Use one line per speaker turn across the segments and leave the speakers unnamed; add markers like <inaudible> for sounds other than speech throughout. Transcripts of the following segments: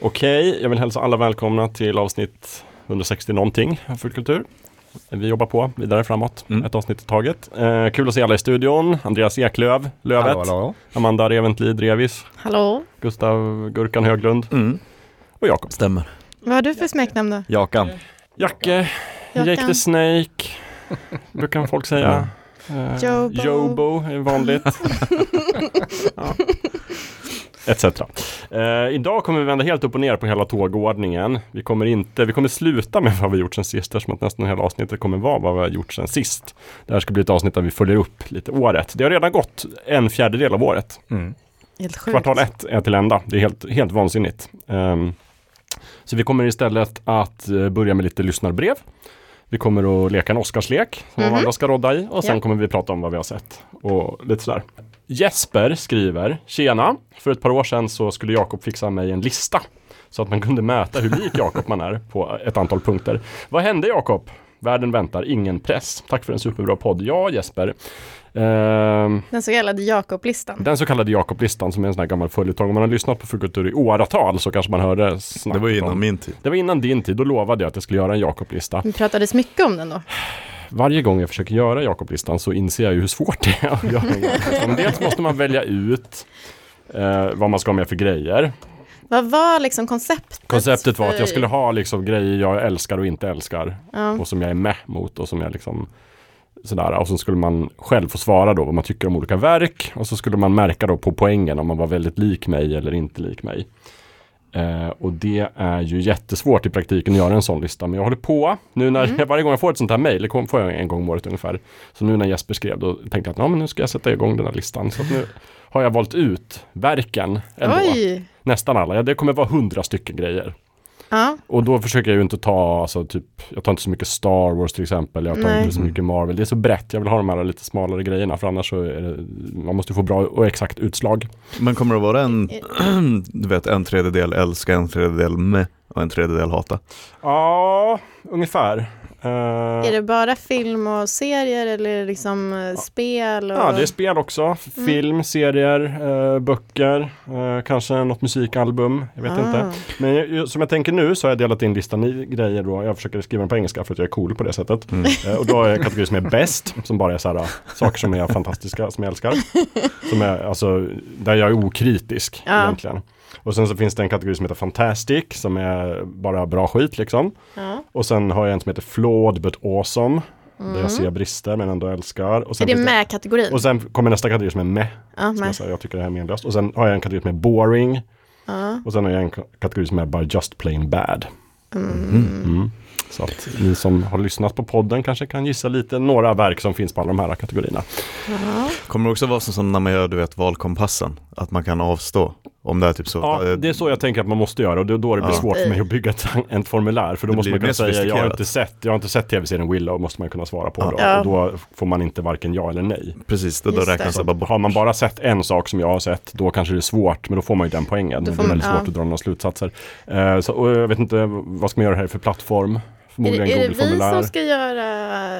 Okej, jag vill hälsa alla välkomna till avsnitt 160 någonting av Full kultur. Vi jobbar på vidare framåt,
Mm.
ett avsnitt i taget. Eh, kul att se alla i studion. Andreas Eklöv, Lövet,
Hallå, hallå.
Amanda Reventlid Drevis,
Hallå?
Gustav Gurkan Höglund
Mm,
och Jakob.
stämmer.
Vad har du för smeknamn då?
Jakan.
Jacke, Jake the Snake, brukar folk säga. Eh,
Jobo.
Jobo är vanligt. ja. Etc. Eh, idag kommer vi vända helt upp och ner på hela tågordningen. Vi kommer, inte, vi kommer sluta med vad vi gjort sen sist eftersom att nästan hela avsnittet kommer vara vad vi har gjort sen sist. Det här ska bli ett avsnitt där vi följer upp lite året. Det har redan gått en fjärdedel av året.
Mm.
Helt sjukt.
Kvartal ett är till ända. Det är helt, helt vansinnigt. Ehm, så vi kommer istället att eh, börja med lite lyssnarbrev. Vi kommer att leka en Oscarslek som
Mhm.
mm andra ska rodda i och sen
Ja.
kommer vi prata om vad vi har sett och lite sådär. Jesper skriver Tjena! För ett par år sedan så skulle Jakob fixa mig en lista så att man kunde mäta hur lik Jakob man är på ett antal punkter. Vad hände Jakob? Världen väntar ingen press. Tack för en superbra podd. Ja Jesper. Ehm,
Den så kallade Jakob-listan.
den så kallade Jakoblistan som är en sån här gammal följetong. Om man har lyssnat på Fukultur i åratal så kanske man hörde snack
Det var ju
om-
innan min tid.
Det var innan din tid, då lovade jag att jag skulle göra en Jakoblista.
Vi pratades mycket om den då.
Varje gång jag försöker göra Jakoblistan så inser jag ju hur svårt det är att göra en Jakoblistan. Dels måste man välja ut eh, vad man ska ha med för grejer.
Vad var liksom konceptet?
Konceptet var att
för-
jag skulle ha liksom grejer jag älskar och inte älskar
Ja.
och som jag är med mot och som jag liksom sådär. Och så skulle man själv få svara då vad man tycker om olika verk och så skulle man märka då på poängen om man var väldigt lik mig eller inte lik mig. Eh, och det är ju jättesvårt i praktiken att göra en sån lista, men jag håller på. Nu när, <laughs>
Mm.
Varje gång jag får ett sånt här mejl, det kom- får jag en gång om året ungefär. Så nu när Jesper skrev, då tänkte jag att "Ja, men nu ska jag sätta igång den här listan. Så att
<laughs>
nu har jag valt ut verken ändå.
Oj!
Nästan alla, ja, det kommer vara hundra stycken grejer.
Ja,
Och då försöker jag ju inte ta, alltså typ, jag tar inte så mycket Star Wars till exempel, jag tar
Nej.
inte så mycket Marvel. Det är så brett, jag vill ha de här lite smalare grejerna för annars så är det, man måste ju få bra och exakt utslag.
Men kommer det vara en, <clears throat> du vet, en tredjedel älska, en tredjedel med och en tredjedel hata?
Ja, ungefär. Eh,
är det bara film och serier eller liksom eh, spel? Och...
Ja, det är spel också.
Mm.
Film, serier, eh, böcker, eh, kanske något musikalbum. Jag vet
Ah.
inte. Men jag- jag, som jag tänker nu så har jag delat in listan i grejer då. Jag försöker skriva den på engelska för att jag är cool på det sättet. Eh, och då har jag en kategori som är bäst, som bara är så här, eh, saker som är fantastiska, som jag älskar. Som är, alltså, där jag är okritisk
Ja.
egentligen. Och sen så finns det en kategori som heter Fantastic, som är bara bra skit liksom.
Ja.
Och sen har jag en som heter Flawed but awesome. Där jag ser brister men ändå älskar. Och sen
Mm. Är det
finns
med kategorin?
och sen kommer nästa kategori som är med.
ja,
Som jag,
med.
säger, jag tycker det här är menlöst. Och sen har jag en kategori som är boring.
Ja.
Och sen har jag en ka- kategori som är bara just plain bad. Mm. Så att ni som har lyssnat på podden kanske kan gissa lite några verk som finns på alla de här kategorierna.
Kommer det också vara som, som när man gör, du vet, valkompassen? Att man kan avstå? Om det är typ så.
Ja,
eh,
det är så jag tänker att man måste göra och det är då det blir
Ja.
svårt för mig att bygga ett, ett formulär. För då
Det
måste
blir
man kunna
mer
säga, jag har
sofistikerat.
inte sett, jag har inte sett tv-serien Willow, måste man kunna svara på då.
Ja.
Och då får man inte varken ja eller nej.
Precis, det då
Just det.
räknas det bara bort.
Har man bara sett en sak som jag har sett, då kanske det är svårt, men då får man ju den poängen.
Då
Det
får
är
man-
väldigt svårt
ja.
att dra några slutsatser. Eh, så, och jag vet inte, vad ska man göra här för plattform?
Är det,
Förmodligen
är det vi
Google-formulär.
som ska göra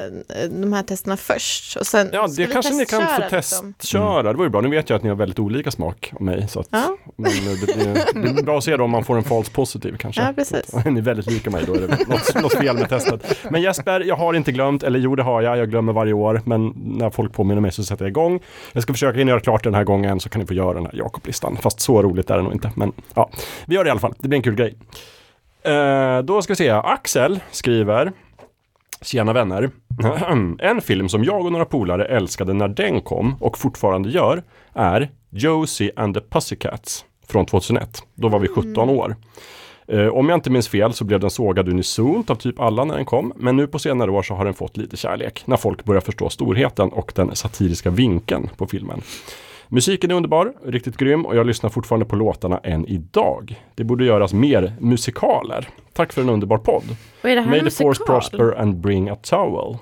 eh, de här testerna först? Och sen
Ja,
ska
det
vi
kanske ni kan få
testköra, liksom?
testköra. Det var ju bra. Nu vet jag att ni har väldigt olika smak av mig. Så att,
Ja.
men eh, det, blir, det blir bra att se då om man får en false positiv kanske.
Ja, precis.
Så att- Är <laughs> ni väldigt lika mig då är det något, något fel med testet. Men Jesper, jag har inte glömt, eller jo det har jag, jag glömmer varje år. Men när folk påminner mig så sätter jag igång. Jag ska försöka hinna göra klart den här gången så kan ni få göra den här Jakob-listan. Fast så roligt är det nog inte. Men ja, vi gör det i alla fall. Det blir en kul grej. Eh, då ska vi se, Axel skriver Tjena vänner! <clears throat> en film som jag och några polare älskade när den kom och fortfarande gör är Josie and the Pussycats från 2001. Då var vi 17 år. Eh, om jag inte minns fel så blev den sågad unisont av typ alla när den kom, men nu på senare år så har den fått lite kärlek när folk börjar förstå storheten och den satiriska vinkeln på filmen. Musiken är underbar, riktigt grym och jag lyssnar fortfarande på låtarna än idag. Det borde göras mer musikaler. Tack för en underbar podd.
Och är det här
May
en
the force
Mm, musikal?
prosper and bring a towel.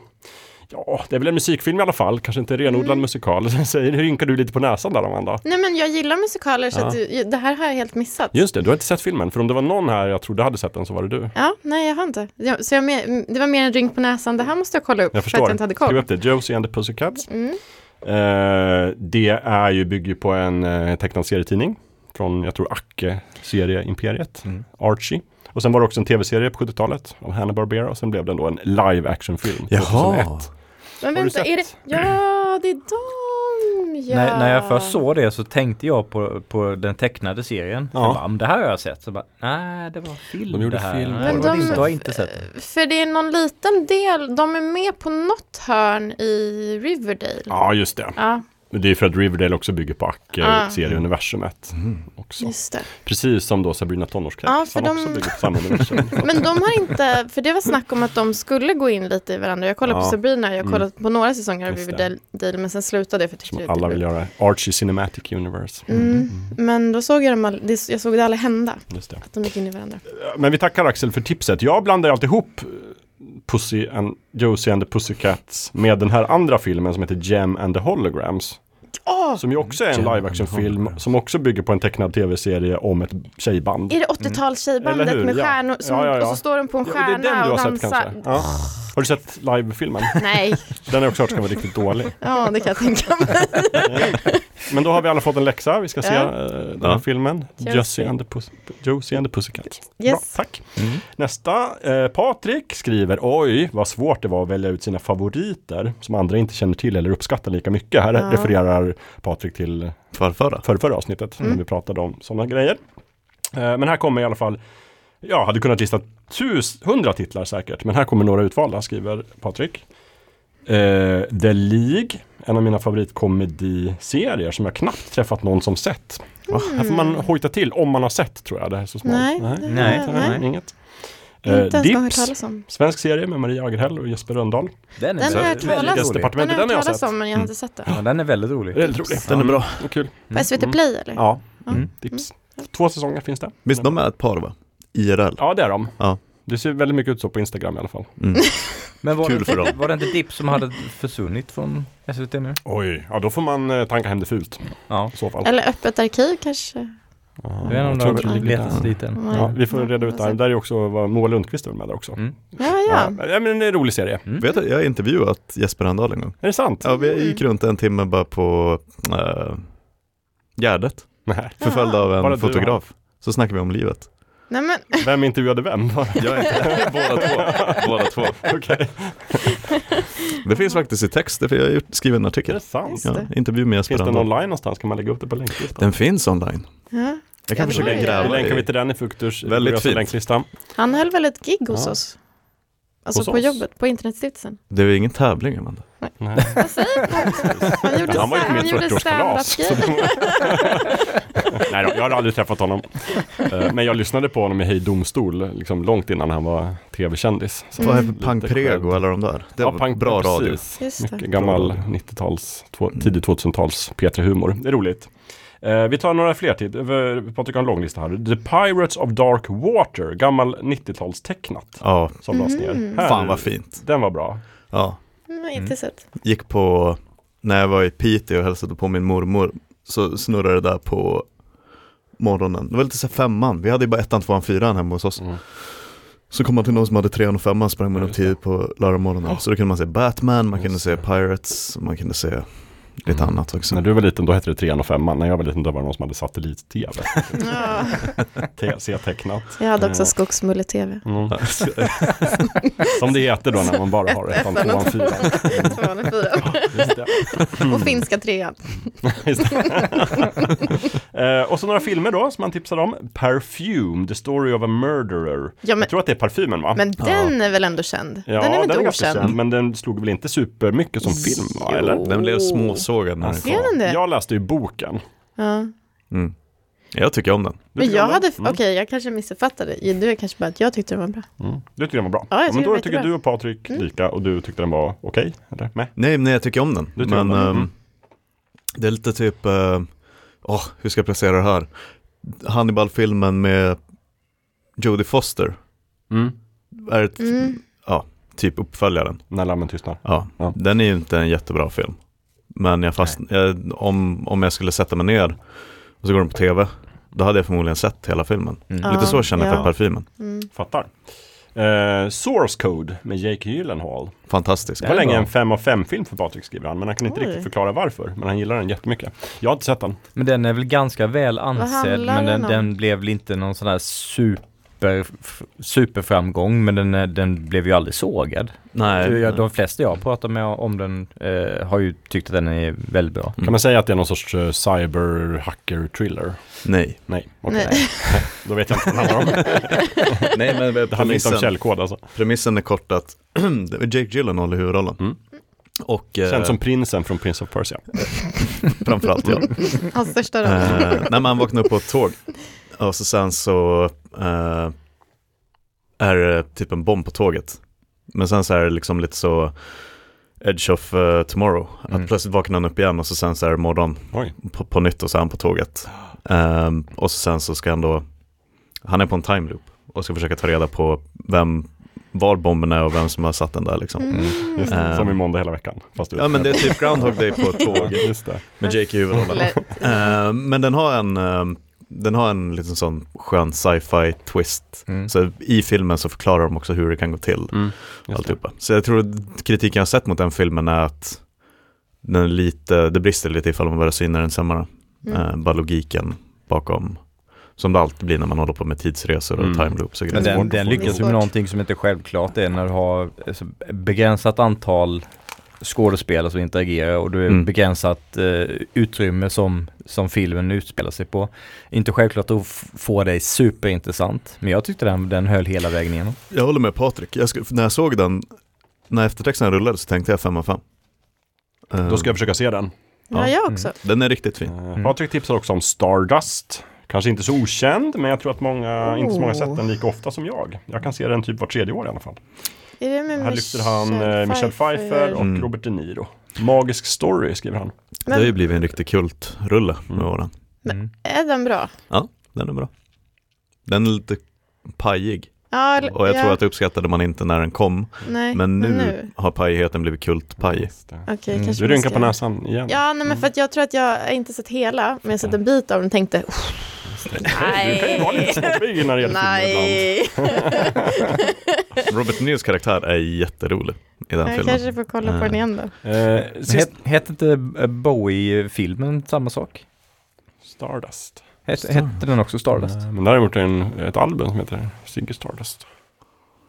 Ja, det är väl en musikfilm i alla fall, kanske inte en renodlad musikal. <laughs> Säger, rynkar du lite på näsan där Amanda?
Nej, men jag gillar musikaler så
Ja.
att du, det här har jag helt missat.
Just det, du har inte sett filmen, för om det var någon här jag trodde hade sett den så var det du.
Ja, nej jag har inte. Ja, Så jag mer, mm, det var mer en rynk på näsan, det här måste jag kolla upp
Jag
för att jag inte
förstår.
hade
Skriv
koll. Mm.
upp det, Josie and the Pussycats. Eh, det är ju, bygger ju på en eh, tecknad serietidning Från, jag tror, Acke-serieimperiet.
Mm.
Archie. Och sen var det också en tv-serie på 70-talet av Hanna-Barbera och sen blev den då en live action-film 2001.
Jaha.
Men
Har du
vänta,
sett?
är det... Ja, det är de! Ja.
När, när jag först såg det så tänkte jag på, på den tecknade serien.
Ja.
Jag bara, "Men det här har jag sett. Så bara, nej det var film
De gjorde
det här.
film på
Nej, det
det.
var
Men
inte-
de-
jag har inte sett det.
För det är någon liten del, de är med på något hörn i Riverdale.
Ja, just det.
Ja,
Men det är ju för att Riverdale också bygger på
Ah.
Acke-serieuniversumet.
Mm.
Också.
just det.
Precis som då Sabrina Tonårskräk
Ja, för
som
de-
också bygger på samma universum.
<laughs> Men de har inte, för det var snack om att de skulle gå in lite i varandra. Jag kollade
Ja.
på Sabrina, jag
Mm.
kollade på några säsonger av
Just det.
Riverdale, men sen slutade jag för typ jag tyckte
Som
det
alla
blev-
vill göra. Archie Cinematic Universe.
Mm. Men då såg jag dem all, det, jag såg det aldrig hända,
Just det.
att de gick in i varandra.
Men vi tackar Axel för tipset. Jag blandar alltid ihop eh, Pussy and Josie and the Pussycats med den här andra filmen som heter Gem and the Holograms.
Åh,
Som ju också är en
Gem
live action
and the
film
Holograms.
som också bygger på en tecknad tv-serie om ett tjejband.
är det 80-talstjejbandet
Eller hur?
med
Ja.
stjärnor som,
Ja, ja, ja.
och så står de på en
Ja,
stjärna
och det är den du har
och Ah.
sett
dansar?
kanske? Ja. Har du sett live-filmen? <laughs>
Nej,
Den har jag också hört ska vara riktigt dålig.
ja det kan jag tänka
Eh,
mig.
Men då har vi alla fått en läxa. Vi ska se
Ja.
eh, den här
Ja.
filmen.
Josie.
Josie and, the Puss- Josie and the Pussycat. Bra,
Yes.
tack. Nästa. Eh, Patrik skriver, oj vad svårt det var att välja ut sina favoriter som andra inte känner till eller uppskattar lika mycket. Här
Ja.
refererar Patrik till
Farfara.
förra, förra avsnittet
Mm.
när vi pratade om sådana grejer. Eh, men här kommer i alla fall, jag hade kunnat lista tus, hundra titlar säkert, men här kommer några utvalda, skriver Patrik. Eh, The League, en av mina favoritkomediserier som jag knappt träffat någon som sett. Här får man hojta till om man har sett tror jag, det här är så smalt.
Mm. Nej, det-
Nej.
nej.
inget. Eh,
Inte ens vad jag har hört
Dips,
talas om.
svensk serie med Maria Agerhäll och Jesper Rönndahl.
Den
Den har jag
väldigt
hört talas
rolig.
Den
Idrottsdepartementet,
har jag
den alltså- har
hört
jag
talas
sett. Mm.
om men jag har inte sett den.
Ja, den är väldigt rolig.
Väldigt rolig.
Den är bra.
Och kul.
På SVT Play eller?
Ja,
Mm.
Dips. Två säsonger finns det.
Visst, de är ett par va? IRL.
Ja, det är de.
Ja.
Det ser väldigt mycket ut så på Instagram i alla fall.
Mm.
Men var,
Kul
det,
för dem.
var det inte Dipp som hade försvunnit från SVT nu?
Oj, ja då får man eh, tanka hem det fult
Ja,
i så fall.
Eller Öppet Arkiv kanske?
jag vet
Jag
inte
tror
om
att
de
det
har
ligger
letat
där.
dit än.
Mm. Ja, vi får reda ut det här.
det.
Där är också vad Moa Lundqvist är med där också.
Mm.
Ja,
Ja,
ja.
men det är en rolig serie.
Vet du, jag har intervjuat Jesper Rönndahl en gång.
Är det sant?
Ja, vi gick runt en timme bara på äh, Gärdet,
Nej.
förföljd av en
Bara du,
fotograf. Så snackade vi om livet.
Nej men,
Vem intervjuade vem?
Jag är
<laughs>
inte, båda två. Båda två.
Okej,
Det finns faktiskt i text, för jag har gjort- skrivit en
är det
artikel.
sant?
Just
Ja,
det.
intervju med Jesper
Finns den
Rönndahl.
online någonstans? Kan man lägga upp det på länklistan?
Den finns online.
ja.
Jag
Ja,
kan
det var
försöka
ju-
Då
gräva
länkar vi
i.
till den i Fukturs
Väldigt
rigorösa
fint.
länklista.
Han höll väl ett gig hos
Ja.
oss? Alltså
Hos
på
oss?
jobbet, på Internetstiftelsen.
Det är ju ingen tävling, Amanda.
Nej.
Vad säger du? Han
<laughs>
gjorde,
Han var ju på
stand-
mitt
han gjorde
40-årskalas.
standup-gig.
<laughs> Nej då, jag har aldrig träffat
<laughs>
honom. Eh, Men jag lyssnade på honom i Hej Domstol, liksom långt innan han var tv-kändis. Så
Vad är
Mm. lite
för Pankrego
skönt.
eller de där? Det var
Pank-
bra radio.
precis.
Just det.
Mycket gammal
Bra radio.
90-tals, två- tidig 2000-tals P3-humor. Det är roligt. Eh, vi tar några fler tid. Eh, Patrik har en lång lista här. The Pirates of Dark Water, gammal 90-talstecknat.
Ja,
Som lades
Mhm.
ner. Här-
fan vad fint.
Den var bra.
Ja,
Mm, inte sett.
gick på, när jag var i Piteå och hälsade på min mormor, så snurrade det där på morgonen. Det var lite så här femman, vi hade ju bara ettan, tvåan, fyran hemma hos oss.
Mm.
Så kom man till någon som hade trean och femman, sprang man upp
Just det.
tid på lördagsmorgonen. Så då kunde man se Batman, man kunde
Just
se
det.
Pirates, man kunde se lite
Mm.
annat också.
När du var liten då hette det 3 och 5 När jag var liten då var det någon som hade satellit-tv. <laughs> Mm.
Ja.
Te- C-tecknat.
Jag hade också
Ja.
skogsmulle-tv.
Mm. <laughs> Som det heter då när man bara har
<laughs>
ettan, tvåan, <laughs> fyran.
Tvåan och fyran.
Just det.
Och finska trean.
Just det. <laughs> Eh, och så några filmer då som han tipsade om. Perfume, The Story of a Murderer.
Ja, men,
Jag tror att det är parfymen va?
men den är väl ändå känd?
ja,
den är väl inte
ganska
okänd?
känd, men den slog väl inte supermycket som film va?
Jo.
Eller?
Den blev småsågad när den
Alltså,
kom.
Ser den det?
Jag läste ju boken.
Ja.
Mm. Jag tycker om den.
Du
Men
tycker
jag
om
hade,
den?
okej jag kanske missuppfattade. Du är kanske bara att jag tyckte det var bra.
Mm. Du tyckte den var bra.
Ja, jag
men
tycker
då
den var
tycker du
jättebra. Mm.
och Patrik lika och du tyckte den var okej? eller? Med?
Nej, nej jag tycker om den.
Du tycker
men
om den,
ehm,
mm.
det är lite typ, eh, åh, hur ska jag placera det här? Hannibal-filmen med Jodie Foster är ett,
Mm.
typ uppföljaren.
När lammen tystnar.
Ja,
Ja.
Den är ju inte en jättebra film. Men jag fast, jag, om, om jag skulle sätta mig ner och så går den på tv, då hade jag förmodligen sett hela filmen.
Mm.
Ja.
Lite så känner jag
ja.
för parfymen.
Mm.
Fattar. Eh, Source Code med Jake Gyllenhaal.
Fantastisk.
Det var länge
bra.
en 5 av 5-film för Patrik skriver han, men han kan inte
Oj.
riktigt förklara varför. Men han gillar den jättemycket. Jag har inte sett den.
Men den är väl ganska väl ansedd,
handlar
men den,
den om?
den blev väl inte någon sån här super, f- superframgång, men den, är- den blev ju aldrig sågad.
Nej.
Så jag, de flesta jag pratar med om den eh, har ju tyckt att den är väldigt bra.
Kan man säga att det är någon sorts eh, cyber-hacker-thriller?
Nej.
Nej, <laughs> okej. Då vet jag inte vad den <laughs> handlar om.
Nej, men
Det handlar inte om
<laughs> premissen,
källkod alltså.
premissen är kort att <clears throat> det är Jake Gyllenhaal i huvudrollen.
Mm.
Och eh,
Känns som prinsen från Prince of Persia. <laughs>
framförallt jag.
<laughs> Hans största roll.
Eh, nej, men han vaknar upp på ett tåg. Och så sen så eh, är det typ en bomb på tåget. Men sen så är det liksom lite så Edge of eh, tomorrow. Att
Mm.
plötsligt vaknar han upp igen och så sen så är det morgon
Oj.
på, på nytt och så är han på tåget. Eh, och så sen så ska han då, han är på en time loop och ska försöka ta reda på vem, var bomben är och vem som har satt den där liksom.
Mm.
Just det,
Eh.
som i måndag hela veckan. Fast
Ja men det är typ Groundhog Day på ett
<laughs> Ja,
tåg
Just det.
med Jake i huvudrollen.
Lätt.
Eh, men den har en, eh, den har en liten sån skön sci-fi twist.
Mm.
Så i filmen så förklarar de också hur det kan gå till.
Just det.
Alltihopa. Så jag tror att kritiken jag har sett mot den filmen är att den är lite, det brister lite ifall man börjar syna den sämre.
Mm.
Eh, bara logiken bakom, som det alltid blir när man håller på med tidsresor och
Mm.
time loops och
Men
grejer.
den,
Svårt att
den
få
lyckas
det.
ju med någonting som inte är självklart är när du har alltså, begränsat antal skådespelare som interagerar och du är
Mm.
begränsat eh, utrymme som, som filmen utspelar sig på. Inte självklart att f- få dig superintressant, men jag tyckte den, den höll hela vägen igenom.
Jag håller med Patrik, jag skulle- när jag såg den, när eftertexten rullade så tänkte jag Eh, 5 av 5.
Då ska jag försöka se den.
Ja, jag också.
Den är riktigt fin.
Mm. Patrik tipsar också om Stardust. Kanske inte så okänd, men jag tror att många, inte så många har sett den lika ofta som jag. Jag kan se den typ var tredje år i alla fall.
Är det med
Här lyfter han eh, Michelle Pfeiffer och
Mm.
Robert De Niro. Magisk story skriver han.
Det har ju
Men
blivit en riktig kultrulle med
Mm.
åren.
Mm.
är den bra?
Den är bra. Den är lite pajig
Ja, eller-
och jag
ja,
tror att det uppskattade man inte när den kom.
nej.
Men nu,
nu.
har pajigheten blivit
<laughs>
kultpaj.
Just det.
Okej,
Mm.
kanske
Du
man
rynkar på
ska-
näsan igen.
Ja, nej, men för att jag tror att jag har inte sett hela, men jag har sett en bit av den och tänkte "Oh,
Du kan ju vara lite småpig när det gäller filmer ibland.
nej.
Robert News karaktär är jätterolig i den
Jag
filmen.
kanske får kolla på
Eh.
den igen då.
Eh, sist,
Het, hette inte eh, Bowie-filmen samma sak?
Stardust.
Hette, hette den också Stardust?
Eh, Men däremot är det en, ett album som heter Ziggy Stardust.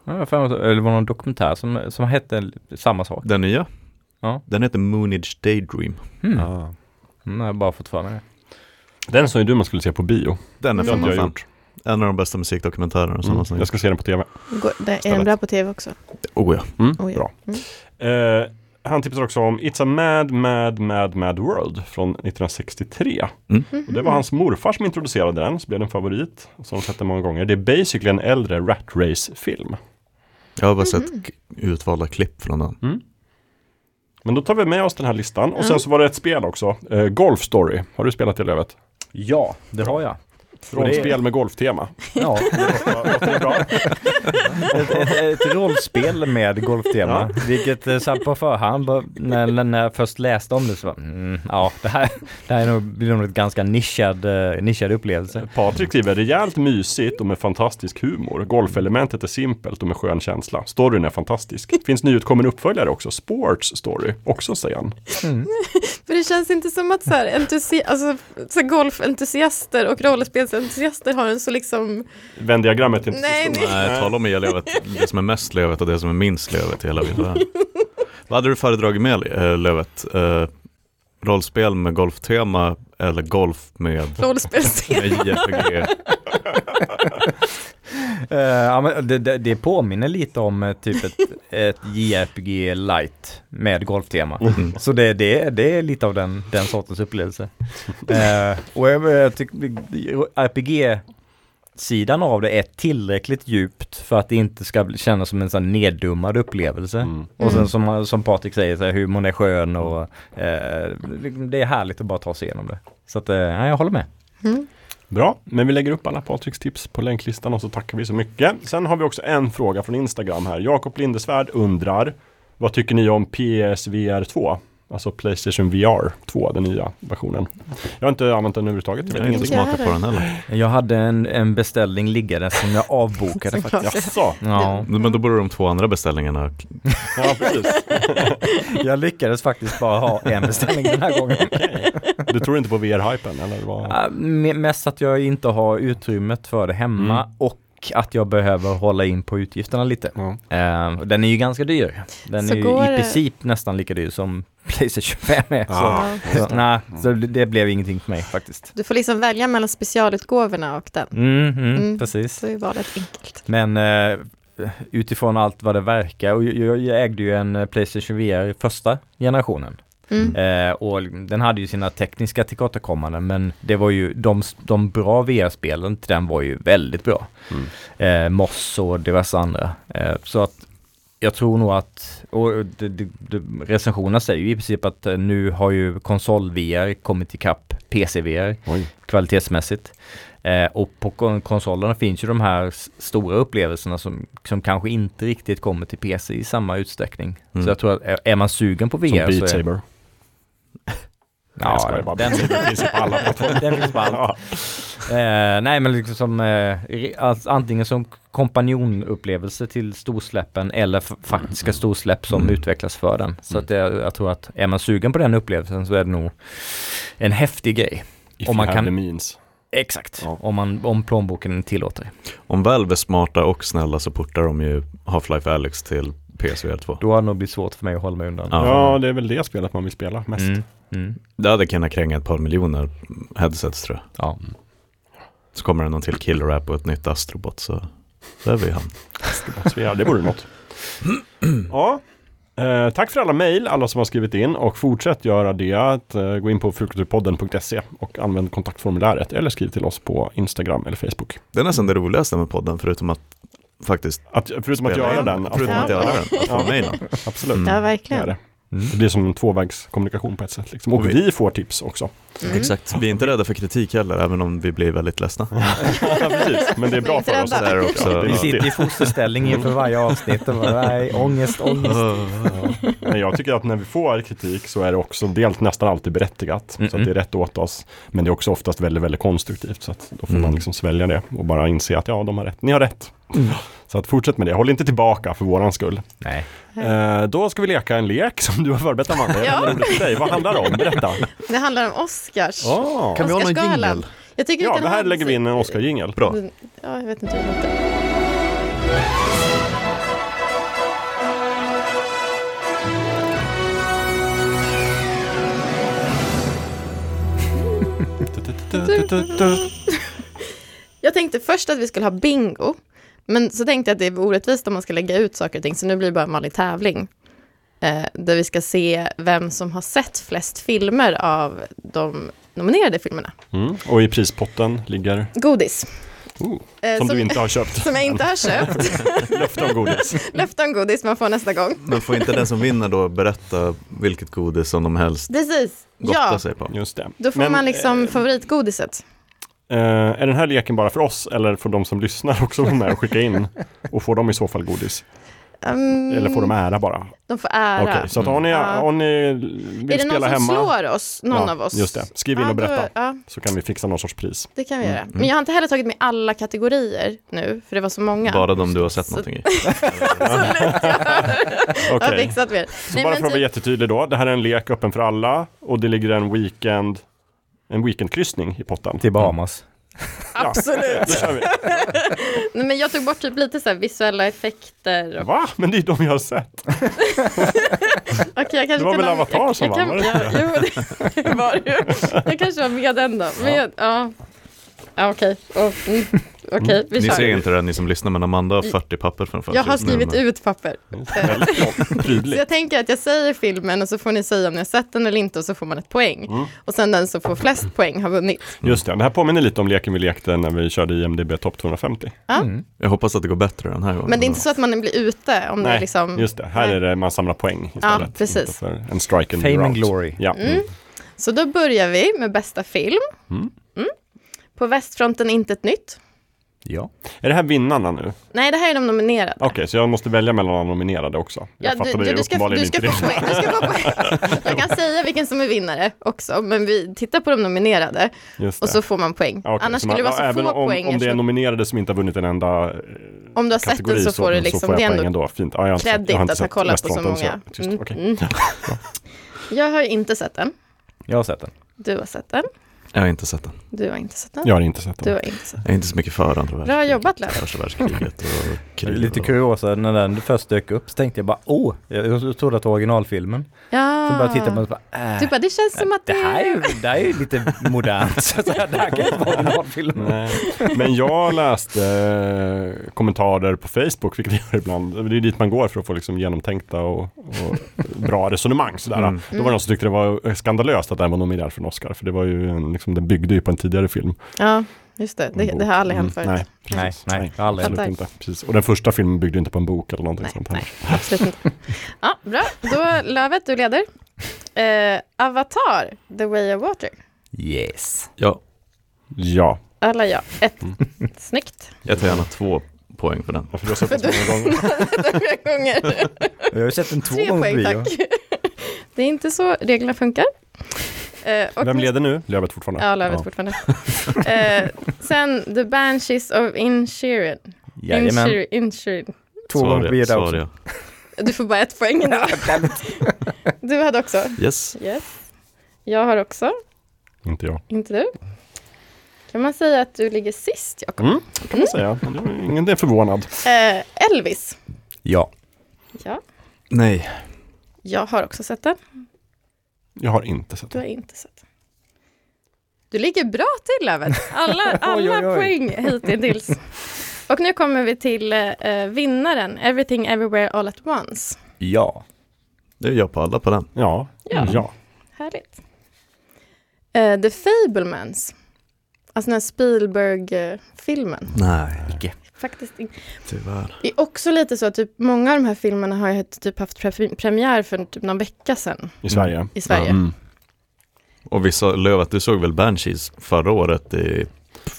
Ja, jag har för mig att- eller det var någon dokumentär som, som hette samma sak.
Den nya,
Ja.
den heter Moonage Daydream.
Mm. Mm, jag har bara fått för mig det.
Den som ju du man skulle se på bio.
Mm.
Den är
Det har
fem
inte
av
jag
fem.
gjort.
En av de bästa musikdokumentärerna som
Mm.
någonsin
Jag
gjorts.
ska se den på tv.
Går, det, är den bra på tv också?
Oh ja.
Oj.
Bra.
Mm.
Eh, han tipsar också om It's a Mad, Mad, Mad, Mad World från 1963.
Mm.
Och
Mhm.
det var hans morfar som introducerade den, så blev den favorit. Som han sett den många gånger. Det är basically en äldre Rat Race-film.
Jag har bara sett k-
Mm-hmm.
utvalda klipp från den.
Men då tar vi med oss den här listan. Och sen
Mm.
så var det ett spel också. Eh, Golf Story. Har du spelat det Lövet?
Ja, det har jag. Och det är-
Rollspel med golftema.
Ja,
Låter det bra?
ett, ett, ett rollspel med golftema. Vilket eh, så här på förhand, bara, när, när- när jag först läste om det så var mm, ja, det här, det här är nog, blir nog ett ganska nischad, eh, nischad upplevelse.
Alltså, Patrik skriver rejält mysigt och med fantastisk humor. Golfelementet är simpelt och med skön känsla. Storyn är fantastisk. Finns nyutkommen uppföljare också. Sports Story. Också säger han.
Mm.
För det känns inte som att så här, entusi- alltså, så här golfentusiaster och rollspelsentusiaster har en så liksom,
Vändiagrammet är inte så
Nej,
stort.
nej.
Nej, tala om att ge Lövet det som är mest Lövet och det som är minst Lövet i hela videon. Vad hade du föredragit med eh, Lövet? Eh, rollspel med golftema eller golf med
rollspelsscen.
<laughs>
med JRPG?
Eh, ja, men det, det, det påminner lite om eh, typ ett, ett JRPG light med golftema.
Mm.
Så det, det, det är lite av den, den sortens <laughs> upplevelse. Eh, och jag, jag tycker RPG-sidan av det är tillräckligt djupt för att det inte ska bli- kännas som en sån här neddummad upplevelse.
Mm.
Och sen
Mm.
som, som Patrik säger, så här, humorn är skön och eh, liksom, det är härligt att bara ta sig igenom det. Så att, eh, ja, jag håller med.
Bra, men vi lägger upp alla Patriks tips på länklistan och så tackar vi så mycket. Sen har vi också en fråga från Instagram här. Jakob Lindesvärd undrar Vad tycker ni om PSVR 2? Alltså Playstation VR 2, den nya versionen. Jag har inte använt den överhuvudtaget. Jag vet
Jag har inte
ingenting.
smakat på den heller.
Jag hade en, en beställning liggande som jag avbokade faktiskt.
Såklart.
Jaså?
Ja.
Men då borde de två andra beställningarna...
Ja, precis.
Jag lyckades faktiskt bara ha en beställning den här gången.
Du tror inte på VR-hypen eller vad?
Äh, me- Mest att jag inte har utrymmet för det hemma
Mm.
och att jag behöver hålla in på utgifterna lite.
Ja.
Eh, den är ju ganska dyr. Den
Så
är
går
ju i
det-
princip nästan lika dyr som <laughs> Playstation 5 är. Så,
Ah.
så, nej, så det, det blev ingenting för mig faktiskt.
Du får liksom välja mellan specialutgåvorna och den.
Mm, mm,
Mm.
Precis.
Så är valet enkelt.
Men eh, utifrån allt vad det verkar, och jag, jag ägde ju en eh, Playstation VR i första generationen.
Mm.
Eh, och den hade ju sina tekniska tillkortakommanden men det var ju de, de bra VR-spelen till den var ju väldigt bra. Eh, Moss och diverse andra. Eh, så att jag tror nog att, och det, det, det, recensionerna säger ju i princip att eh, nu har ju konsol-VR kommit ikapp PC-VR
Oj.
kvalitetsmässigt. Eh, och på kon- konsolerna finns ju de här s- stora upplevelserna som, som kanske inte riktigt kommer till PC i samma utsträckning.
Mm.
Så jag tror att eh, är- är man sugen på VR
Som Beat
så är
Saber. Nej, jag skojar
Ja,
bara.
den,
Det finns ju på alla plattformar.
den finns på <laughs> allt.
Ja.
Eh, nej men liksom som, eh, re- alltså, antingen som kompanjonupplevelse till storsläppen eller f- faktiska storsläpp som
Mm.
utvecklas för den. Så att jag, jag tror att är man sugen på den upplevelsen så är det nog en häftig grej.
If
Om
man
man
you have
kan-
the means.
Exakt.
Ja.
Om, man, om plånboken tillåter det.
Om Valve är smarta och snälla så portar de ju Half-Life Alyx till PSVR 2.
Då har det nog blivit svårt för mig att hålla mig undan.
Ja.
Ja, det är väl det spelet man vill spela mest.
Mm, mm,
Det hade kunnat kränga ett par miljoner headsets tror jag.
ja.
Så kommer det någon till Killer-app och ett nytt Astrobot så där är vi i hamn.
Så ja, det vore något. <clears throat> Ja. Eh, tack för alla mejl, alla som har skrivit in och fortsätt göra det. Att, eh, gå in på fulkulturpodden.se och använd kontaktformuläret eller skriv till oss på Instagram eller Facebook.
Det är nästan det roligaste med podden förutom att faktiskt
Att, förutom att
spela
göra
in.
den. att-
Förutom att
Ja.
göra den. Att
Ja.
få mejlen.
Absolut.
Mm.
Ja,
Det, är
verkligen.
det.
Mm.
det blir som en tvåvägskommunikation på ett sätt. Liksom. Och
Vi-
vi får tips också.
Mm.
Exakt, vi är inte rädda för kritik heller, även om vi blir väldigt ledsna.
Ja, precis. Men det är bra för oss.
Så är det också.
Ja, det är
Vi
viktigt.
sitter i fosterställning inför varje avsnitt och bara, nej, ångest, ångest.
Ja. Men jag tycker att när vi får kritik så är det också dels nästan alltid berättigat. Så att
Mm-mm.
det är rätt åt oss. Men det är också oftast väldigt, väldigt konstruktivt. Så att då får man
Mm.
liksom svälja det och bara inse att ja, de har rätt. Ni har rätt. Så att fortsätt med det. Håll inte tillbaka för våran skull.
Nej.
Eh, då ska vi leka en lek som du har förberett Amanda.
Ja.
ja. för dig. Vad handlar det om? <laughs> Berätta.
Det handlar om Oscars.
Ah.
Kan vi ha någon
Oscarsgalan.
jingel?
Jag tycker
Ja,
vi kan
det
ha
här
en-
lägger vi in en Oscar-jingel.
Bra.
Ja, jag vet inte hur det låter. Jag tänkte först att vi skulle ha bingo. Men så tänkte jag att det är orättvist om man ska lägga ut saker och ting, så nu blir det bara en vanlig tävling. Eh, där vi ska se vem som har sett flest filmer av de nominerade filmerna.
Mm. Och i prispotten ligger,
Godis.
oh,
Eh,
som du inte har köpt,
<laughs> som jag inte
<laughs>
har köpt.
löfte om godis.
Löfte om godis man får nästa gång.
Men får inte den som vinner då berätta vilket godis som de helst
Precis.
gottar
Ja,
sig på?
Just det.
då får
Men,
man liksom
eh,
favoritgodiset.
Eh, är den här leken bara för oss eller får de som lyssnar också vara med och skicka in? Och får de i så fall godis?
Um,
Eller får de ära bara?
de får
Okej,
ära.
så att om ni,
Mm. Ja.
om ni
Är
vill
det någon
spela
som
hemma.
slår oss, någon
Ja,
av oss?
Just det, skriv in
Ja,
och
då-
berätta. Mm,
Ja,
Så kan vi fixa någon sorts pris.
det kan vi göra. Men jag har inte heller tagit med alla kategorier nu, för det var så många.
Bara de du har sett
Så-
någonting
<laughs>
i.
Okej,
Jag har fixat mer. typ-
så bara för att vara jättetydlig då. Det här är en lek öppen för alla och det ligger en weekend en weekendkryssning i potten.
Till Bahamas.
Då
Absolut.
kör vi.
Nej, men jag tog bort typ lite så här visuella effekter. Och...
Va? Men det är de jag har sett.
Okej, jag kanske
Det var
kan
väl
ha-
Avatar
jag-
som
jag
vann,
kan-
var det
ja, Jo, det var det ju. Jag kanske var med den då. Men jag, ja. Ja, okej. Och, mm, Okej, vi
Ni
kör.
ser inte det ni som lyssnar men Amanda har 40 papper framför
Jag har
sig nu,
skrivit
men-
ut papper.
Väldigt långt,
Så <laughs>
prydligt.
jag tänker att jag säger filmen och så får ni säga om ni har sett den eller inte och så får man ett poäng. Och sen den som får flest poäng har vunnit.
Mm. Just det, det här påminner lite om leken vi lekte när vi körde IMDB topp 250.
Mm.
eh, Jag hoppas att det går bättre den här gången.
Men det är inte så att man blir ute om det är liksom...
just det. Här är det man samlar poäng istället.
Ja, precis.
Inte För en strike and
Fame
you're
and
out.
glory.
Ja.
Mm. Så då
Mm.
Mm. börjar vi med bästa film. Mm. På västfronten intet nytt.
Ja.
Är det här vinnarna nu? Okej,
Nej, det här är de nominerade.
så jag måste välja mellan de nominerade också. Jag
Ja,
fattade det
du, du, ska,
uppenbarligen
du, ska
inte
få
riktigt.
poäng, du ska få poäng.
<laughs>
Jag kan säga vilken som är vinnare också, men vi tittar på de nominerade
Just
och
det.
så får man poäng.
Ja, okej,
Annars
man-
skulle det vara så
ja,
få
även om,
poänger.
Om det är
så
nominerade som inte har vunnit en enda eh,
om du har sett
kategori
den så får du
så
liksom,
får
det
jag
är ändå
poängen då. Fint. Ja, jag har inte sett-
Kredit
jag har inte
att ha
sett
kollat på så
Westfronten,
många.
jag- tyst,
Mm,
okej.
mm. Jag har ju inte sett den.
Jag har sett den.
Du har sett den.
Jag har inte sett den.
Du har inte sett den.
Jag har inte sett
Du
den.
har inte sett den.
Jag är inte så mycket för andra
Bra
världskriget.
jobbat Lennart.
Första världskriget och
Det är
krig.
Lite
och-
kuriosa, när den först dök upp så tänkte jag bara åh, jag jag trodde att det var originalfilmen.
Ja.
Så började jag titta på den och bara äh,
Du bara, det känns som att det
det här är
är...
ju, det här är ju lite
<laughs>
modernt. Så det här kan ju inte vara originalfilmen.
<laughs> Nej. Men jag läste eh, kommentarer på Facebook, vilket jag gör ibland. Det är dit man går för att få liksom genomtänkta och, och bra resonemang. Sådär.
Mm.
Då var det någon som tyckte det var skandalöst att den var nominerad för en Oscar, för det var ju en, liksom, den byggde ju på en tidigare film.
Ja, just det. Det, det har aldrig hänt
Mm,
förut.
Nej,
Nej,
precis.
nej, jag har aldrig
absolut
hänt.
inte. Precis. Och den första filmen byggde inte på en bok eller någonting
Nej,
sånt.
nej,
Här.
absolut inte. Ja, bra. Då, Lövet, du leder. Eh, Avatar, The Way of Water.
Yes.
Ja,
Ja,
Alla ja. Ett. Snyggt.
jag tar gärna två poäng för den.
för du har
<laughs>
sett den så många gånger.
Tre gånger.
Jag har ju sett den två
Tre
gånger på
poäng,
bio.
tack. Det är inte så reglerna funkar. Eh, och
Vem
nästa-
leder nu? Lövet fortfarande?
Ja, Lövet fortfarande. Eh, sen The Banshees of Inisherin.
Jajamän.
Inisherin- Inisherin.
Två
Svarade
gånger på bio
jag,
där
svarade
också.
jag.
Du får bara ett poäng. ändå. du hade också.
Yes.
Yes. Jag har också.
Inte jag.
Inte du. Kan man säga att du ligger sist, Jakob?
Mm, det kan man säga. Men det var Ingen är förvånad.
Eh, Elvis.
Ja.
Ja,
Nej.
jag har också sett den.
Jag har inte sett
Du
den.
har inte sett den. Du ligger bra till, Löven. Alla, alla
<laughs> Oj, oj, oj.
poäng hittills. Och nu kommer vi till eh, vinnaren, Everything Everywhere All At Once.
Ja.
Det är jag på alla på den.
Ja.
Ja.
ja.
Härligt. Eh, The Fablemans. Alltså den här Spielberg-filmen.
Nej,
Faktiskt in-
tyvärr.
Det är också lite så att typ, många av de här filmerna har ju typ haft pre- premiär för typ någon vecka sedan
I Sverige.
i Sverige.
Mm.
Och vi sa, Lövet, du såg väl Banshees förra året i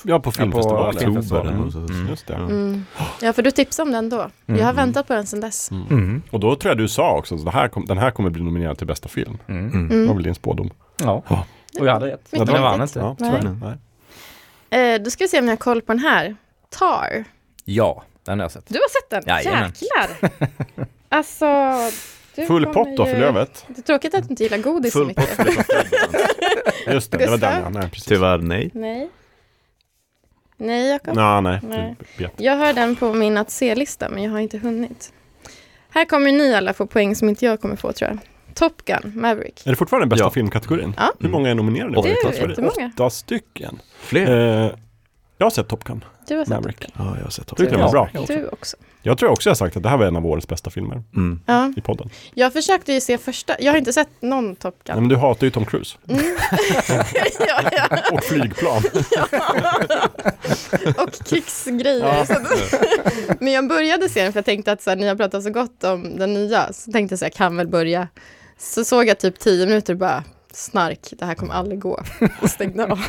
Ja, på filmfestivalen.
filmfestivalen.
oktober?
Mm.
eller så.
Mm.
Just det.
Ja.
Mm. Ja, för du tipsade om den då. Jag har väntat på den sedan dess.
Mm.
Och då tror jag du sa också att det här kom, den här kommer bli nominerad till bästa film. Det
Mm.
Mm.
var
Mm.
väl din spådom?
Ja.
Ja.
Och jag hade rätt.
Ja,
Men
det
den
var
vann
riktigt.
inte.
Ja, tyvärr.
Nej.
Nej.
Eh, då ska vi se om jag har koll på den här. Tar.
Ja, den har jag sett.
Du har sett den?
Jajamän.
Jäklar! Alltså... Du
Full
kommer
pott då för
ju-
Lövet.
Det är tråkigt att du inte gillar godis så
Full pott.
mycket.
Just det, det var
Gustav?
den ja. Nej, precis.
Tyvärr nej.
<laughs> Nej. Nej, Jakob.
Nej, nej.
Nej.
Du vet.
Jag har den på min att se-lista, men jag har inte hunnit. Här kommer ni alla få poäng som inte jag kommer få, tror jag. Top Gun, Maverick.
Är det fortfarande bästa
Ja.
filmkategorin?
Ja.
Hur många är nominerade?
Det är
Åtta
ju
stycken.
jättemånga.
Åtta stycken.
Fler?
Eh, jag har sett Top Gun.
Du har sett
Maverick.
Top Gun.
Ja, jag har sett
Tyckte den
också.
var bra.
Du också.
Jag tror också jag har sagt att det här var en av årets bästa filmer
Mm.
Ja.
i podden.
Jag försökte ju se första, jag har inte sett någon Top
Nej,
Gun.
men du hatar ju Tom Cruise.
ja, <laughs> ja.
Och flygplan.
Och krigsgrejer. Så att- <laughs> men jag började se den för jag tänkte att så här, ni har pratat så gott om den nya, så tänkte jag så här, jag kan väl börja. Så såg jag typ tio minuter och bara, snark, det här kommer
<laughs>
aldrig gå. Och stängde av.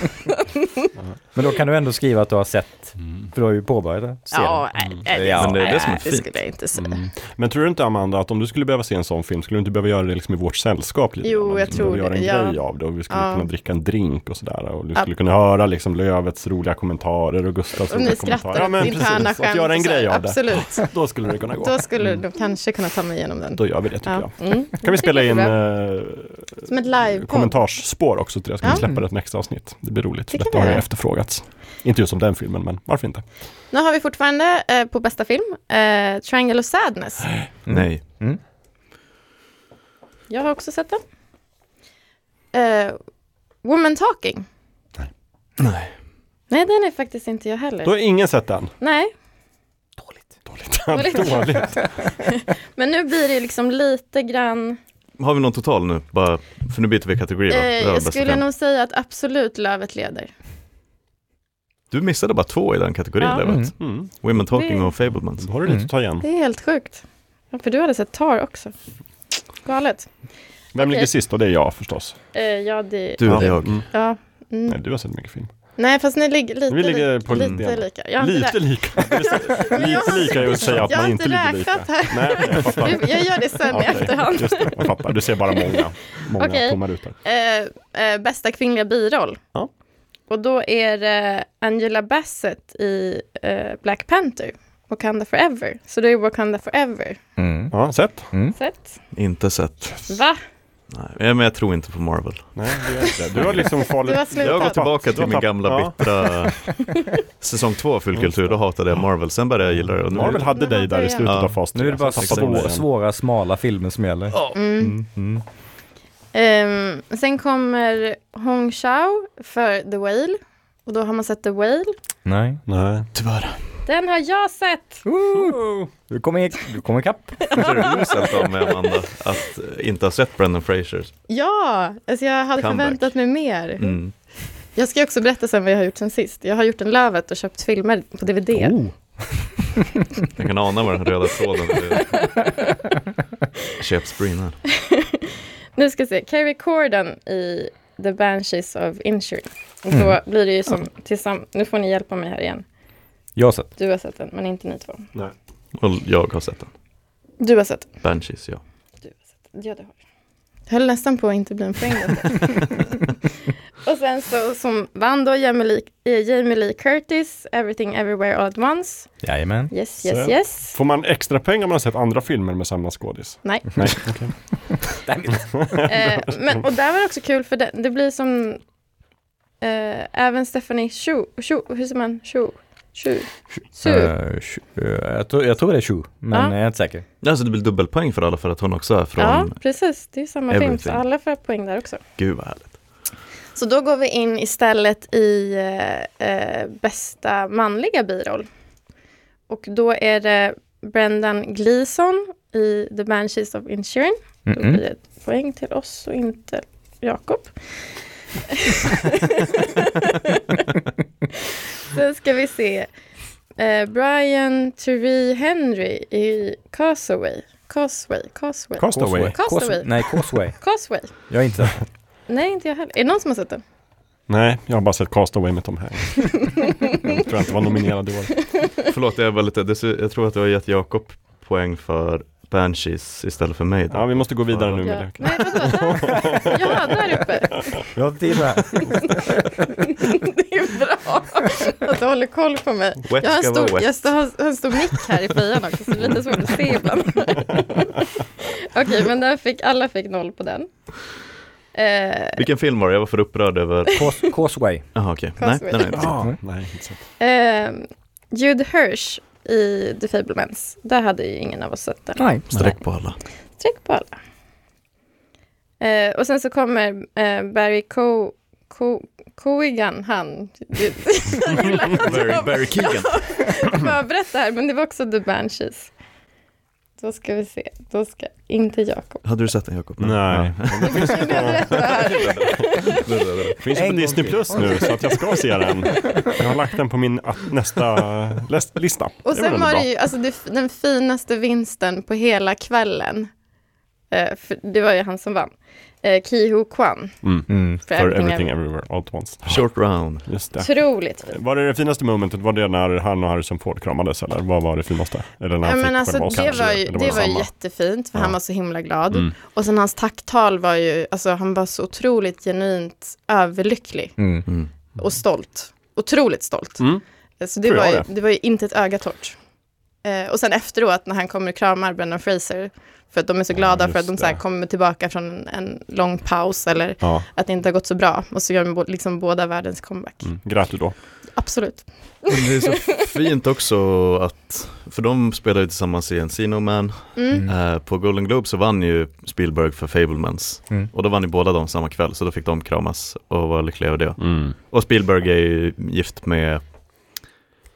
Men då kan du ändå skriva att du har sett, för du har ju påbörjat det.
Ja, nej, nej,
Ja,
men det är det som är
nej,
fint.
skulle jag inte säga.
Mm. Men tror du inte Amanda att om du skulle behöva se en sån film skulle du inte behöva göra det liksom i vårt sällskap? Lite
Jo,
grann? Vi
jag
skulle
tror
behöva
det,
göra en
ja.
grej av det och vi skulle
Ja.
kunna dricka en drink och sådär. Och du
Ja.
skulle kunna höra liksom Lövets roliga kommentarer och Gustavs
Om
roliga
ni
kommentarer.
skrattar åt interna
Att
skämt.
göra en
och så här,
grej av det.
Absolut.
<laughs> Då skulle det kunna gå.
Då skulle du kanske kunna ta mig igenom den.
Då gör vi det tycker jag.
Mm.
Kan vi spela in
Jättebra.
eh,
Som ett live
kommentarsspår också till det? Ska
Ja.
vi släppa det som extra avsnitt? Det blir roligt.
Det
För
kan
detta
vi
har ju
göra.
efterfrågats. Inte just om den filmen, men varför inte?
Nu har vi fortfarande eh, på bästa film, eh, Triangle of Sadness.
Mm.
Mm.
Nej.
Jag har också sett den. Eh, Woman Talking.
Nej.
Nej, den är faktiskt inte jag heller.
Då har ingen sett den.
Nej,
Dåligt. <laughs>
Dåligt.
Dåligt.
men nu blir det liksom lite grann.
Har vi någon total nu? Bara, för nu byter vi kategori va?
Eh,
Det var
jag
bästa
skulle
film.
nog säga att absolut Lövet leder.
Du missade bara två i den kategorin,
Ja.
Lövet.
Mm.
Mm.
Women Talking
Det-
och Fablemans.
Då har du lite
Mm.
att ta igen.
Det är helt sjukt. Ja, för du hade sett Tar också. Galet.
Vem ligger
Okej.
sist då? Det är jag förstås.
Eh, ja, det...
Du
Ja.
eller jag?
Mm.
Ja. Mm.
Nej, du har sett mycket film.
Nej, fast ni ligger lite,
Vi ligger
lika-
på
lite,
linjen.
lika. Jag har inte
Lite
rä-
lika. Det är
Men <laughs> jag
Lite
har-
lika är att säga att
jag har
man
inte
inte ligger lika.
räknat här.
Nej, jag fattar.
Jag- Jag gör det sen i
Okej,
efterhand.
Just det, jag fattar. Du ser bara många, många
Okej.
tomma rutor.
Eh, eh, bästa kvinnliga biroll.
Ja.
Och då är det Angela Bassett i eh, Black Panther, Wakanda Forever. Så det är Wakanda Forever.
Mm.
Ja, sett?
Sett?
Inte sett.
Va?
Nej, men jag tror inte på Marvel.
Nej, det gör jag inte. Du har liksom
Du har
farligt.
slutat.
Jag går tillbaka
Du har
till min
tappat-
gamla
ja. <laughs>
bittra säsong två fullkultur. Då hatade jag Marvel. Sen började jag gilla det. Och nu-
Marvel hade dig där i slutet
Ja.
av fas
Nu är det bara
tre, så tappade du mig
svå,
igen.
svåra, smala filmer som gäller.
Mm, mm.
Ehm, sen kommer Hong Chao för The Whale. Och då har man sett The Whale.
Nej.
Nej.
Tyvärr.
Den har jag sett!
Du kommer, i- du kommer ikapp.
Det är uselt av mig, Amanda, att eh, inte ha sett Brendan Fraser.
Ja, alltså jag hade
Comeback.
förväntat mig mer.
Mm.
Jag ska också berätta sen vad jag har gjort sen sist. Jag har gjort en Lövet och köpt filmer på DVD.
Oh.
Jag kan ana vad den röda tråden är. Köpsbrin här.
Nu ska vi se, Carrie Corden i The Banshees of Injury. Och då blir det ju som tillsammans, nu får ni hjälpa mig här igen.
Jag har sett.
Du har sett den, men inte ni två.
Nej.
Och jag har sett den.
Du har sett den.
Banshees, ja.
Du har sett den. Ja, det har du. Jag höll nästan på att inte bli en poäng. där. <laughs> och sen så som vann då Jamie Lee, eh, Jamie Lee Curtis, Everything Everywhere All At Once.
Jajamän.
Yes,
Så.
yes, yes.
<laughs> Får man extra pengar om man har sett andra filmer med samma skådis?
Nej.
Nej, okej.
Eh, men, och där var det också kul för det, det blir som eh, även Stephanie Chu, Chu, hur säger man Chu? Chu? Chu?
Eh, tju- eh, jag, tror, jag tror det är Shu, men
Ja.
jag är inte säker.
Alltså det blir dubbelpoäng för alla för att hon också är från...
Ja, precis. Det är samma film, så
Everything.
alla får poäng där också.
Gud vad härligt.
Så då går vi in istället i eh, eh, bästa manliga biroll. Och då är det Brendan Gleeson i The Banshees of Insurance. Då
Mm.
blir det ett poäng till oss och inte Jakob.
<laughs>
Sen ska vi se eh, Brian Tyree Henry i Causeway. Causeway, Causeway.
Castaway.
Castaway.
Nej, Causeway.
Causeway.
Jag har inte sett.
Nej, inte jag heller. Är det någon som har sett den?
Nej, jag har bara sett Castaway med Tom
<laughs>
Hanks. jag tror jag inte var nominerad i år.
Förlåt, jag, var lite, det- jag tror att du har gett Jakob poäng för Banshees istället för mig.
Ja, vi måste gå vidare nu med
Ja.
det.
Nej, vadå? Där? Ja, där uppe.
Jag har inte här.
<laughs> Det är bra att du håller koll på mig.
Wet
Jag har en
ska vara
stor,
wet.
jag st- har, har en stor mick här i fejan också, så det är lite svårt att se ibland. Okej, men där fick, alla fick noll på den. Eh,
Vilken film var det? Jag var för upprörd över...
Caus- Causeway.
Jaha, okej. Nej,
Cosby.
den har jag inte sett.
Ja, nej, inte så.
eh, Jude Hirsch i The Fablemans. Där hade ju ingen av oss sett den.
Nej.
Sträck på alla.
Streck på alla. Eh, och sen så kommer eh, Barry Co... Co... Coigan, <laughs> han. Jag gillar att
Barry,
jag
Barry Keegan.
förberett det här, men det var också The Banshees. Då ska vi se. Då ska inte <laughs> Jakob.
Hade du sett den Jakob?
Nej.
Jag berätta det här.
Finns ju
En
på
gång
Disney
till.
Plus nu, så att jag ska se den. Jag har lagt den på min att- nästa läs- lista.
Och
väl
sen
ändå
var
bra.
det ju alltså, det, f- den finaste vinsten på hela kvällen. Eh, för det var ju han som vann. Eh, Kiho Kwan.
Mm.
For
För Everything
everything
Ever-
everywhere all at once.
Short round.
Just det.
Otroligt fint.
Var det det finaste momentet, var det när han och Harrison Ford kramades eller vad var det finaste? Eller när han
Ja, men
fick
alltså,
själva Oscar,
det var ju,
eller
det var ju
samma?
jättefint, för
Ja.
han var så himla glad.
Mm.
Och sen hans tacktal var ju, alltså han var så otroligt genuint överlycklig
Mm.
Mm.
och stolt. Otroligt stolt. Eh,
Mm.
Så det
Tror
var,
jag
ju, det var ju inte ett öga torrt. Eh, och sen efteråt när han kommer och kramar Brendan Fraser, för att de är så
Ja,
glada för
just
att de så här
det.
kommer tillbaka från en, en lång paus eller
Ja,
att det inte har gått så bra. Och så gör de bo, liksom båda världens comeback.
mm. grät du då?
Absolut.
Men det är så fint också att, för de spelar ju tillsammans i Encino Man.
Mm.
Eh, på Golden Globe så vann ju Spielberg för Fablemans.
Mm.
Och då vann ju båda de samma kväll, så då fick de kramas och var lyckliga över det. Och Spielberg är ju gift med,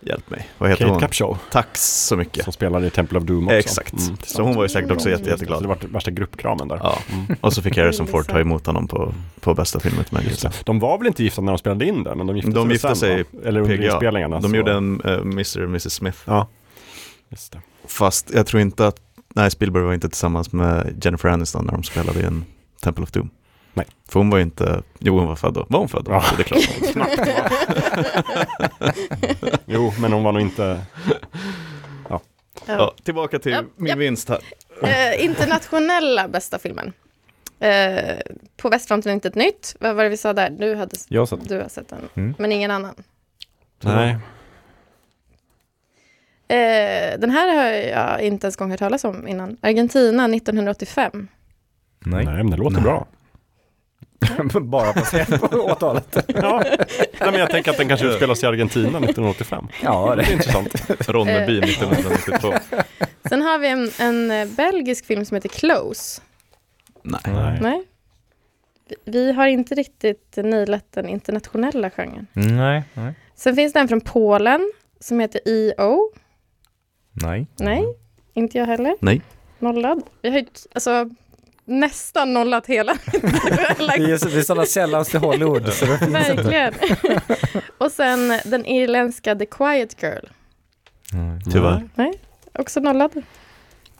hjälp mig, vad heter
Kate
hon?
Capshaw,
Tack så mycket.
som spelade i Temple of Doom också.
Exakt.
Mm.
så hon var ju säkert också jätte,
Så det
jätteglad.
var värsta gruppkramen där.
Ja.
Mm.
Och så fick Harrison Ford
Intressant.
ta emot honom på, på bästa filmen till
Just
mig.
det. De var väl inte gifta när de spelade in den, men de gifte
De
sig,
gifte
sen,
sig
va? Eller under
PGA.
inspelningarna.
De
så-
gjorde en eh, Mr. och Mrs. Smith.
Ja. Just det.
Fast jag tror inte att, nej Spielberg var inte tillsammans med Jennifer Aniston när de spelade i en Temple of Doom.
Nej.
För hon var ju inte, jo hon var född då. Var hon född då?
Ja.
Det är klart.
Knappt, va? jo, men hon var nog inte...
Ja, tillbaka till
Japp,
min
japp.
vinst här.
Eh, internationella bästa filmen. Eh, på Västfronten är inte ett nytt. Vad var det vi sa där? Du, hade,
Jag har sett
du har sett den,
Mm.
men ingen annan.
Nej.
Eh, den här har jag inte ens gång hört talas om innan. Argentina 1985.
Nej. men det låter
Nej. <laughs>
bra.
Bara baserat <laughs> på åtalet.
Ja. Nej, men jag tänker att den kanske utspelas i Argentina 1985.
Ja,
Det
det.
är intressant. Mm.
Ronneby 1992.
Sen har vi en, en eh, belgisk film som heter Close.
Nej.
Nej.
Nej. Vi- Vi har inte riktigt nailat den internationella genren.
Nej, nej.
Sen finns det en från Polen som heter E EO.
Nej.
Nej, inte jag heller.
Nej.
Nollad. Vi har ju alltså, nästan nollat hela <laughs> internationella
Vi är, vi är sådana sällan oss till Hollywood. Så det finns inte.
<laughs> Verkligen. <laughs> Och sen den irländska The Quiet Girl.
Tyvärr.
Också nollad.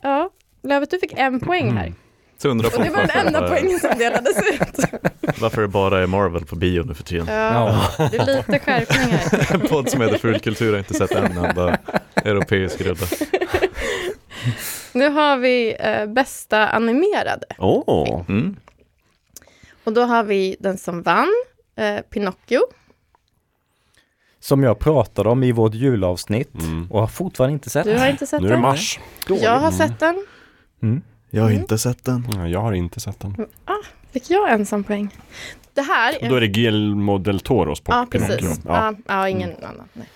Ja, Lövet, du fick en poäng
Mm.
här.
Så undrar
Och det var den
fortfarande
enda
vad-
poängen som delades ut.
<laughs> varför det bara är Marvel på bio nu för tiden.
Ja, det är lite skärpning här.
En <laughs> podd som heter Fulkultur har inte sett en enda europeisk rulle.
Nu har vi eh, bästa animerade.
Åh!
Mm.
Och då har vi den som vann, eh, Pinocchio.
Som jag pratade om i vårt julavsnitt
Mm.
och har fortfarande inte sett.
Äh.
Du har inte sett
Nu är det
den.
mars.
Jag har sett den.
Mm.
Jag har inte sett den.
Ja, jag har inte sett den.
Fick jag ensam poäng? Det här
Då är det Guillermo del Toros på
Ja,
Pinocchio.
precis.
Ja. Mm.
Ja, ja, ingen annan. Nej.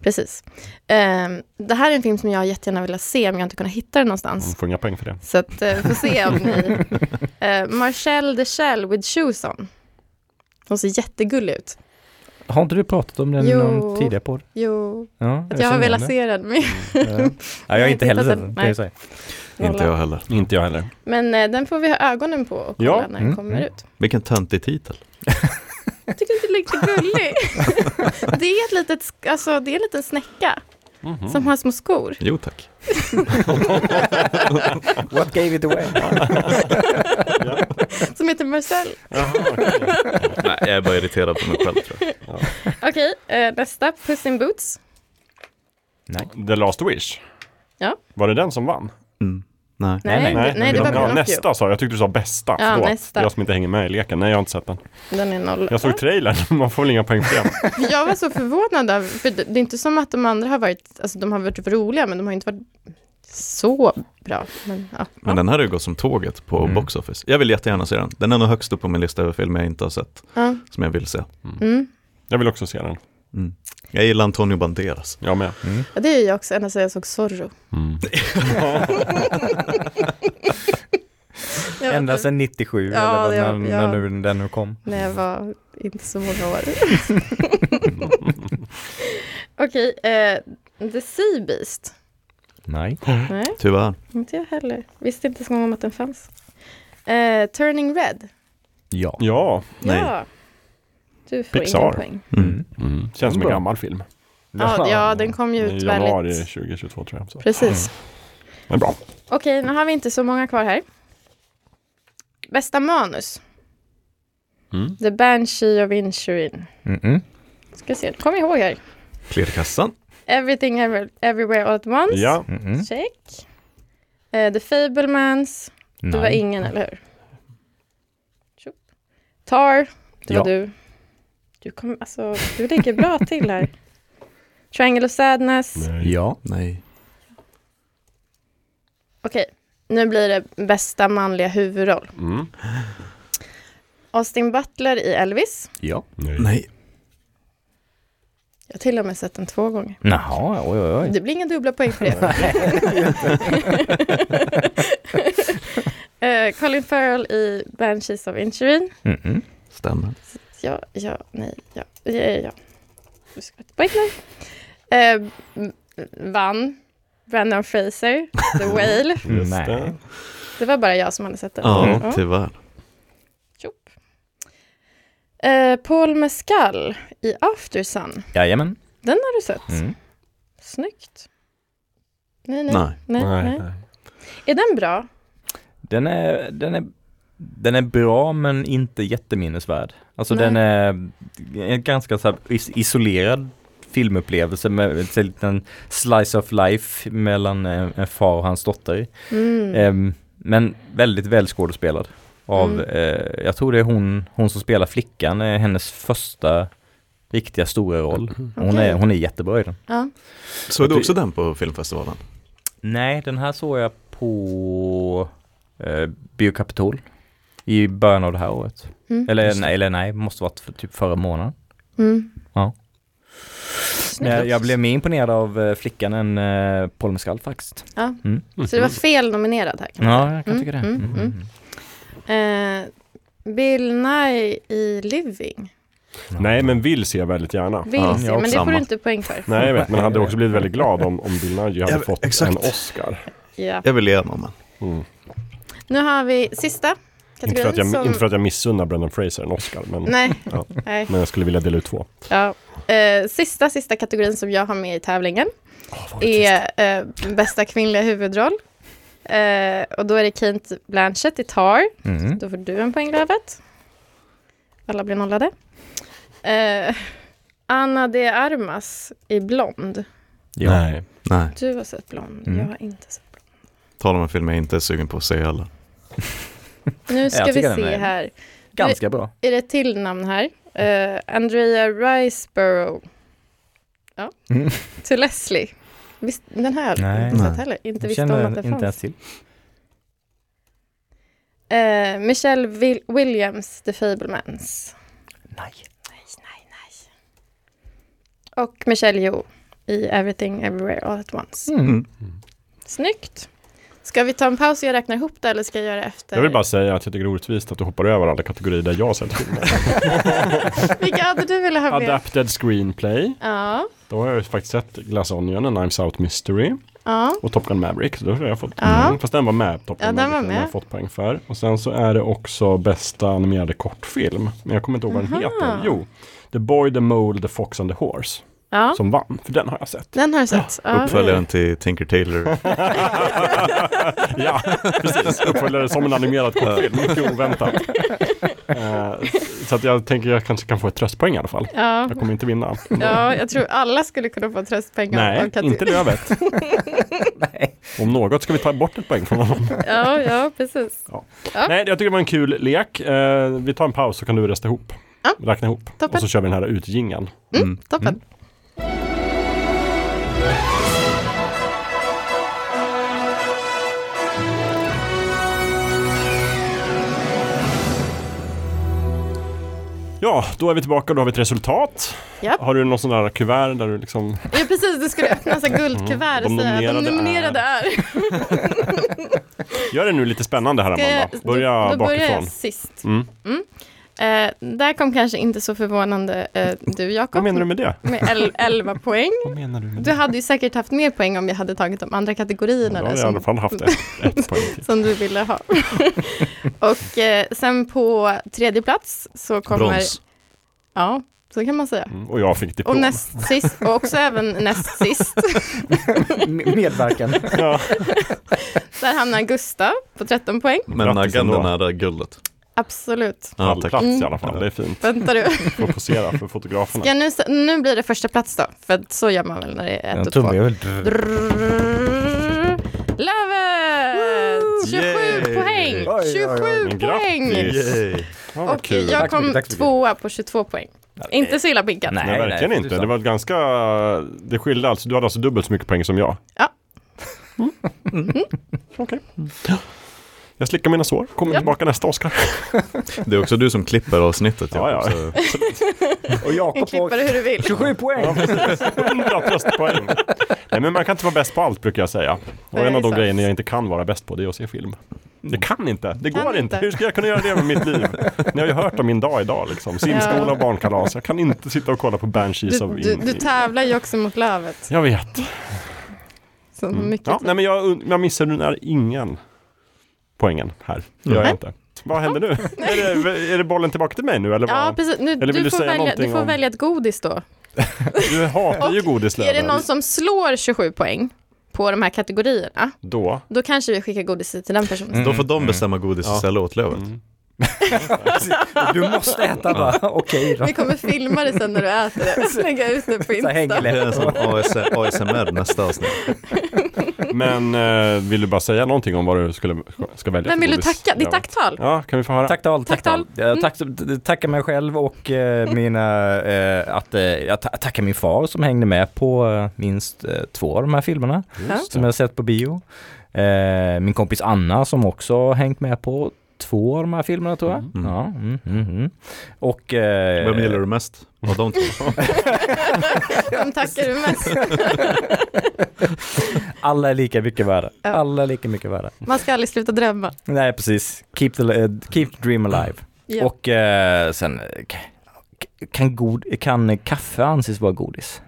Precis. Ehm, det här är en film som jag jättegärna vill se, men jag har inte kunnat hitta den
Hon
någonstans.
får inga poäng för det.
Så att, eh, vi får se om ni...
<laughs>
Eh, Marcel de Shell with shoes on. Hon ser jättegullig ut.
Har inte du pratat om den i
Jo.
någon tidigare podd?
Jo,
Ja,
att jag har
känner
velat
igen
se den. Men,
det. Ja.
<laughs>
Ja, jag har inte heller sett den, kan
Nej.
jag säga.
Inte jag heller.
Inte jag heller.
men eh, den får vi ha ögonen på och kolla
Ja.
när den
Mm,
kommer
mm.
ut.
Vilken töntig titel.
Jag tycker inte lite <laughs> gullig. det är ett litet, sk- alltså det är en liten snäcka som har små skor.
Jo tack.
What gave it away?
Som heter Marcel.
Nej, jag är bara irriterad på mig själv tror jag.
Okej, eh, nästa. Puss in Boots.
The Last Wish.
Ja.
Var det den som vann?
Mm. Nej.
Nej, nej,
Nej, nej.
nej, det var
ja,
Pinocchio.
nästa sa jag. Jag tyckte du sa bästa.
Ja,
Förlåt.
nästa.
Jag som inte hänger med i leken. Nej, jag har inte sett den.
Den är noll.
Jag såg trailern. <laughs> Man får väl inga poäng för det.
Ja, jag var så förvånad, över- för det det är inte som att de andra har varit, alltså de har varit roliga, men de har inte varit så bra. Men, ja.
Men den här har ju gått som tåget på
Mm.
Box Office. Jag vill jättegärna se den. Den är nog högst upp på min lista över filmer jag inte har sett,
Ja.
som jag vill se.
Mm.
Jag vill också se den.
Mm. Jag gillar Antonio Banderas.
Jag med.
Mm.
<laughs> ja, det är jag också, ända sedan jag såg Zorro.
Mm.
Jag var
Ända
typ-
sedan 97
Ja,
eller vad-
det-
när,
ja.
när nu, den nu kom.
När jag var inte så
<laughs>
många år. Okej, eh, The Sea Beast.
Nej.
Mm.
Nej.
Tyvärr.
Inte jag heller. Visste inte ens en gång om att den fanns. Eh, Turning Red.
Ja.
Ja.
Nej.
Ja. Du får
Pixar.
ingen poäng.
Mm.
Känns som en
Bra.
gammal film.
Ja, ja, den kom ju
I
ut
Mm, januari Mm.
väldigt...
2022 tror jag. Så.
Precis.
Men bra.
Okej, nu har vi inte så många kvar här. Bästa manus.
Mm.
The Banshee of Insurin.
Mm-mm.
Ska se, kom ihåg här.
Klirr i kassan.
Everything ever, Everywhere All At Once.
Ja.
Mm-mm.
Check. Eh, The Fablemans. Det var ingen, eller hur? Tjopp. Tar, det var
Ja.
du. Du, kom, alltså, du ligger bra till
<laughs>
här. Triangle of Sadness.
Mm. Ja.
Nej.
Okej, nu blir det bästa manliga huvudroll.
Mm.
Austin Butler i Elvis.
Ja.
Mm.
Nej.
Jag har till och med sett den två gånger.
Jaha, oj oj oj.
Det blir inga dubbla poäng
<laughs>
för det. <laughs> Eh, Colin Farrell i Banshees of Inchurin.
Mm-mm.
Stämmer.
Ja, ja, nej, ja, ja, ja. ja. Du ska ha ett poäng där. Eh, m- vann Brandon Fraser, The Whale.
Just
Nej.
det.
Det var bara jag som hade sett den.
Ja, typ.
Ja.
tyvärr.
Tjopp. Eh, Paul Mescal i After Sun.
Jajamän.
Den har du sett.
Mm.
Snyggt. Nej nej,
Nej.
nej, nej.
Nej.
Är den bra?
Den är, den är den är bra men inte jätteminnesvärd. Alltså
Nej.
den är en ganska så här is- isolerad filmupplevelse med en sån liten slice of life mellan eh, en far och hans dotter.
Mm.
Ehm, men väldigt väl skådespelad. Av,
Mm.
eh, jag tror det är hon, hon som spelar flickan, är hennes första riktiga stora roll. Hon,
Okej.
är, hon är jättebra i den.
Ja.
Såg du också den på filmfestivalen?
Nej, den här såg jag på eh, Biokapitol i början av det här året.
Mm.
Eller, nej, eller nej, måste varit för, typ förra månaden.
Mm.
Ja.
Snyggt.
Jag, jag blev mer imponerad av eh, flickan än eh, Paul Mescal faktiskt.
Ja.
Mm.
Så det var fel nominerad här. Kan man
Ja, jag kan
Mm,
tycka det.
mm,
Mm.
mm. säga. Eh, Bill Nye i Living
Nej, men vill ser jag väldigt gärna.
vill
Ja,
se,
jag
men
och
det
samma.
får du inte poäng för.
Nej, jag vet, men jag hade också blivit väldigt glad om, om Bill Nighy hade
Ja,
fått
exakt.
en Oscar.
Ja.
Jag vill ge den om
Mm.
Nu har vi sista
Inte, för
kategorin
att jag,
som...
inte för att jag missunnar Brendan Fraser en Oscar, men,
Nej,
Ja.
nej.
men jag skulle vilja dela ut två.
Ja. Eh, sista, sista kategorin som jag har med i tävlingen är eh, bästa kvinnliga huvudroll. Eh, och då är det Kate Blanchett i Tar.
Mm.
Då får du en poäng Lövet. Alla blir nollade. Eh, Anna de Armas i Blond.
Ja.
Nej.
Nej,
Du har sett Blond,
Mm.
jag har inte sett Blond.
tala om en film jag inte är sugen på att se heller.
Nu ska
jag
vi
tycker den
se
är-
här.
Ganska bra.
Är det ett till namn här? Eh, Andrea Riceborough.
<laughs>
Ja.
Mm.
Till Leslie. Visst, den här har jag
Nej.
inte sett
Nej.
heller. Inte
Jag
visste om att den
inte ens
fanns.
till.
Eh, Michelle Vil- Williams, The Fablemans.
<laughs> Nej.
Nej, nej, nej. Och Michelle Yeoh i Everything Everywhere All At Once.
Mm.
Snyggt. Ska vi ta en paus och jag räknar ihop det eller ska jag göra det efter?
Jag vill bara säga att jag tycker det är orättvist att du hoppar över alla kategorier där jag har
<laughs>
sett filmer.
Vilka hade du velat ha med?
Adapted Screenplay.
Ja,
Då har jag ju faktiskt sett Glass Onion, and Knives Out Mystery
ja.
och Top Gun Maverick. Så då har jag fått
Ja.
mm. Fast den var med, Top Gun
Ja, den
Maverick.
var
har
med.
jag fått poäng för. Och sen så är det också bästa animerade kortfilm. Men jag kommer inte ihåg vad den
Aha.
heter. Jo, The Boy, The Mole, The Fox and the Horse.
ja.
Som vann, för den har jag
<laughs>
sett.
Den har du sett. Ja. Mm.
Uppföljaren till Tinker Tailor.
Ja, precis. Uppföljare som en animerad kortfilm. Mycket
<laughs>
oväntat. Eh, så att jag tänker jag kanske kan få ett tröstpoäng i alla fall.
<laughs> Ja.
Jag kommer inte vinna. <laughs>
ja, jag tror alla skulle kunna få tröstpengar. av
Nej,
Kati.
inte Lövet. Om något ska vi ta bort ett poäng från
<laughs>
honom.
Ja, ja, precis.
Nej, jag tycker det var en kul lek. Eh, vi tar en paus så kan du resta ihop.
Ja.
Räkna ihop.
Toppen.
Och så kör vi den här utgingen.
Mm.
Toppen.
Ja, då är vi tillbaka och då har vi ett resultat.
Ja.
Har du någon sån där kuvert där du liksom...
Ja, precis. Du skulle öppna så här guldkuvert och
Mm. De
säga att de
nominerade
nominerade är...
<laughs> Gör det nu lite spännande här
Ska jag-
Amanda. Börja
då, då börjar
bakifrån.
jag sist.
Mm.
Eh, där kom kanske inte så förvånande eh, du, Jakob.
Vad menar du med det?
Med el- 11 poäng.
Vad menar du med
Du hade ju säkert haft mer poäng om jag hade tagit de andra kategorierna
Då har jag
där
i alla
som,
fall haft ett,
<laughs>
ett poäng till.
som du ville ha. <laughs> och eh, sen på tredje plats så kommer...
Brons.
Ja, så kan man säga.
Mm, och jag fick diplom.
Och näst sist, och också även näst sist,
Medverkan.
Ja.
där hamnar Gustav på 13 poäng.
Men
Grattis
naggan är
ändå.
nära guldet.
Absolut.
Ja, tack.
Pallplats i alla fall, det är fint.
Vänta du.
Får posera för fotograferna.
Ja, nu, s- nu blir det första plats då, för att så gör man väl när det är ett och två. Drrrr. Lövet! 27
Yay!
poäng!
Oj,
27
oj, oj.
Men
poäng!
grattis!
Yay.
Ja, vad
Och
kul.
jag
Tack så
kom
mycket, tack så mycket.
tvåa på 22 poäng. Inte så illa pinkat.
Nej.
Nej, verkligen
nej,
inte.
tusan.
Det var ett ganska... Det skilde alltså. Du hade alltså dubbelt så mycket poäng som jag.
Ja.
Mm. Okej. Jag slickar mina sår. Kommer
Ja.
tillbaka nästa Oscar.
Det är också du som klipper avsnittet.
Ja, ja.
Så
Och
En <laughs>
Jakob
klippare hur du vill.
27 poäng.
Ja, precis. 100 tröstpoäng. Nej, men man kan inte vara bäst på allt brukar jag säga. Och
Nej,
en av de
sant. Mm.
grejerna jag inte kan vara bäst på det är att se film. Det kan inte, det
Kan
går inte.
inte.
Hur ska jag kunna göra det med mitt liv? Ni har ju hört om min dag idag liksom. Simskola och barnkalas. Jag kan inte sitta och kolla på Banshees
Du,
of
du, du
Inisherin.
tävlar ju också mot Lövet.
Jag vet.
Så
Mm.
mycket.
Ja, nej, men jag, und- jag missunnar ingen poängen här. Det gör jag
Nej.
inte. Vad händer
<laughs>
nu? är, det, är det bollen tillbaka till mig nu eller
Ja,
vad?
precis. Nu,
Eller vill
du,
du
får
säga
välja, du
någonting
får
om-
välja ett godis då.
Du hatar ju godis
Är det
Löfven.
någon som slår 27 poäng på de här kategorierna,
Då.
då kanske vi skickar godiset till den personen.
Mm.
Då får de bestämma godis
Ja.
istället åt Lövet.
Mm.
Du måste äta bara, okej då.
Vi kommer filma det sen när du äter det. Lägga ut det på
Så här hänger
Insta.
lätt.
Det är en <laughs> sån AS, ASMR nästa avsnitt.
Men eh, vill du bara säga någonting om vad du skulle, ska välja?
Vem
för
vill du
godis?
tacka? Ditt
Ja.
tacktal?
Ja, kan vi få höra?
Tacktal, tacktal.
Tacktal.
Jag Eh, tack, tackar mig själv och eh, mina, eh, att, eh, jag ta- tackar min far som hängde med på eh, minst eh, två av de här filmerna
Just
som
det.
jag sett på bio. Eh, min kompis Anna som också har hängt med på två av de här filmerna tror jag.
Mm.
Ja, mm, mm, mm. Och... Eh,
Vem gillar du mest av de två?
<laughs> Vem tackar du mest?
<laughs> Alla är lika mycket värda.
Ja.
Alla är lika mycket värda.
Man ska aldrig sluta drömma.
Nej, precis. Keep the, eh, keep the dream alive.
Ja.
Och eh, sen, eh, k- k- kan, god, kan kaffe anses vara godis?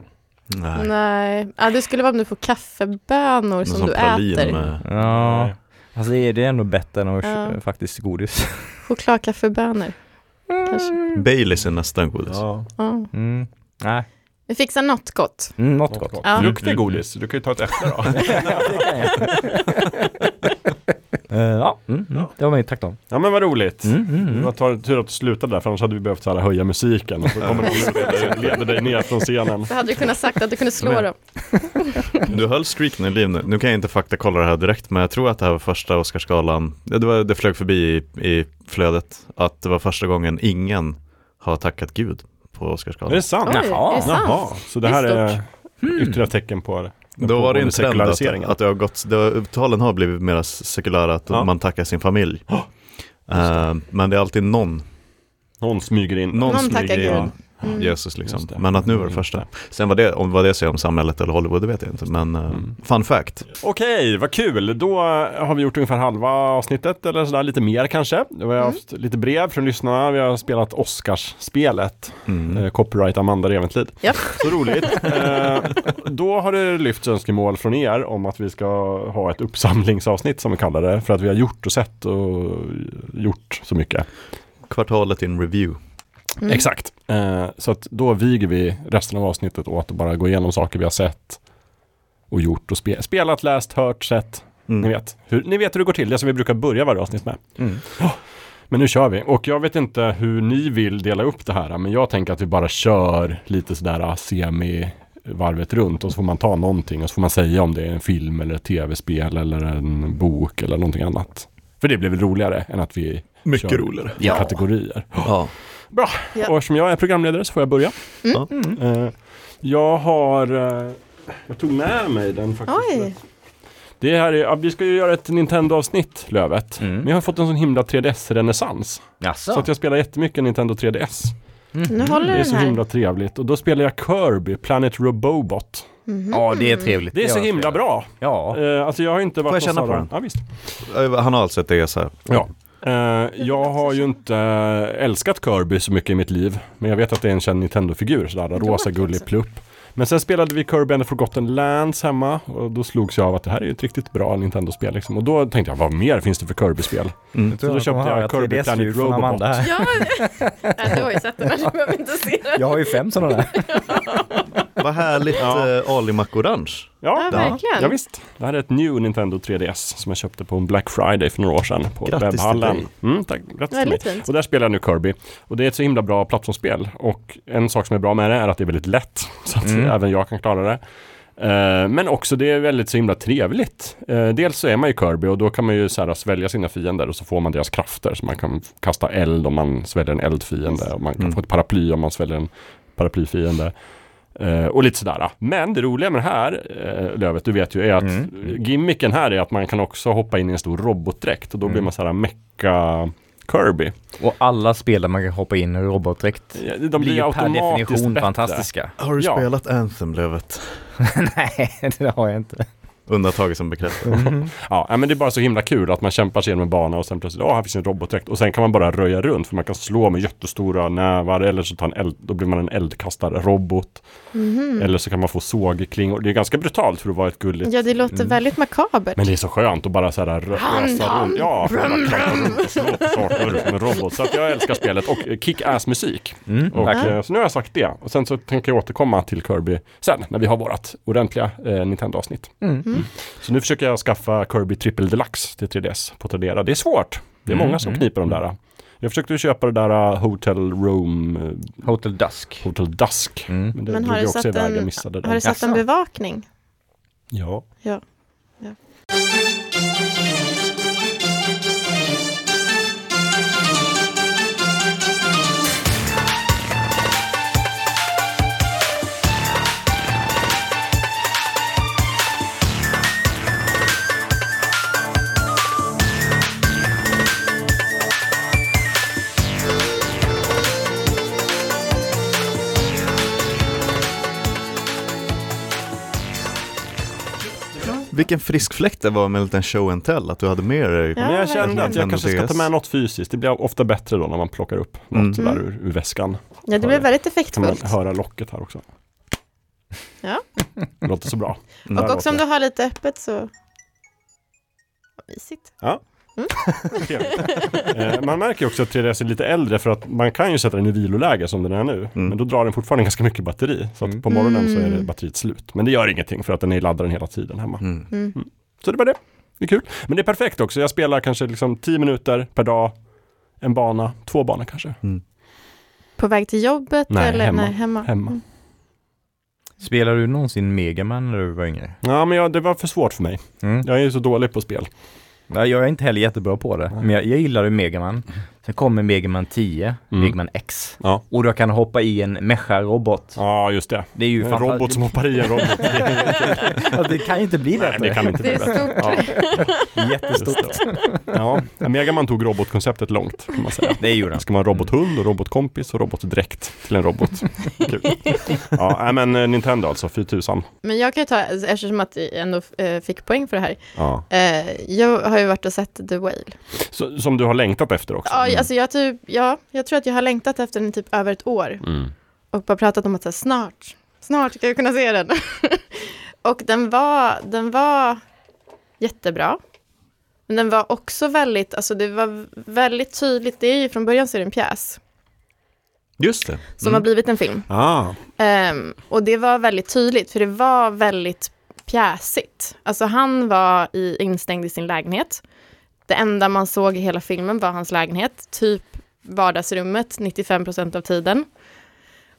Nej,
Nej, ja, det skulle vara om du får kaffebönor
men
som,
som
du
pralin
äter.
med
Ja,
Nej.
alltså det är, det är ändå bättre än att
Ja.
köpa faktiskt godis.
Chokladkaffebönor. Kanske.
Baileys är nästan godis.
Ja.
Ja.
Mm. Nej,
Vi fixar något gott.
mm, något
Något
gott.
gott.
Ja.
Frukt är godis, du kan ju ta ett äpple då.
<laughs> <laughs> Eh, ja, mm, mm. det var mitt tack då.
Ja men vad roligt.
Mm, mm,
Det
mm.
var tar- tur att du slutade där, för annars hade vi behövt så här, höja musiken. Och så kommer någon och leder- leder dig ner från scenen.
Så hade du kunnat sagt att du kunde slå
Men-
dem.
Du höll streaken i liv nu. Nu kan jag inte faktakolla det här direkt, men jag tror att det här var första Oscarsgalan. Ja, Det, var, det flög förbi i, i flödet att det var första gången ingen har tackat Gud på
Är det
Oscarsgalan.
sant?
Oj,
Jaha.
är det sant?
Jaha, så det här
Det är
är ytterligare tecken på det. Den
Då var det en
pågående
trend att,
sekulariseringen.
att det har gått, det har, talen har blivit mer sekulära, att
Ja.
man tackar sin familj.
Ja,
Eh, men det är alltid någon,
Någon smyger in.
någon,
Någon
smyger
tackar
in
Gud. Mm.
Jesus liksom.
Just det. Mm.
Men att nu var det första. Sen vad det, om vad det säger om samhället eller Hollywood, det vet jag inte. Men eh,
Mm.
fun fact.
Okej, vad kul. Då har vi gjort ungefär halva avsnittet eller sådär, lite mer kanske. Vi har
Mm.
haft lite brev från lyssnarna, vi har spelat Oscars-spelet,
Mm.
eh, copyright Amanda Reventlid.
Ja.
Så
<laughs>
roligt. Eh, då har det lyfts önskemål från er om att vi ska ha ett uppsamlingsavsnitt som vi kallar det, för att vi har gjort och sett och gjort så mycket.
Kvartalet in review.
Mm.
Exakt. Eh, så att då viger vi resten av avsnittet åt att bara gå igenom saker vi har sett och gjort och spe- spelat, läst, hört, sett.
Mm.
Ni vet, hur, ni vet hur det går till, det som vi brukar börja varje avsnitt med.
Mm.
Men nu kör vi. Och jag vet inte hur ni vill dela upp det här, men jag tänker att vi bara kör lite sådär ah, semi varvet runt och så får man ta någonting och så får man säga om det är en film eller ett tv-spel eller en bok eller någonting annat. För det blir väl roligare än att vi
Mycket
kör
roligare.
kategorier.
Ja.
Bra,
Ja.
och eftersom jag är programledare så får jag börja.
Mm.
Eh, jag har... eh, jag tog med mig den faktiskt.
Oj,
Det här är, ja, vi ska ju göra ett Nintendo-avsnitt, Lövet.
Mm.
Men jag har fått en sån himla 3DS-renässans.
Jaså?
Så att jag spelar jättemycket Nintendo 3DS.
nu håller
Mm, Det är
den
så
här.
himla trevligt. Och då spelar jag Kirby, Planet Robobot.
Ja, det är trevligt.
Det är så
var
himla
trevligt.
bra.
Ja.
Eh, alltså jag har inte varit
jag känna
någon
på
sådan-
den?
Ja, visst.
Eh, Han har alltså ett ESA.
Ja. Eh, jag har ju inte älskat Kirby så mycket i mitt liv. Men jag vet att det är en känd Nintendo-figur, sådär rosa gullig plupp. Men sen spelade vi Kirby and the Forgotten Lands hemma och då slogs jag av att det här är ju ett riktigt bra Nintendo-spel liksom. Och då tänkte jag, vad mer finns det för Kirby-spel?
Nu
Så då köpte jag Kirby Planet Robobot. <laughs>
<laughs> Ja, <laughs> Nej, du har ju sett den här, du behöver inte se den.
Jag har ju fem sådana där.
Vad härligt
Ja.
eh, Alimak Orange.
Ja,
Ja, verkligen.
ja, visst. Det här är ett new Nintendo 3DS som jag köpte på en Black Friday för några år sedan på
Grattis till
webbhallen. Mm, tack, grattis till mig.
Väldigt fint.
Och där spelar jag nu Kirby. Och det är ett så himla bra plattformsspel. Och en sak som är bra med det är att det är väldigt lätt. Så att
Mm.
även jag kan klara det. Eh, Men också det är väldigt så himla trevligt. Eh, Dels så är man ju Kirby och då kan man ju så här svälja sina fiender och så får man deras krafter. Så man kan kasta eld om man sväljer en eldfiende och man kan
Mm.
få ett paraply om man sväljer en paraplyfiende. Eh, Och lite sådär. Men det roliga med det här, eh, Lövet, du vet ju, är att
Mm.
gimmicken här är att man kan också hoppa in i en stor robotdräkt och då blir
Mm.
man så här mecka Kirby.
Och alla spel där man kan hoppa in i robotdräkt
Ja, De
blir
blir
ju per
automatiskt
definition
bättre.
<laughs> fantastiska. Mm.
Har du
Ja.
spelat Anthem Lövet?
Nej, det har jag inte.
Undantaget som bekräftar.
Mm.
Ja, ja, men det är bara så himla kul att man kämpar sig igenom en bana och sen plötsligt, ja, här finns en robotdräkt. Och sen kan man bara röja runt för man kan slå med jättestora nävar eller så tar en eld, då blir man en eldkastarrobot. Eller så kan man få sågklingor. Det är ganska brutalt för att vara ett gulligt
Ja, det låter väldigt makabert.
Mm. Men det är så skönt att bara så här rö-
Hand,
ösa
hand.
runt. Ja, bara klappa runt och slå på saker runt som en robot. Så att jag älskar spelet och eh, kick-ass musik.
Mm,
Och,
verkligen.
eh, så nu har jag sagt det. Och sen så tänker jag återkomma till Kirby sen när vi har vårat ordentliga eh, Nintendo-avsnitt.
Mm.
Mm. Så nu försöker jag skaffa Kirby Triple Deluxe till 3DS på Tradera. Det är svårt. Det är
Mm,
många som
mm,
kniper de där. Jag försökte ju köpa det där uh, Hotel Room, eh,
Hotel Dusk.
Hotel Dusk.
Mm.
Men det
Men har
drog
du
jag också
satt
iväg,
en-
jag missade
Har
den.
du satt en
Jaså.
bevakning?
Ja.
Ja.
Vilken frisk fläkt det var med en liten show and tell, att du hade med dig.
Ja,
Men jag kände
verkligen.
att jag kanske ska ta med
Yes.
något fysiskt. Det blir ofta bättre då när man plockar upp något
Mm.
sådär
Mm.
ur, ur väskan.
Ja, det blev väldigt
Kan man
effektfullt.
höra locket här också.
Ja.
Det låter så bra.
Mm.
Och
Där
också om
låter
du har lite öppet så... Vad Mysigt. Mm.
<laughs>
<laughs>
Eh, man märker ju också att 3DS är lite äldre för att man kan ju sätta den i viloläge som den är nu.
Mm.
Men då drar den fortfarande ganska mycket batteri. Så att på morgonen så är det
Mm.
batteriet slut. Men det gör ingenting för att den är laddaren hela tiden hemma.
Mm.
Mm.
Så det var det. Det är kul. Men det är perfekt också. Jag spelar kanske liksom 10 minuter per dag. En bana, två banor kanske.
På väg till jobbet
Nej,
eller
hemma.
Nej, hemma?
Hemma.
Mm.
Spelade du någonsin Megaman när du var yngre?
Ja, men jag, det var för svårt för mig.
Mm.
Jag är ju så dålig på spel.
Nej, jag är inte heller jättebra på det, men jag, jag gillade Megaman. Sen kommer Megaman 10,
Mm.
Megaman X.
Ja.
Och då kan hoppa i en mecha-robot.
Ja, just det.
Det är ju
En robot som <laughs> hoppar i en robot.
<laughs> Alltså, det kan ju inte bli
Nej,
bättre.
det kan inte
Det
bli
är
bättre. Ja,
<laughs> Jättestort.
just det. Ja, Megaman tog robotkonceptet långt, kan man säga.
Det gjorde
Det
den.
ska vara en robothund och robotkompis och robotdräkt till en robot. Kul. Ja, nej, men eh, Nintendo alltså, fy tusan.
Men jag kan ju ta, eftersom att jag ändå eh, fick poäng för det här.
Ja.
Eh, jag har ju varit och sett The Whale.
Så, som du har längtat efter också.
Ja, alltså jag, typ, ja, jag tror att jag har längtat efter den i typ över ett år.
Mm.
och bara pratat om att så här, snart, snart ska jag kunna se den. <laughs> och den var, den var jättebra. Men den var också väldigt, alltså det var väldigt tydligt, det är ju från början så är det en pjäs
Just det.
som har blivit en film.
Ah,
Ehm, och det var väldigt tydligt, för det var väldigt pjäsigt. Alltså han var i, instängd i sin lägenhet. Det enda man såg i hela filmen var hans lägenhet, typ vardagsrummet 95% av tiden.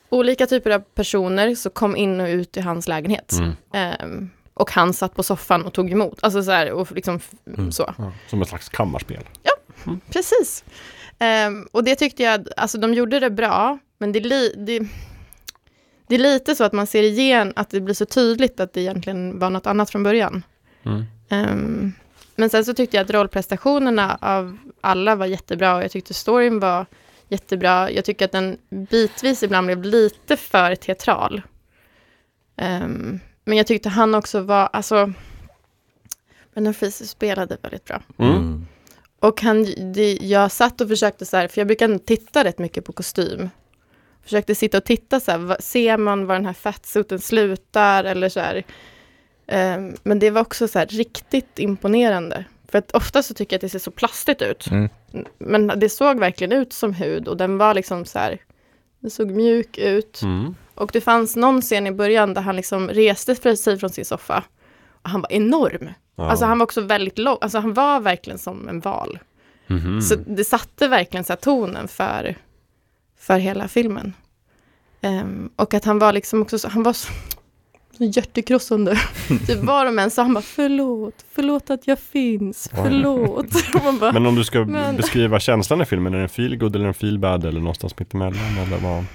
Olika typer av personer så kom in och ut i hans lägenhet.
Mm.
Ehm, och han satt på soffan och tog emot. Alltså så här, och liksom f- så.
ja. Som ett slags kammarspel.
Precis. Ehm, och det tyckte jag, alltså de gjorde det bra, men det, är li, det, det är lite så att man ser igen att det blir så tydligt att det egentligen var något annat från början.
Mm.
Ehm, men sen så tyckte jag att rollprestationerna av alla var jättebra och jag tyckte storyn var jättebra. Jag tycker att den bitvis ibland blev lite för teatral. Ehm, men jag tyckte han också var, alltså, men Fiser spelade väldigt bra.
Mm.
Och han, det, jag satt och försökte så här, för jag brukar ändå titta rätt mycket på kostym. Försökte sitta och titta så här, vad- ser man var den här fatsuiten slutar eller så här. Ehm, men det var också så här riktigt imponerande. För att ofta så tycker jag att det ser så plastigt ut.
Mm.
Men det såg verkligen ut som hud och den var liksom så här, den såg mjuk ut.
Mm.
Och det fanns någon scen i början där han liksom reste för sig från sin soffa. Och han var enorm.
Ja.
Alltså han var också väldigt lång, alltså han var verkligen som en val.
Mhm.
Så det satte verkligen så här tonen för, för hela filmen. Ehm, och att han var liksom också så, han var så,
<laughs>
så hjärtekrossande. typ var de än så han bara, förlåt, förlåt att jag finns, förlåt. <laughs> Och man bara,
Men om du ska b-
Men-
beskriva känslan i filmen, är den feelgood eller en feelbad eller någonstans mittemellan? Eller vad?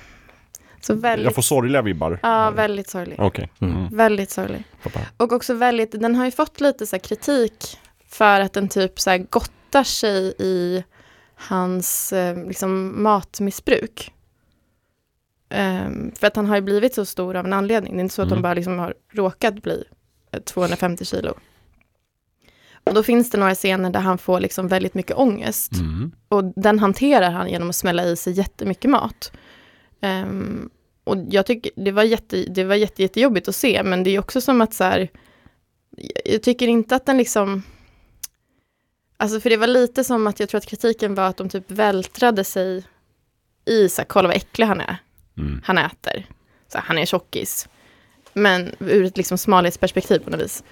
så
Jag
väldigt,
får sorgliga vibbar.
ja väldigt sorglig.
Okej.
Mm.
Mm.
Väldigt sorglig.
Fattar.
Och också väldigt, den har ju fått lite så här kritik för att den typ så här gottar sig i hans eh, liksom matmissbruk. Ehm, för att han har ju blivit så stor av en anledning. Det är inte så att
Mm.
han bara liksom har råkat bli eh, 250 kilo. Och då finns det några scener där han får liksom väldigt mycket ångest.
Mm.
Och den hanterar han genom att smälla i sig jättemycket mat. Ehm, och jag tycker det var, jätte, det var jätte, jättejobbigt att se, men det är också som att så här, jag- jag tycker inte att den liksom, alltså för det var lite som att jag tror att kritiken var att de typ vältrade sig i så här, kolla vad äcklig han är,
Mm.
han äter, så här, han är tjockis. Men ur ett liksom smalhetsperspektiv på något vis.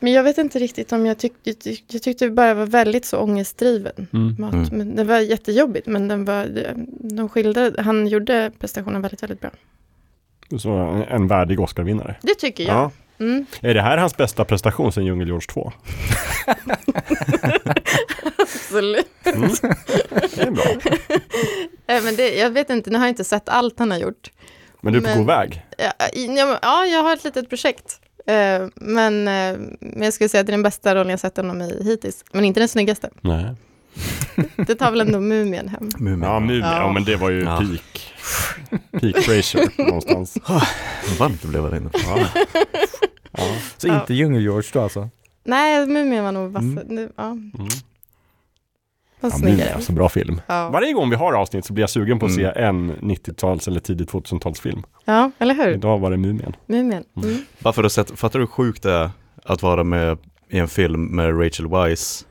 Men jag vet inte riktigt om jag tyckte, jag tyck- jag tyckte det bara var väldigt så ångestdriven mat.
Mm.
Men det var jättejobbigt, men den var, eh, de skildrade, han gjorde prestationen väldigt, väldigt bra.
Så en, en värdig Oscar-vinnare.
Det tycker jag. Mm.
Är det här hans bästa prestation sedan Djungel George 2?
Absolut.
Mm. Det är bra.
Äh, men det, jag vet inte, nu har jag inte sett allt han har gjort.
Men du är på
Men-
god väg.
Ja, i- ja, men- ja, jag har ett litet projekt. Eh, Men, eh, men jag skulle säga att det är den bästa rollen jag sett honom i hittills. Men inte den snyggaste.
Nej.
Det tar väl ändå Mumien hem.
Mm. Mumin.
Ja, Mumien. Ja.
Ja.
men det var ju
Ja.
peak. Peak Frasier
<laughs>
någonstans.
Vad varmt det blev här inne.
Ja. Ja.
Så inte Djungel-George då alltså?
Nej, Mumien var nog vassare. Nu- Ja,
Mm. Ja,
var
Mumien är
snyggare.
alltså bra film.
Ja.
Varje gång vi har avsnitt så blir jag sugen på att
Mm.
se en 90-tals eller tidigt 2000-talsfilm.
ja, eller hur?
Idag var det Mumien.
Mumien. Mm.
Bara för att sätta, fattar du hur sjukt det är att vara med i en film med Rachel Weisz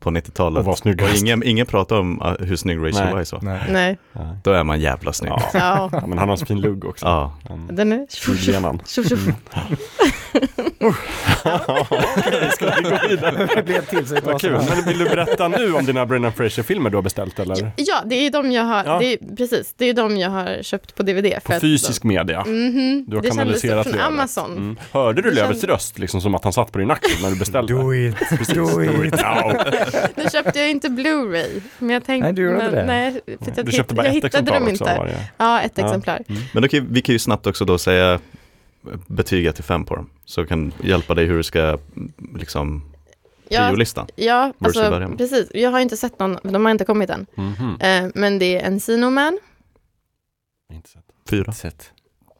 på
Och
90-talet?
var
Och
snyggast.
ingen, ingen pratar om ah, hur snygg Rachel
Nej.
Weisz var.
Nej.
Nej,
Ja.
Då är man jävla snygg. Ja.
<laughs> Ja.
ja.
men han har så fin lugg också.
Ja.
Han-
Den är...
Snyggbenan.
Tjoff, tjoff.
Mm. <laughs> Okej, ska <laughs> vi gå vidare?
<laughs> Det blev till sig
Vad kul. Men vill du berätta nu om dina Brendan Fraser-filmer du har beställt eller?
Ja, det är ju de jag har...
Ja.
Det är, precis, det är ju de jag har köpt på DVD.
På fysisk media.
mm
Du har
det
kanaliserat
kändes från
lövet.
Amazon.
Mm. Hörde du
Det
Lövets
kändes-
röst liksom som att han satt på din axel när du beställde?
it, do
Do it now.
Nu köpte jag inte Blu-ray. Men jag tänkte...
Nej, du gjorde
men,
inte det.
Nej, för att jag,
Mm. Du köpte bara
jag
ett
hittade
exemplar
dem
också
inte.
av varje.
Ja, ett
Ja. Mm.
exemplar.
Men då kan, vi kan ju snabbt också då säga betyget till fem på dem. Så kan hjälpa dig hur du ska liksom,
Ja,
priolistan.
ja
du ska börja
alltså,
med.
precis. Jag har inte sett någon, de har inte kommit än.
Mhm.
Eh, men det är Encino Man. Eh.
Inte sett.
Fyra.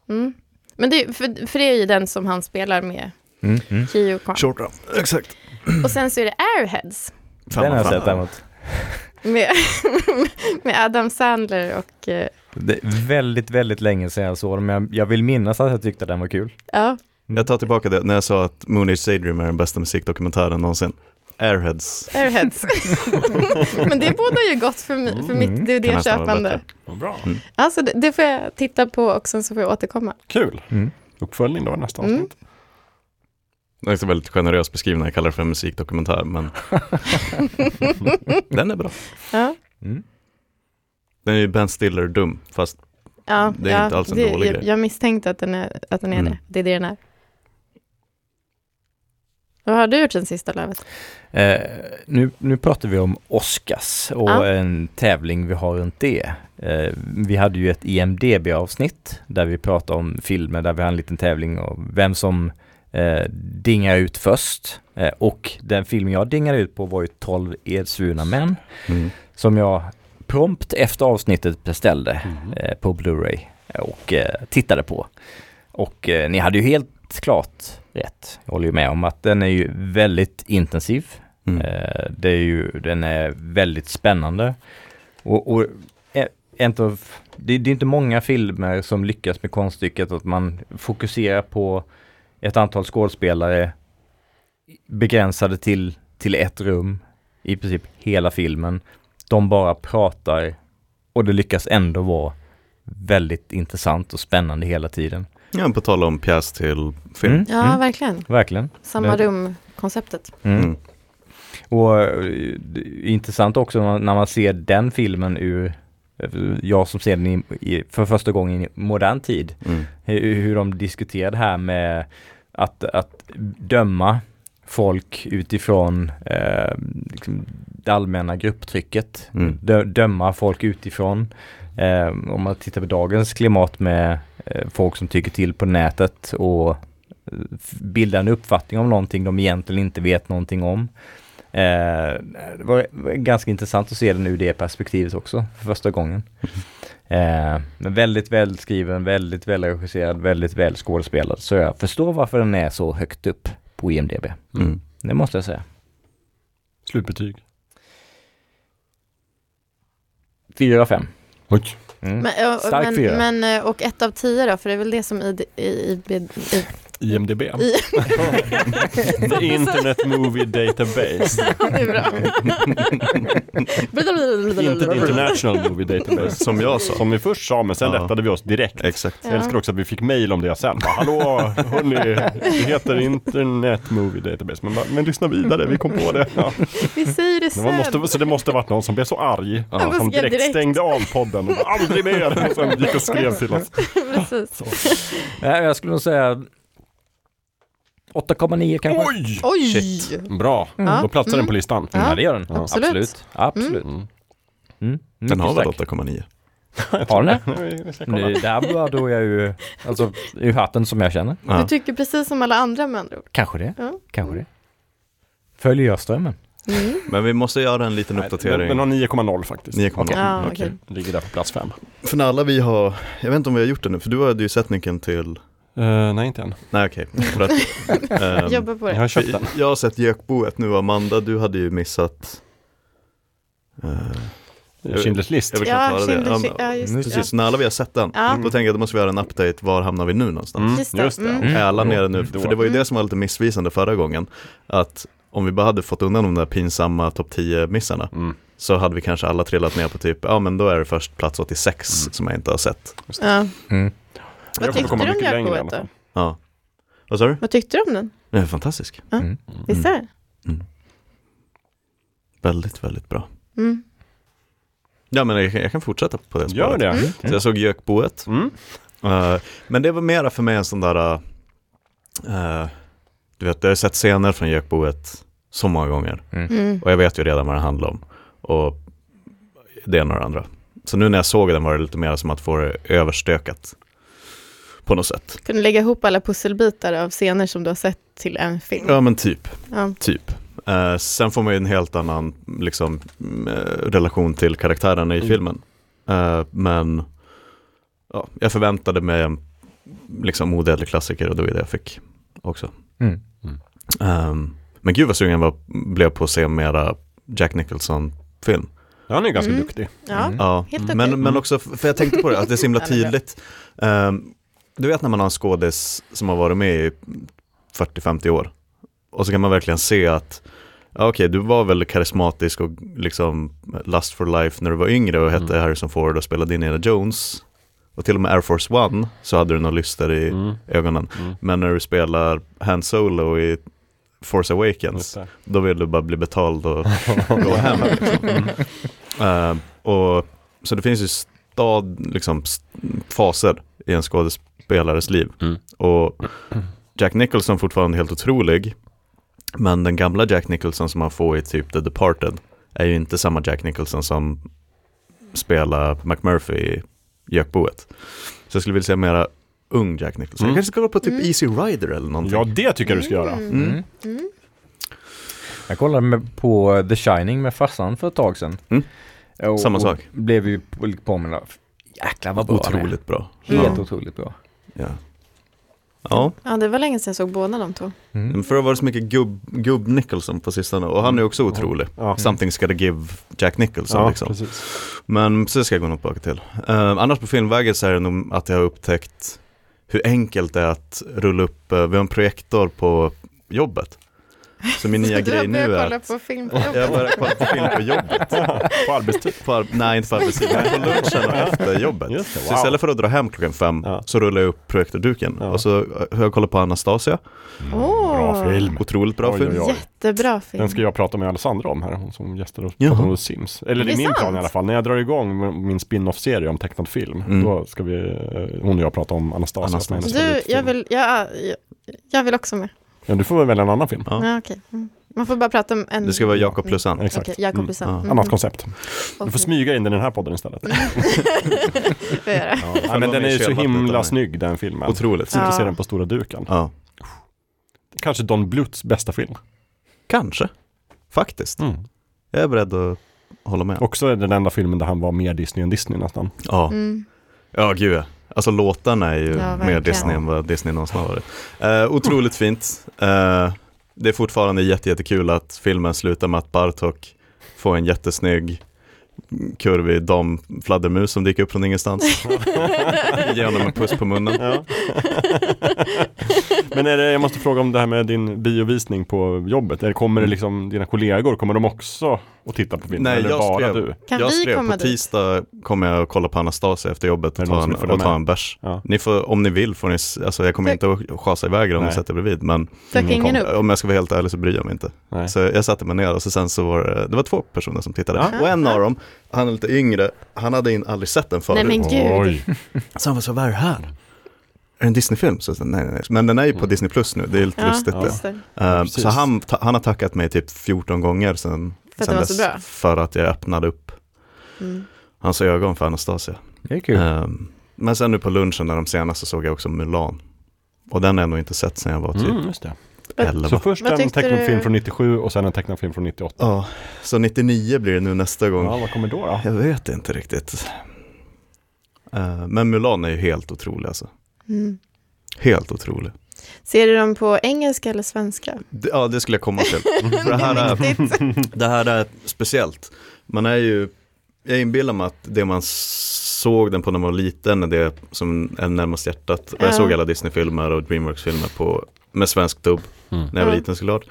Mm. Men det, för, för det är ju den som han spelar med
Mm. Mm.
Kiyo Kwan.
Short round. Exakt.
Och sen så är det Airheads
Fem
Den har jag
av fem.
sett däremot.
med, <laughs> med Adam Sandler och... eh,
Det är väldigt, väldigt länge sedan jag såg den, men jag, jag vill minnas att jag tyckte den var kul.
Ja,
Mm.
Jag tar tillbaka det när jag sa att Moon Age Daydream är den bästa musikdokumentären någonsin. Airheads.
Airheads. <laughs> men det bådar ju gott för, mi- för mitt
Kan nästan vara
DVD-köpande.
bättre.
Vad bra.
Alltså det, det får jag titta på och sen så får
<laughs>
jag återkomma.
Kul.
Mm.
Uppföljning då nästa
Mm.
avsnitt.
Det är så väldigt generöst beskrivet när jag kallar det för en musikdokumentär, men den är bra.
Ja,
Den är ju Ben Stiller dum, fast
ja,
Det är
ja,
inte alls en dålig
jag,
grej.
jag misstänkte att den är, att den är
Mm.
det. Det är det den är. Vad har du gjort sen sista Lövet?
Eh, nu, nu pratar vi om Oscars och
Ja.
en tävling vi har runt det. Eh, vi hade ju ett E IMDB-avsnitt där vi pratade om filmer där vi hade en liten tävling om vem som eh, dingar ut först. Eh, och den film jag dingade ut på var ju 12 edsvurna män
mm.
som jag prompt efter avsnittet beställde
Mhm.
eh, på Blu-ray och eh, tittade på. Och eh, ni hade ju helt klart rätt. Jag håller ju med om att den är ju väldigt intensiv.
Mm.
Eh, det är ju, den är väldigt spännande. Och, och eh, en av, det, det är inte många filmer som lyckas med konststycket att man fokuserar på ett antal skådespelare begränsade till, till ett rum i princip hela filmen. De bara pratar och det lyckas ändå vara väldigt intressant och spännande hela tiden.
Ja, på tal om pjäs till film.
Mm,
Ja,
mm,
verkligen.
verkligen.
Samma
Det-
rum-konceptet.
Mm.
Mm.
Och eh, det är intressant också när man- när man ser den filmen ur, eh, jag som ser den i, i, för första gången i modern tid,
Mm.
hur, hur de diskuterar det här med att, att döma folk utifrån eh, liksom det allmänna grupptrycket,
Mm.
dö, döma folk utifrån. Eh, om man tittar på dagens klimat med eh, folk som tycker till på nätet och eh, f- bildar en uppfattning om någonting de egentligen inte vet någonting om. Eh, det var var ganska intressant att se den ur det perspektivet också, för första gången. Eh, men väldigt välskriven, väldigt välregisserad, väldigt väl skådespelad. Så jag förstår varför den är så högt upp på IMDB.
Mm.
Det måste jag säga.
Slutbetyg.
4 av 5.
Oj.
Mm.
Men, och,
Stark
men,
fyra.
men, eh, och ett av tio då, för det är väl det som i, i, i, i,
IMDB. The Internet Movie Database.
det är bra.
Inte The International Movie Database.
Som jag sa.
Som vi först sa, men sen
Ja.
rättade vi oss direkt.
Exakt.
Jag älskar också att vi fick mail om det sen. Bara, Hallå, hörni, det heter Internet Movie Database. Men, bara, men lyssna vidare, vi kom på
<laughs>
det. Ja.
Vi säger det
Det
sen.
var, måste, så det måste ha varit någon som blev så arg
Ja.
som
Skrev
direkt,
direkt.
stängde av podden. Och bara, Aldrig mer! Och sen gick och skrev till
<laughs>
oss.
<laughs> Precis.
Nej, jag skulle nog säga 8,9 kanske.
Oj!
Oj!
Bra,
Ja.
då platsar den
Mm.
på listan.
Ja.
Ja, det gör den.
Ja.
Absolut. Absolut.
Absolut.
Mm.
Mm.
Den har väl
Mycket
8,9?
stark. Har den
<laughs>
det?
Vi- vi ska kolla.
Nu, där var då jag ju, alltså, ur hatten som jag känner.
Du
Ja.
tycker precis som alla andra med andra ord.
Kanske det.
Ja.
Kanske det. Följer jag strömmen?
Mm.
Men vi måste göra en liten
Den, den
uppdatering.
har 9,0 faktiskt. Mm.
9,0.
Ja,
Okej.
okej.
Ligger där på plats 5.
För när alla vi har, jag vet inte om vi har gjort det nu, för du hade ju sett nyckeln till,
Eh, nej, inte än.
nej <laughs> okej. För att, ehm,
Jobba på
Jag
det.
har köpt
vi-
den.
jag har sett Gökboet nu, Amanda, du hade ju missat eh, jag-
Schindler's list.
jag vill
Ja,
knappt höra det.
Schindler's-
Ja, men-
ja, just det.
Precis, när alla vi har sett den,
Ja.
då tänker jag att då måste vi göra en update, var hamnar vi nu någonstans?
Mm,
Just det.
just det.
Mm.
Är alla nere nu?
Då.
För det var ju
Mm.
det som var lite missvisande förra gången, att om vi bara hade fått undan de där pinsamma topp 10-missarna,
Mm,
så hade vi kanske alla trillat ner på typ, ja men då är det först plats 86 som jag inte har sett.
Ja.
Mm.
kommer
Vad tyckte
komma
du om
mycket längre i alla
Jakob?
fall.
då?
Ja. Vad sa du?
Vad tyckte du om den?
Den är fantastisk.
Visst är det?
Väldigt, väldigt bra.
Mm.
Ja men jag, kan- jag kan fortsätta på det
Gör
spåret.
det.
Mm.
Så jag såg Gökboet.
Mm.
Eh, men det var mera för mig en sån där, eh, du vet jag har sett scener från Gökboet så många gånger.
Mm.
Och jag vet ju redan vad den handlar om. Och det ena och det andra. Så nu när jag såg den var det lite mer som att få det överstökat. På något sätt.
Kunde lägga ihop alla pusselbitar av scener som du har sett till en film.
Ja men typ.
Ja.
Typ. Eh, sen får man ju en helt annan liksom, mm, eh, relation till karaktärerna i
Mm.
filmen. Eh, men ja, jag förväntade mig en liksom, odödlig klassiker och det var ju det jag fick också.
Mm.
Ehm, men gud vad sugen jag var, blev på att se mera Jack Nicholson-film.
Ja, Han är ju ganska
Mm.
duktig.
Ja.
Mm.
Ja,
Helt okej.
men, men också, för jag tänkte på det, att det är så himla
<laughs> Ja, det är bra.
tydligt. Ehm, du vet när man har en skådis som har varit med i 40-50 år och så kan man verkligen se att ja, okej, du var väl karismatisk och liksom lust for life när du var yngre och hette
Mm.
Harrison Ford och spelade Indiana Jones. Och till och med Air Force One så hade du några lyster i
Mm.
ögonen.
Mm.
Men när du spelar Han Solo i Force Awakens
Just det.
då vill du bara bli betald och gå hem. Liksom. Eh, och, så det finns ju stad, liksom, s- faser i en skådespelares liv.
Mm.
Och Jack Nicholson fortfarande helt otrolig, men den gamla Jack Nicholson som man får i typ The Departed är ju inte samma Jack Nicholson som spelar McMurphy i Gökboet. Så jag skulle vilja se mera ung Jack Nicholson.
Mm.
Jag kanske ska gå på typ
Mm.
Easy Rider eller någonting.
Ja, det tycker jag du ska göra.
Mm.
Mm.
Mm.
Mm.
Jag kollade med, på The Shining med farsan för ett tag sedan.
Mm.
Och,
Samma sak.
Och blev ju på- lite påminna. Jäklar vad bra den är.
Otroligt bra.
Helt
Ja.
otroligt bra.
Ja. ja.
Ja, det var länge sedan jag såg båda de två.
Mm.
Men För det har varit så mycket gubb, gubb Nicholson på sistone och han är också otrolig.
Ja. Mm.
Something ska the give Jack Nicholson
Ja,
liksom.
precis.
Men så ska jag gå nog tillbaka till. Eh, annars på filmvägen så är det nog att jag har upptäckt hur enkelt det är att rulla upp, eh, vi har en projektor på jobbet.
<laughs>
Så min nya
du har
grej nu
börjat
är
kolla
att
på film på
jag
jobbet.
börjar kolla på film
<laughs>
på jobbet.
<laughs> På arbetstid.
På, ar- nej, inte på arbetstiden, på lunchen och efter jobbet.
Just det,
Så istället för att dra hem klockan fem
Ja.
så rullar jag upp projektorduken
Ja.
och så eh, har jag kollat på Anastasia,
Åh.
Bra film.
otroligt bra
Oj,
film.
oj, oj.
Jättebra film.
Den ska jag prata med Alessandra om här, hon som gästade och
Jaha.
pratade om The Sims. Eller
Är
det är
det
min plan
sant?
i alla fall. När jag drar igång min spin-off-serie om tecknad film,
Mm.
då ska vi, eh, hon och jag prata om Anastasia. som är
Anastasia.
hennes
Du,
favoritfilm.
jag vill, jag, jag, jag vill också med.
Ja, du får väl välja en annan film.
Ja.
Ja, okej. mm. Man får bara prata om en...
Det ska vara Jakob plus en.
Exakt.
Okej, Jakob
Mm.
plus en.
Ja.
Mm.
Annat koncept. Du får
Okej,
smyga in den i den här podden istället.
<laughs> det får jag göra.
Ja, men den är ju så himla
snygg.
snygg den filmen.
Otroligt.
Sitter och ser
Ja.
den på stora duken.
Ja.
Kanske Don Bluths bästa film.
Kanske. Faktiskt.
Mm.
Jag är beredd att hålla med.
Också är den enda filmen där han var mer Disney än Disney nästan.
Ja,
Mm.
ja gud ja. Alltså låtarna är ju
Ja,
mer
verkligen.
Disney än vad Disney någonsin har varit. Eh, <laughs> otroligt fint. Eh, det är fortfarande jätte, jättekul att filmen slutar med att Bartok får en jättesnygg kurvig damfladdermus som dyker upp från <laughs> ingenstans. Ge honom en puss på munnen.
Ja. Men är det, jag måste fråga om det här med din biovisning på jobbet. Är det, kommer det liksom, dina kollegor, kommer de också att titta på filmen?
Nej,
Eller
jag
bara
skrev.
du?
Kan
jag
vi
skrev
komma
på
dit?
tisdag kommer jag och kolla på Anastasia efter jobbet
Är det
och ta
någon som
en,
vill följa
och ta
med?
en bärs.
Ja.
Ni får, om ni vill får ni, s- alltså jag kommer
Tack.
inte att schasa iväg er om ni
Nej.
sätter er bredvid, men
Dök ingen
kom,
upp?
om jag ska vara helt ärlig så bryr jag mig inte.
Nej.
Så jag satte mig ner och så sen så var det, det var två personer som tittade. Och en av dem, han är lite yngre, han hade in aldrig sett den förut.
Nej men gud.
Oj,
Så han var så, vad är det här? Är det en Disney-film? Så jag sa, nej, nej, nej. Men den är ju på Disney Plus nu, det är lite
Ja,
lustigt det.
just det.
Eh,
Mm. precis.
så han, ta, han har tackat mig typ 14 gånger sen,
För att
sen
den var så bra.
för att jag öppnade upp
Mm.
hans ögon för Anastasia.
Det är kul.
Ehm, men sen nu på lunchen när de senaste såg jag också Mulan. Och den har jag nog inte sett sen jag var typ
mm, just det.
11.
Så först
Vad
en
tyckte
tecknad
du?
film från 97 och sen en tecknad film från 98.
Ja, så 99 blir det nu nästa gång.
Ja, vad kommer då? då?
Jag vet inte riktigt. Ehm, men Mulan är ju helt otrolig alltså.
Mm.
Helt otrolig.
Ser du dem på engelska eller svenska?
Det, ja, det skulle jag komma till. För det, här är,
Viktigt.
det här är speciellt. Man är ju, jag inbillar mig att det man såg den på när man var liten är det som är närmast hjärtat. Och jag
Ja.
såg alla Disney-filmer och Dreamworks-filmer på, med svensk dubb
Mm.
när jag var
Ja.
liten såklart.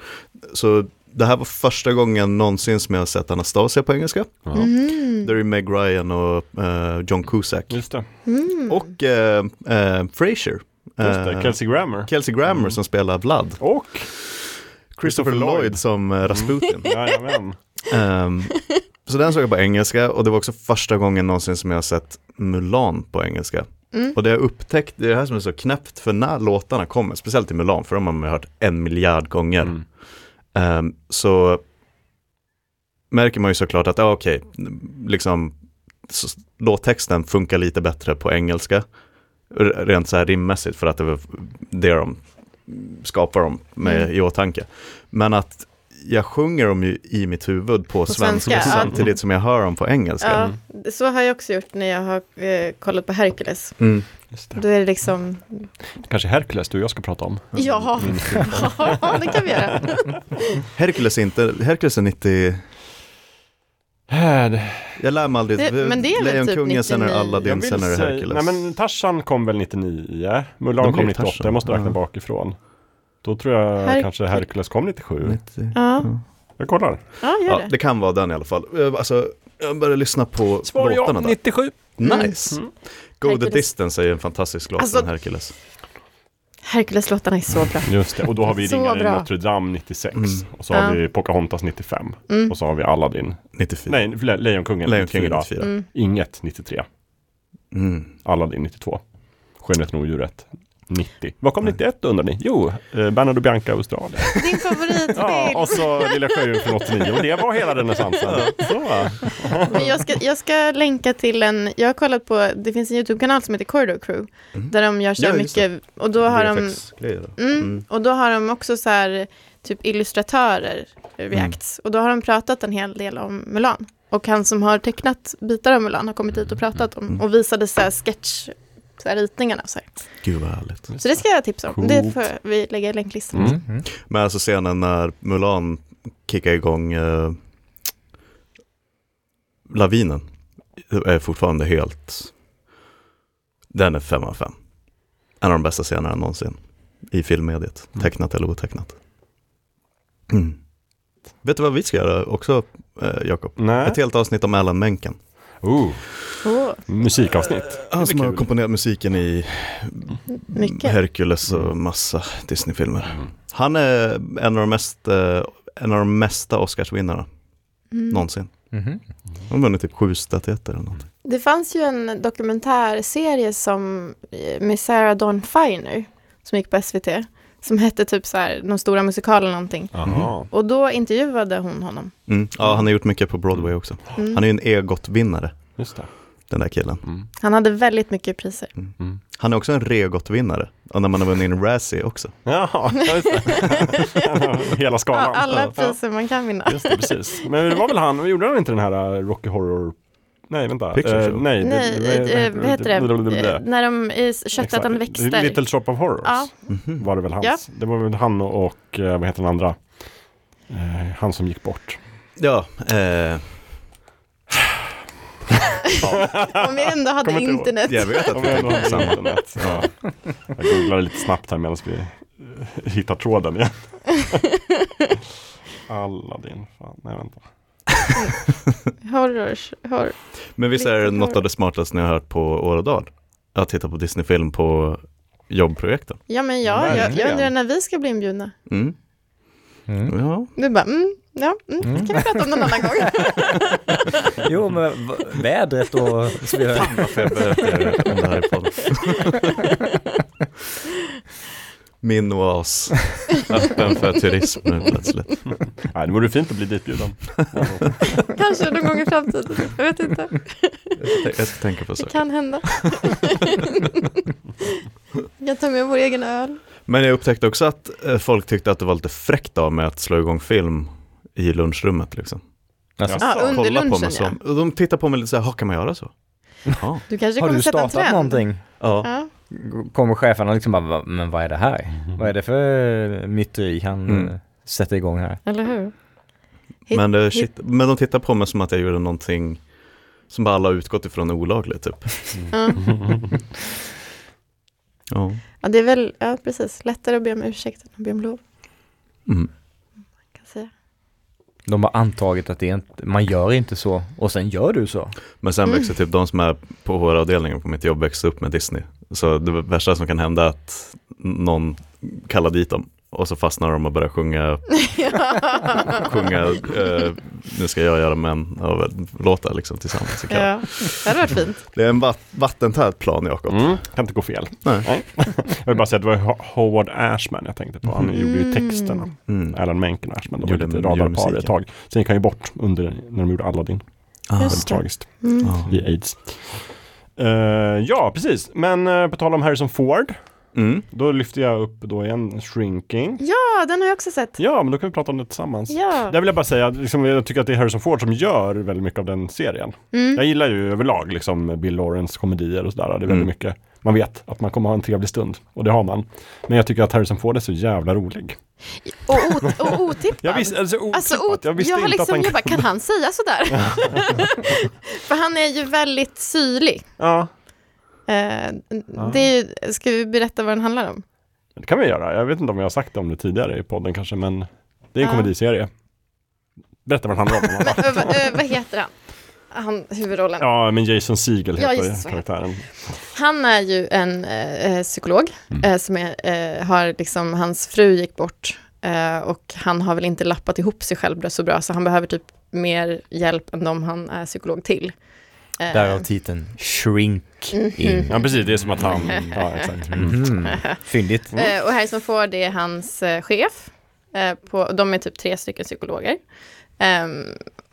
Så det här var första gången någonsin som jag har sett Anastasia på engelska.
Ja.
Mm.
Där är ju Meg Ryan och eh, John Cusack.
Just det,
Mm.
Och eh, eh, Frasier.
just det.
Eh,
Kelsey Grammer.
Kelsey Grammer
Mm.
som spelar Vlad.
Och,
Christopher Lloyd som eh, Rasputin.
Mm.
jajamän.
<laughs> Ehm, så den såg jag på engelska och det var också första gången någonsin som jag har sett Mulan på engelska.
Mm.
Och det jag upptäckt, det är det här som är så knäppt, för när låtarna kommer, speciellt i Mulan, för de har man ju hört en miljard gånger,
Mm.
ehm, så märker man ju såklart att, ja okej, liksom så, låttexten funkar lite bättre på engelska, r- rent så här rimmässigt, för att det var det de skapar dem med
Mm.
i åtanke. Men att jag sjunger dem ju i mitt huvud på, svenska,
svenska, ja.
samtidigt som jag hör dem på engelska.
Ja, så har jag också gjort när jag har eh, kollat på Hercules.
Mm.
Just det.
Då är det liksom,
Kanske Hercules du och jag ska prata om.
ja, <laughs> ja det kan vi göra.
Hercules, är inte, Hercules är 90,
Här,
jag lär mig aldrig,
Det- men det är väl typ
Lejonkungen sen är
99.
alla din, sen är det Hercules.
Nej men Tarzan kom väl 99? Mulan
Då blir
kom
det
98,
Tarzan.
jag måste räkna
Ja.
bakifrån. Då tror jag
Herk-
kanske Hercules kom 97.
90.
Ja,
Jag kollar.
ja gör
Ja,
det.
det kan vara den i alla fall. Eh, Alltså, jag började lyssna på låtarna där.
97.
Nice! Go
Hercules.
the distance är ju en fantastisk låt
Alltså-
från Hercules.
Hercules-låtarna är så bra.
Just det, och då har vi
<laughs> Så
Ringaren i
bra.
Notre Dame 96.
Mm.
Och så har
Ja.
vi Pocahontas 95.
Mm.
Och så har vi Aladdin.
94.
Nej, Le- Lejonkungen,
Lejonkungen
94.
94.
Mm.
Inget 93.
Mm.
Aladdin 92. Skönheten och odjuret 90. Vad kom 91 undrar ni? Jo, eh, Bernard och Bianca
<laughs>
Australien.
<laughs> Din favorit
Ja,
Bill.
och så Lilla Sjöjungfrun 89. Och det var hela renässansen. Så.
Men jag, ska, jag ska länka till en, jag har kollat på, det finns en YouTube-kanal som heter Corridor Crew. Där de gör så här
Ja, just det.
mycket, och då har de
VFX-grejer.
Mm.
Mm.
Och då har de också så här, typ illustratörer, Reacts. Och då har de pratat en hel del om Mulan. Och han som har tecknat bitar av Mulan har kommit hit och pratat om och visade så här sketch, så här ritningarna och så här.
Gud vad härligt.
Så det ska jag tipsa om.
Coolt.
Det får vi lägga i länklistan.
Mm.
också.
Mm.
Men alltså scenen när Mulan kickar igång eh, lavinen eh, är fortfarande helt... Den är fem av fem. En av de bästa scenerna någonsin i filmmediet, tecknat eller otecknat. Mm. Vet du vad vi ska göra också, eh, Jakob?
Nej.
Ett helt avsnitt om Alan Menken.
Oh,
Åh,
musikavsnitt.
Han som har
kul.
komponerat musiken i
mycket.
Hercules och massa Disney-filmer.
Mm.
Han är en av de mest, eh, en av de mesta Oscarsvinnarna
Mm.
någonsin.
Mhm.
Han har vunnit typ sju statyetter eller någonting.
Det fanns ju en dokumentärserie som, eh, med Sarah Dawn Finer som gick på SVT. Som hette typ så här, De stora musikalen någonting.
Jaha.
Och då intervjuade hon honom.
Mm. Ja, han har gjort mycket på Broadway också.
Mm.
Han är ju en EGOT-vinnare,
Just det.
den där killen.
Mm.
Han hade väldigt mycket
<laughs>
priser.
Mm.
Han är också en REGOT-vinnare, och när man har vunnit en Razzie också.
Jaha, just det. <laughs> Hela
Ja,
skalan.
alla
Ja.
priser man kan vinna.
Just det, precis. Men det var väl han, gjorde han inte den här eh, Rocky Horror... Nej, vänta.
Picture
Eh,
Show.
nej, det-
Nej, eh, vad heter det? Eh,
Exakt.
När de eh, köttat en växter.
Little Shop of Horrors
Ja,
Mhm.
var det väl hans.
Ja.
Det var väl han och, och eh, vad heter den andra? Äh, Eh, han som gick bort.
Ja, eh,
Om jag ändå hade
Kommer inte ihåg.
internet.
Jag vet <laughs> att
Om
vi
jag ändå
tänkte på
har
samma.
internet. Ja. Jag googlade lite snabbt här medan vi eh, hittar tråden
<laughs>
igen. Aladdin, fan, nej vänta.
Horrors, horror.
Men visst är det
Riktigt
något
bra.
av det smartaste ni har hört på åradag? Att titta på Disney-film på jobbprojekten.
Ja men ja, jag, jag
Verkligen.
undrar när vi ska bli inbjudna.
Mm.
Mm.
Ja,
Du bara, mm, ja, mm, det kan vi prata om någon annan gång.
<laughs> Jo, men v- vädret och så vidare.
Fan varför jag berättar om det här i podden. <laughs> Min oas, öppen för turism nu alltså. plötsligt.
Nej, det vore fint att bli ditbjuden.
Kanske någon gång i framtiden. Jag vet inte.
Jag ska tänka på
Det
saker. <laughs>
kan hända. Jag tar med vår egen öl.
Men jag upptäckte också att eh, folk tyckte att det var lite fräckt av mig att slå igång film i lunchrummet. Liksom.
Alltså,
Ja, under
Kolla på
lunchen
mig
ja.
som, och de tittar på mig lite så här, "Ha, kan man göra så? Ja.
Du kanske
har
kommer
du
sätta en
startat
trend.
någonting?
ja.
Ja.
Kommer cheferna liksom bara, "Va- men vad är det här? Vad är det för myteri han
Mm.
eh, sätter igång här?
Eller hur? Hit-
Men, det,
hit-
shit, men de tittar på mig som att jag gjorde någonting som bara alla har utgått ifrån är olagligt typ.
Ja.
Mm.
Ja.
ja, det är väl, ja precis, lättare att be om ursäkt än att be om lov.
Mm.
Kan jag säga.
De har antagit att det är inte, man gör inte så och sen gör du så.
Men sen
Mm.
växer typ de som är på HR-avdelningen på mitt jobb växte upp med Disney. Så det värsta som kan hända är att någon kallar dit dem och så fastnar de och börjar sjunga, sjunga eh, Nu ska jag göra män av låtar liksom tillsammans. Så kan-
Ja, det hade varit fint.
Det är en vat- vattentät plan Jakob.
Mm. Kan inte gå fel.
Nej.
<laughs> Jag vill bara säga att det var Ho- Howard Ashman jag tänkte på. Han
Mm.
gjorde ju texterna.
Mm.
Alan Menken och Ashman. De var
Gjorde-
lite
gjorde
radarpar ett
musiken.
tag. Sen gick han ju bort under, när de gjorde Aladdin.
Ah.
Väldigt
Just det.
tragiskt.
Mm.
Ah.
Via aids. Eh, ja, precis. Men eh, på tal om Harrison Ford,
Mm.
då lyfter jag upp då igen Shrinking.
Ja, den har jag också sett.
Ja, men då kan vi prata om det tillsammans.
Ja.
Där vill jag bara säga, att liksom, jag tycker att det är Harrison Ford som gör väldigt mycket av den serien.
Mm.
Jag gillar ju överlag liksom Bill Lawrence komedier och sådär. Det är väldigt
Mm.
mycket. Man vet att man kommer ha en trevlig stund och det har man. Men jag tycker att Harrison Ford är så jävla rolig.
Och, ot- och otippad.
<laughs> Jag visste, alltså, otippat.
Alltså, ot-
jag
jag,
visste
har
inte
liksom,
att
jag
han...
bara, kan han säga
<laughs>
sådär? <laughs> För han är ju väldigt syrlig.
Ja,
Eh, det är ju, ska vi berätta vad den handlar om?
det kan vi göra. Jag vet inte om jag har sagt om det tidigare i podden kanske, men det är en
Ja.
komediserie. Berätta vad den
<laughs>
handlar om.
Ö, vad- ö, vad heter han? Han, huvudrollen.
Ja, men Jason Segel
Ja,
heter
just det, så heter
karaktären.
Han är ju en eh, eh, psykolog
Mm.
eh, som är, eh, har liksom, hans fru gick bort eh, och han har väl inte lappat ihop sig själv så bra så han behöver typ mer hjälp än de han är psykolog till. Eh, mm.
Därav titeln Shrink In.
Ja,
<laughs>
precis. Det är som att han... Ja, exakt.
Mm. Fyndigt.
Eh, och Harrison Ford är hans eh, chef. Eh, på, de är typ tre stycken psykologer. Ehm,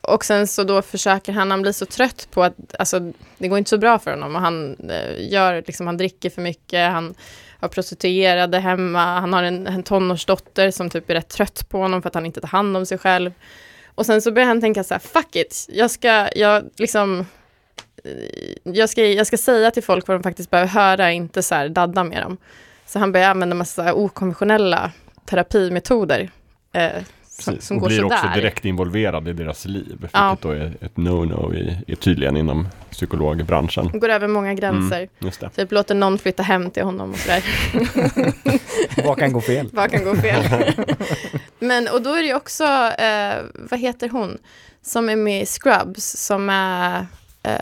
och sen så då försöker han, han blir så trött på att, alltså det går inte så bra för honom och han eh, gör, liksom han dricker för mycket, han har prostituerade hemma, han har en, en tonårsdotter som typ är rätt trött på honom för att han inte tar hand om sig själv. Och sen så börjar han tänka så här, fuck it, jag ska, jag liksom, eh, jag ska, jag ska säga till folk vad de faktiskt behöver höra, inte så här dadda med dem. Så han börjar använda massa så här okonventionella terapimetoder. Eh, som,
Precis.
som
Och
går
blir också
sådär.
direkt involverad i deras liv, vilket
Ja.
då är ett no-no i, i tydligen inom psykologbranschen.
Går över många gränser.
Mm, Just det.
Typ låter någon flytta hem till honom och sådär. <laughs>
Vad kan gå fel?
Vad kan gå fel?
<laughs>
Men, och då är det ju också, eh, vad heter hon, som är med i Scrubs, som är eh,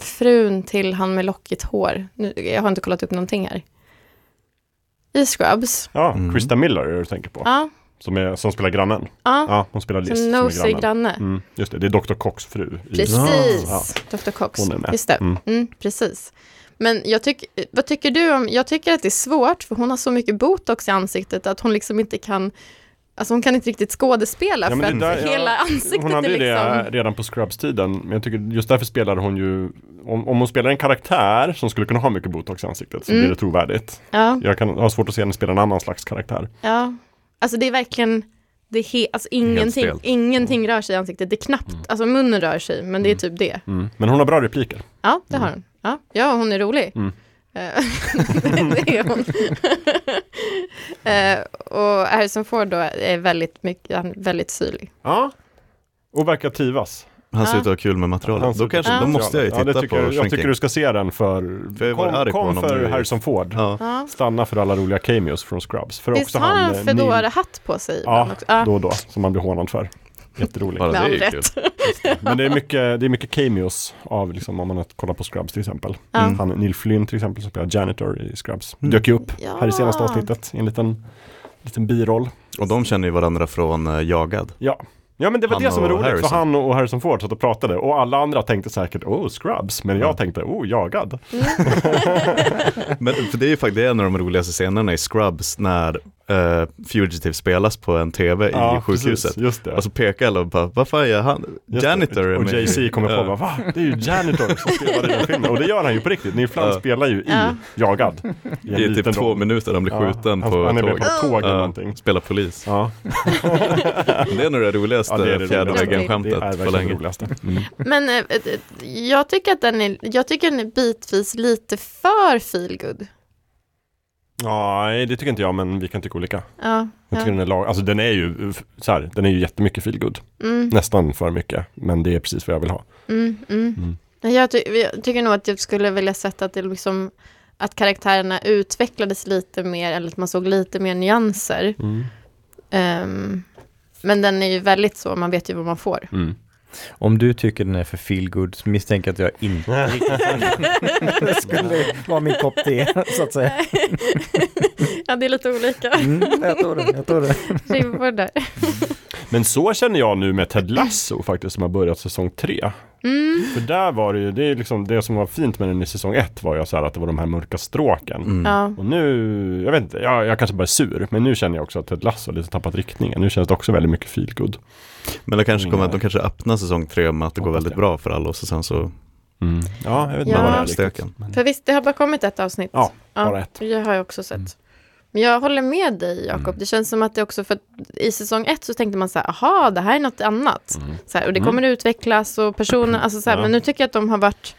frun till han med lockigt hår. Nu, jag har inte kollat upp någonting här. I Scrubs.
Ja,
Mm.
Krista Miller är det du tänker på,
Ja,
som, är, som spelar grannen.
ja.
Ja, hon spelar Liz
Som
som, är
nosig
grannen.
granne.
Mm, just det, det är Dr. Cox fru. i-
Precis,
Ja.
Dr. Cox.
Hon är med.
Just det.
Mm.
Mm. precis. Men jag tyck, vad tycker du om, jag tycker att det är svårt för hon har så mycket botox i ansiktet att hon liksom inte kan, alltså hon kan inte riktigt skådespela
Ja,
för
men
att
det där-
hela
ja,
ansiktet
Hon
är
hade ju
liksom...
det redan på Scrubs-tiden, men jag tycker just därför spelade hon ju, om, om hon spelar en karaktär som skulle kunna ha mycket botox i ansiktet så
Mm.
blir det trovärdigt.
Ja,
Jag kan ha svårt att se henne spela en annan slags karaktär.
ja. Alltså det är verkligen, det är he, alltså ingenting,
stelt.
ingenting rör sig i ansiktet. Det är knappt, alltså munnen rör sig, men det är typ det.
Mm. Men hon har bra repliker.
Ja, det har hon. Ja, ja hon är rolig.
Mm.
<laughs> Eh, det är hon. <laughs> Eh, och Harrison Ford då är väldigt, mycket, han är väldigt syrlig.
Ja. Och verkar trivas.
Han ser
Ja.
ut att ha kul med
Han
materialet.
ser
Då,
ut
kanske,
att
då
ha kul
måste jag ju
ja,
titta
det tycker,
på
jag, jag
Shrinking.
tycker du ska se den för...
För jag var
kom
arg på
kom
honom
för
nu i-
Harrison Ford.
Ja.
Ja.
Stanna för alla roliga cameos från Scrubs. För
Visst
också
har han
han... eh, Neil-
fedora-hatt på sig ibland
Ja,
också? Ja,
då och då. Som man blir hånad för. Jätteroligt.
Bara det är ju
Med all
kul.
Men det är mycket, det är mycket cameos av, liksom, om man har kollat på Scrubs till exempel.
Ja.
Han, Neil Flynn till exempel, som spelar janitor i Scrubs.
Mm.
Dök ju upp
Ja.
här i senaste avsnittet i en liten, liten biroll.
Och de känner ju varandra från eh, Jagad.
Ja. Ja men det var
Han
det som var
och
roligt, för
Harrison.
han och Harrison Ford satt och pratade och alla andra tänkte säkert oh Scrubs, men jag
Ja.
tänkte oh jagad.
Men för det är ju faktiskt det är en av de roligaste scenerna i Scrubs när eh, Fugitive spelas på en tv i sjukhuset. Alltså,
precis, just det.
Och så pekar alla och bara, vad fan gör han?
Just
Janitor
det.
är
Och
med."
Jay-Z kommer på
Ja.
bara, va? Det är ju Janitor som spelar i den filmen. Och det gör han ju på riktigt. Neil Flynn
Ja.
spelar ju i
Ja.
Jagad. en
I
liten
typ två
roll.
minuter han blir
Ja,
skjuten
han,
på
han är med
tåg.
på ett tåg eller
Ja.
någonting.
Spelar polis.
Ja, <laughs>
Det är nog det roligaste
ja det är det
fjärde
roligaste. Det är
väggen-skämtet på
verkligen det
länge. Mm.
roligaste.
Men eh, eh, jag tycker att den är, jag tycker den är bitvis lite för feelgood.
Nej, det tycker inte jag, men vi kan tycka olika.
Ja,
Jag
ja.
tycker den är lag... Alltså den är ju eh, så här, den är ju jättemycket feelgood.
Mm,
Nästan för mycket, men det är precis vad jag vill ha.
mm,
Mm.
mm. Nej, Jag, ty- jag tycker nog att jag skulle vilja sett att, det liksom, att karaktärerna utvecklades lite mer, eller att man såg lite mer nyanser.
Mm.
Ehm, men den är ju väldigt så, man vet ju vad man
<laughs>
får.
Mm.
<laughs> Om du tycker den är för feelgood så misstänker jag att jag
<laughs>
inte riktigt skulle vara min kopp te så att säga.
Ja, det är lite olika
Mm, <laughs> jag tror det,
<laughs>
jag tror det.
ribbar där.
Men så känner jag nu med Ted Lasso faktiskt, som har börjat säsong tre.
Mm,
För där var det ju, det, är liksom, det som var fint med den i säsong ett var ju så här att det var de här mörka stråken.
Mm.
ja.
Och nu, jag vet inte, jag, jag kanske bara är sur, men nu känner jag också att Ted Lasso har lite tappat riktningen. Nu känns det också väldigt mycket feelgood.
Men det kanske kommer, att- de kanske öppnar säsong tre med att det går
Mm. Hoppas
väldigt
det.
bra för alla och så mm. sen så
Ja, jag vet inte
Ja.
vad det är
ja.
riktigt.
stöken.
För visst, det har bara kommit ett avsnitt.
Ja, bara ett.
Det har jag också
Mm.
sett. Men jag håller med dig, Jakob. Det känns som att det också, för att i säsong ett så tänkte man så här, aha, det här är något annat. Så här, och det kommer utvecklas och personer, alltså så här,
Mm. Ja.
men nu tycker jag att de har varit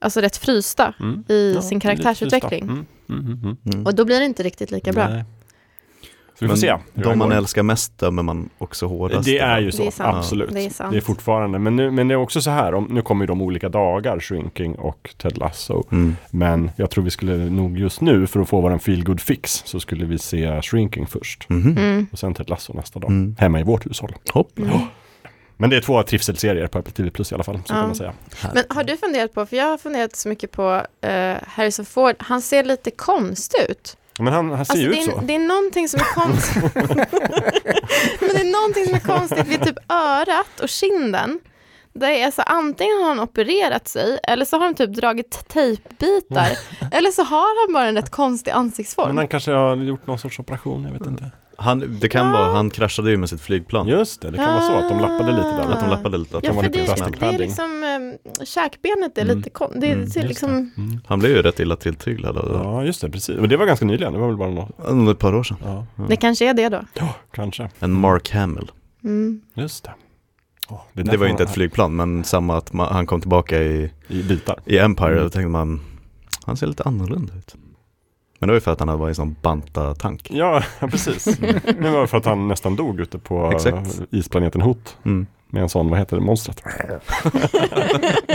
alltså, rätt frysta
Mm.
i
Ja,
sin
det är lite
karaktärsutveckling.
tyst då. Mm. Mm, mm, mm.
Mm.
Och då blir det inte riktigt lika bra.
Nej. Så vi får se. hur det
De man
går.
älskar mest dömer man också hårdast.
Det är ju så,
Det är sant.
absolut.
Det är sant.
Det är fortfarande, men, nu, men det är också så här, om, nu kommer ju de olika dagar, Shrinking och Ted Lasso.
Mm.
Men jag tror vi skulle nog just nu, för att få vår feelgood fix, så skulle vi se Shrinking först.
Mhm.
Mm.
Och sen Ted Lasso nästa dag,
Mm.
hemma i vårt hushåll.
Hopp.
Men det är två trivselserier på Apple TV Plus i alla fall, så
Ja.
kan man säga.
Men har du funderat på, för jag har funderat så mycket på eh, Harrison Ford, han ser lite konstig ut.
Men han, han ser
Alltså,
ju
det,
ut
är,
så.
det är någonting som är <laughs> konstigt. Men det är någonting som är konstigt vid typ örat och kinden. Det är så antingen har han opererat sig eller så har han typ dragit tejpbitar. <laughs> eller så har han bara en rätt konstig ansiktsform.
Men han kanske har gjort någon sorts operation, jag vet inte.
Han, det kan vara, han kraschade ju med sitt flygplan.
Just det, det kan vara så att de lappade lite där.
Att de lappade lite, att
ja,
de var
för
lite
det,
plastic
det är
padding.
liksom, eh, käkbenet är lite konstigt. Det, ser
just
liksom,
Mm.
Han blev ju rätt illa tilltyglad av det.
Ja, just det, precis. Men det var ganska nyligen, det var väl bara något.
Under ett par år sedan.
Ja,
det kanske är det då.
ja kanske.
En Mark Hamill.
Mm.
Just det. Ja, är
Det
därför
var ju inte
man-
ett flygplan, men samma att man, han kom tillbaka i,
I bitar.
i Empire,
Mm.
då tänkte man, han ser lite annorlunda ut. Men det var ju för att han hade varit i en sån banta-tank.
Ja, <laughs> precis. det var för att han nästan dog ute på
Mm. Exakt.
eh, isplaneten Hot
Mm.
med en sån, vad heter det, monstret? Jag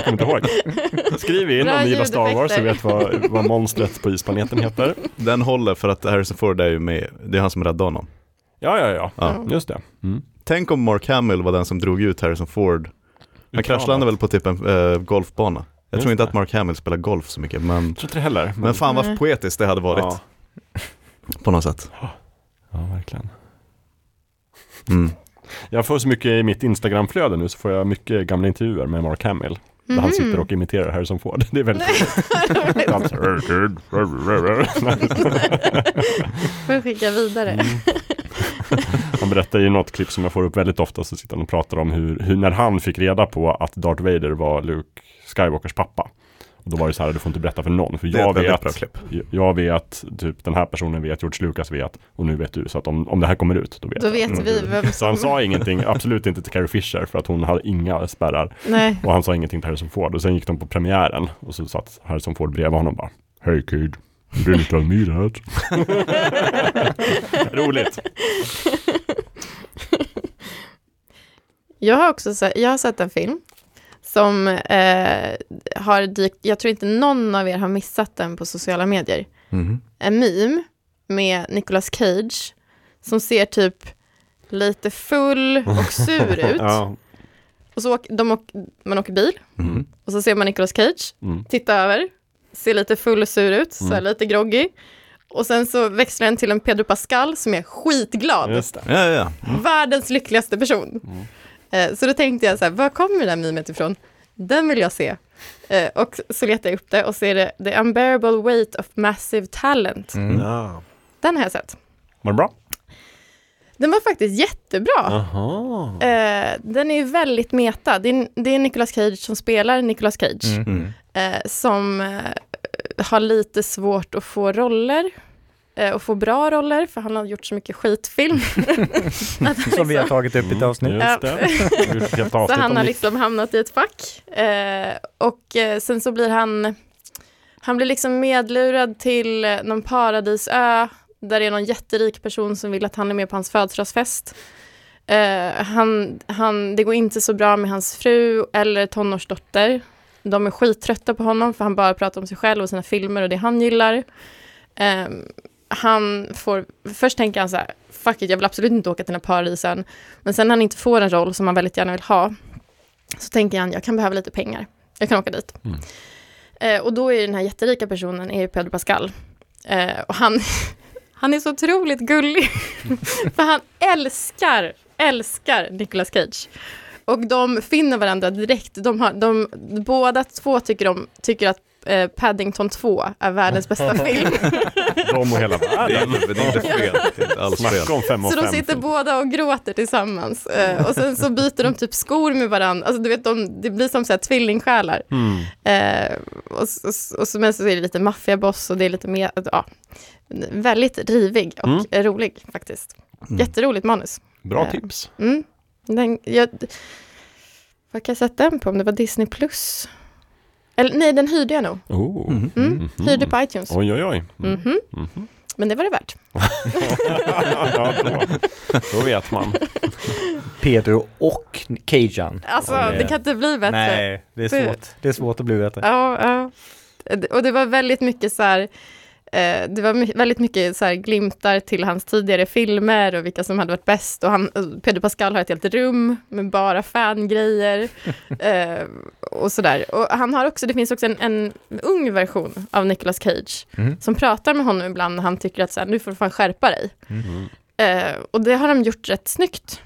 kommer inte ihåg. Skriv in
Bra
om ni gillar Star Wars och
ljudeffekter.
vet vad, vad monstret på isplaneten heter.
Den håller för att Harrison Ford är ju med, det är han som räddade honom.
Ja, ja, ja.
Ja.
Just det.
Tänk om Mark Hamill var den som drog ut Harrison Ford. Han
Utan
kraschlandade
att-
väl på typ en eh, golfbana. Jag
Just
tror inte
det.
att Mark Hamill spelar golf så mycket, men,
Jag tror inte det heller. Men,
men fan vad
Nej.
poetiskt det hade varit
Ja.
på något sätt.
ja, verkligen.
Mm.
Jag får så mycket i mitt Instagramflöde nu så får jag mycket gamla intervjuer med Mark Hamill. Där han
Mhm.
sitter och imiterar Harrison Ford. <laughs> Det är väldigt roligt. Han så här-
<laughs> Får jag skicka vidare.
Han berättar i något klipp som jag får upp väldigt ofta så sitter han och pratar om hur, hur när han fick reda på att Darth Vader var Luke Skywalkers pappa. Och då var det så här, du får inte berätta för någon. För
Det är
jag
ett väldigt bra
vet,
klipp.
jag vet, typ den här personen vet, George Lucas vet och nu vet du. Så att om, om det här kommer ut, då vet
Då
jag.
vet vi
Mm.
vem
Så han sa ingenting, absolut inte till Carrie Fisher för att hon hade inga spärrar.
Nej.
Och han sa ingenting till Harrison Ford. Och sen gick de på premiären och så satt Harrison Ford bredvid honom och bara Hey kid, you didn't tell me that. Roligt.
Jag har också se- jag har sett en film som eh, har dykt, jag tror inte någon av er har missat den på sociala medier.
Mhm.
En meme med Nicolas Cage som ser typ lite full och
<laughs>
sur ut.
Ja.
Och så åker, de åk, man åker bil
Mhm.
och så ser man Nicolas Cage
Mm.
titta över, ser lite full och sur ut, så här lite groggy. Och sen så växlar den till en Pedro Pascal som är skitglad.
Just det. Mm.
Ja, ja, ja.
Världens lyckligaste person. Eh, Så då tänkte jag så här, var kommer det där memet ifrån? Den vill jag se. Eh, Och så letar jag upp det och ser det, The unbearable weight of massive talent.
Mm.
Mm.
Ja.
Den har jag sett.
Var det bra?
Den var faktiskt jättebra.
Aha.
Eh, Den är ju väldigt meta. Det är, det är Nicolas Cage som spelar Nicolas Cage.
Mm.
Mm.
eh, som eh, har lite svårt att få roller eh, och få bra roller, för han har gjort så mycket
<laughs>
skitfilm. Att han
Som vi har
liksom-
tagit upp i ett avsnitt.
Mm, Just det. Vi har gjort ett helt
<laughs> så
avsnitt
han
om
har
det.
liksom hamnat i ett fack. Eh, och eh, sen så blir han, han blir liksom medlurad till eh, någon paradisö där det är någon jätterik person som vill att han är med på hans födelsedagsfest. Eh, han, han, det går inte så bra med hans fru eller tonårsdotter. De är skittrötta på honom för han bara pratar om sig själv och sina filmer och det han gillar. Eh, han får, först tänker han så här, fuck it, jag vill absolut inte åka till den här paradisen. Men sen när han inte får en roll som han väldigt gärna vill ha, så tänker han, jag kan behöva lite pengar. Jag kan åka dit.
Mm.
Eh, och då är den här jätterika personen är ju Pedro Pascal. Eh, och han, <laughs> han är så otroligt gullig. <laughs> För han älskar, älskar Nicolas Cage. Och de finner varandra direkt. De har, de, båda två tycker, om, tycker att eh, Paddington 2 är världens bästa
<laughs>
film.
De och hela
Det är
världen.
inte, det är inte fel. Det är inte alls fel.
Snacka om fem och
<laughs> Så
fem.
de sitter båda och gråter tillsammans. Eh, och sen så byter de typ skor med varandra. Alltså, du vet, de, det blir som så här tvillingsjälar.
Mm.
Eh, och, s- och, s- och så, men så är det lite maffiaboss och det är lite mer, ja, väldigt rivig och
Mm.
eh, rolig faktiskt.
Mm.
Jätteroligt manus.
Bra
Eh,
tips.
Mm. Den, jag, vad kan jag sätta den på? Om det var Disney Plus? Eller nej, den hyrde jag nog.
Oh.
Mhm.
Mm.
Mhm.
Hyrde på iTunes.
Oj, oj, oj. Mm.
Mhm.
Mhm.
Men det var det värt.
ja, då. då vet man.
Pedro och Cajan.
Alltså,
Ja, det-
det kan inte bli bättre.
Nej, det är svårt. Det är svårt att bli bättre.
Ja, ja. Och det var väldigt mycket så här, eh, det var my- väldigt mycket så här glimtar till hans tidigare filmer och vilka som hade varit bäst. Och han, Pedro Pascal har ett helt rum med bara fangrejer eh, och sådär. Och han har också, det finns också en, en ung version av Nicolas Cage
Mm.
som pratar med honom ibland när han tycker att så här, nu får du fan skärpa dig.
Mm.
Eh, och det har de gjort rätt snyggt.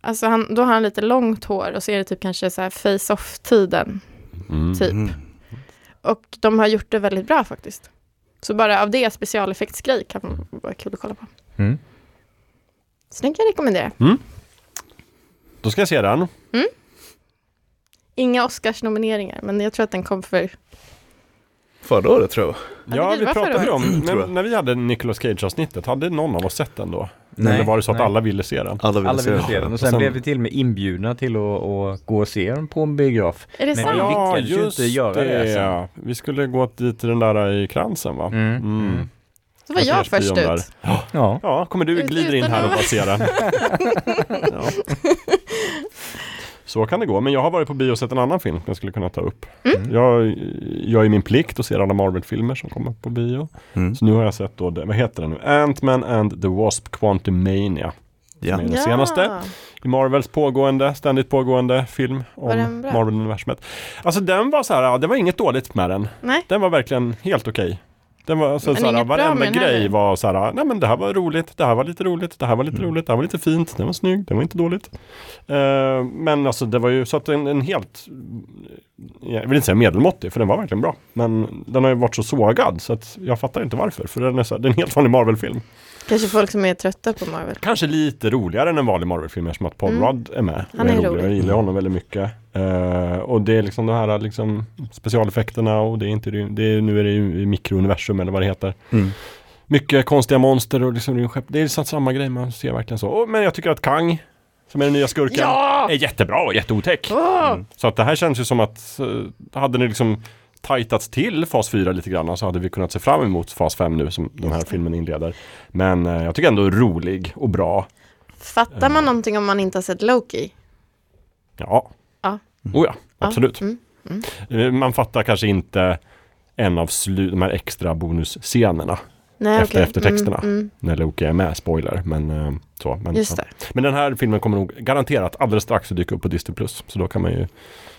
Alltså han, då har han lite långt hår och så är det typ kanske så här face-off-tiden
Mm.
Typ.
Mm.
Och de har gjort det väldigt bra faktiskt. Så bara av det specialeffektsgrej kan vara kul att kolla på.
Mm.
Så den kan jag rekommendera.
Då ska jag se den.
Inga Oscars-nomineringar, men jag tror att den kom för...
Förra året tror jag.
Ja,
det
vi
var förra
pratade ju om,
Tror
när,
jag.
när vi hade Nicolas Cage-avsnittet, hade någon av oss sett den då?
Nej.
Eller var det så att
Nej.
alla ville se den?
Alla ville
Alla
se
ville
den. <laughs>
se den och sen, blev vi till och med inbjudna till att, att gå och se den på en biograf.
Är det
Men-
sant?
Ja. vi lyckades ju inte göra det
alltså.
sen.
Vi skulle gå dit till den där i kransen va?
Mm.
Mm.
Då var jag först
Affärsbion
ut.
Ja.
Ja, kommer du
Ut-
glider in
utan
här och
att-
bara ser den. ja. Så kan det gå, men jag har varit på bio och sett en annan film som jag skulle kunna ta upp.
Mm.
Mm. Jag gör ju min plikt och ser alla Marvel-filmer som kommer på bio.
Mm.
Så nu har jag sett då, det, vad heter den nu? Ant-Man and the Wasp Quantumania.
Ja.
Den senaste. i Marvels pågående, ständigt pågående film
Var
om
den bra?
Marvel-universumet. Alltså den var så här, ja, det var inget dåligt med den.
Nej.
Den var verkligen helt okej. Den var alltså
Men
så här,
inget bra med
varenda
den heller.
grej var så här, nej men det här var roligt, det här var lite roligt, det här var lite roligt, det här var lite fint, den var snygg, den var inte dåligt. Eh, men alltså det var ju så att en, en helt, jag vill inte säga medelmåttig, för den var verkligen bra. Men den har ju varit så sågad så att jag fattar inte varför, för den är, så här, det är en helt vanlig Marvel-film.
Kanske folk som är trötta på Marvel.
Kanske lite roligare än en vanlig Marvel-film eftersom att Paul
Mm.
Rudd är med.
Han
Och
är
Jag
rolig.
gillar honom väldigt mycket. Eh, och det är liksom de här liksom, specialeffekterna och det är inte, rym- det är, nu är det ju i mikrouniversum eller vad det heter.
Mm.
Mycket konstiga monster och liksom rymdskepp. Det är liksom samma grej, man ser verkligen så. Och, men jag tycker att Kang, som är den nya skurken,
Ja! Ah!
är jättebra och jätteotäck. Mm.
Åh!
Så att det här känns ju som att eh, hade ni liksom tajtats till fas 4 lite grann så hade vi kunnat se fram emot fas 5 nu som den här filmen inleder. Men eh, jag tycker ändå rolig och bra.
Fattar man någonting om man inte har sett Loki?
Ja.
Ja.
Oh ja, absolut.
Ja, mm, mm.
Eh, Man fattar kanske inte en av slu- de här extra bonusscenerna
Nej,
Efter-
okej.
eftertexterna.
Mm, mm.
när Loki är med, spoiler. Men, eh, så, men,
Just
ja.
det.
men den här filmen kommer nog garanterat alldeles strax att dyka upp på Disney+. Plus Så då kan man ju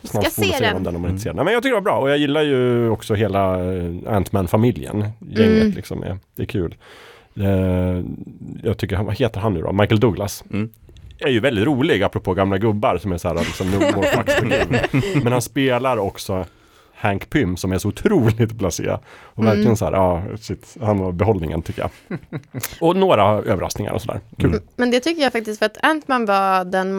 Ska
snart
se
se
den.
om den om man inte ser den. Nej, men jag tycker det var bra och jag gillar ju också hela eh, Ant-Man-familjen. Gänget
Mm.
liksom, är, det är kul. Eh, jag tycker, han, vad heter han nu då? Michael Douglas.
Mm.
Är ju väldigt rolig, apropå gamla gubbar som är så här liksom no
<laughs>
more fucks for game. Men han spelar också Hank Pym som är så otroligt blasé. Och verkligen
Mm.
så här, ja, shit, han var behållningen tycker jag. Och några överraskningar och sådär. Kul.
Men det tycker jag faktiskt, för att Ant-Man var den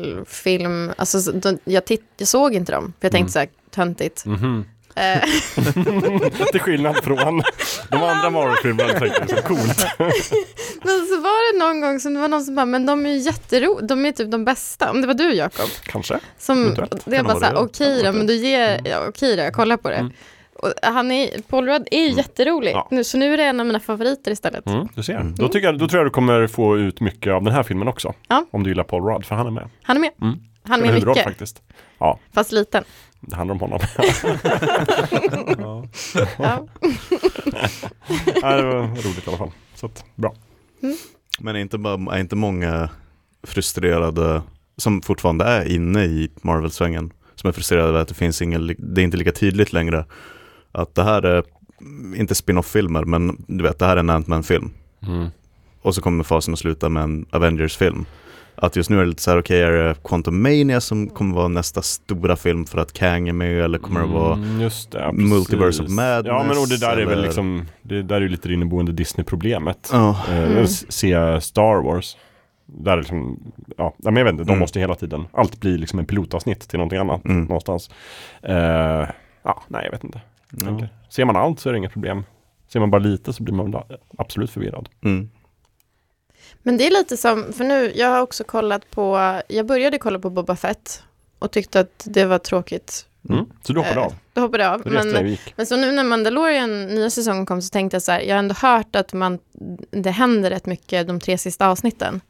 Marvel-film, alltså så- de, jag, titt, jag såg inte dem, för jag tänkte
Mm.
så här töntigt.
<laughs> Mhm.
Eh,
Till skillnad från de andra Marvel-filmerna tänkte jag, så coolt.
men så var det någon gång som det var någon som bara, men de är ju jättero, de är typ de bästa, om det var du Jakob.
Kanske.
Som,
Eventuellt.
det är
Kan
bara
vara
så här,
det.
okej då, men du ger,
Mm.
ja, okej då, jag kollar på det. Och han är, Paul Rudd är ju jätterolig,
Mm. Ja. Mm.
nu, så nu är det en av mina favoriter istället.
Mm,
Du ser. Då, tycker jag, då tror jag du kommer få ut mycket av den här filmen också.
Ja.
Om du gillar Paul Rudd, för han är med.
Han är med. Han är
Mm. Spelar
med
huvudroll
mycket,
faktiskt. Ja, <laughs>
fast liten.
det handlar om honom.
Ja.
ja, det var roligt i alla fall. Så att, bra.
Men är inte, bara, är inte många frustrerade, som fortfarande är inne i Marvel-svängen, som är frustrerade över att det finns ingen, li- det är inte lika tydligt längre att det här är, mm, inte spin-off-filmer, men du vet, det här är en Ant-Man-film. Mm. Och så kommer fasen att sluta med en Avengers-film. Att just nu är det lite så här, okej, är det Quantum Mania som kommer vara nästa stora film för att Kang är med, eller kommer det vara
Mm, just det, ja,
Multiverse
precis.
of Madness,
Ja, men och det där är väl
eller-
liksom, det där är ju lite det inneboende Disney-problemet.
Ja,
Eh,
Mm.
s- Se Star Wars. Där är liksom, ja, nej, men jag vet inte, de
Mm.
måste hela tiden, allt blir liksom en pilotavsnitt till någonting annat
Mm.
någonstans. Eh, ja, nej jag vet inte.
ja.
Okej. Ser man allt så är det inget problem. Ser man bara lite så blir man väl absolut förvirrad.
Mm.
Men det är lite som, för nu, jag har också kollat på, jag började kolla på Boba Fett och tyckte att det var tråkigt.
Mm. Så du hoppade
Eh,
av?
Då hoppade jag av.
Du reste dig
Men,
och gick?
men så nu när Mandalorian, nya säsongen kom, så tänkte jag så här, jag har ändå hört att man, det händer rätt mycket de tre sista avsnitten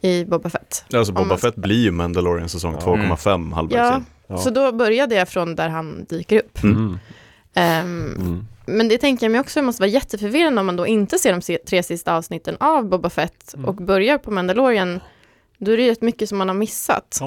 i Boba Fett.
Alltså
man
Boba
ska-
Fett blir ju Mandalorian säsong
Ja.
2,5 halvvägs
Ja.
in.
Ja.
Så då började jag från där han dyker upp.
Mm.
Ehm,
Mm.
men det tänker jag mig också måste vara jätteförvirrande om man då inte ser de se- tre sista avsnitten av Boba Fett
Mm.
och börjar på Mandalorian. Då är det ju rätt mycket som man har missat.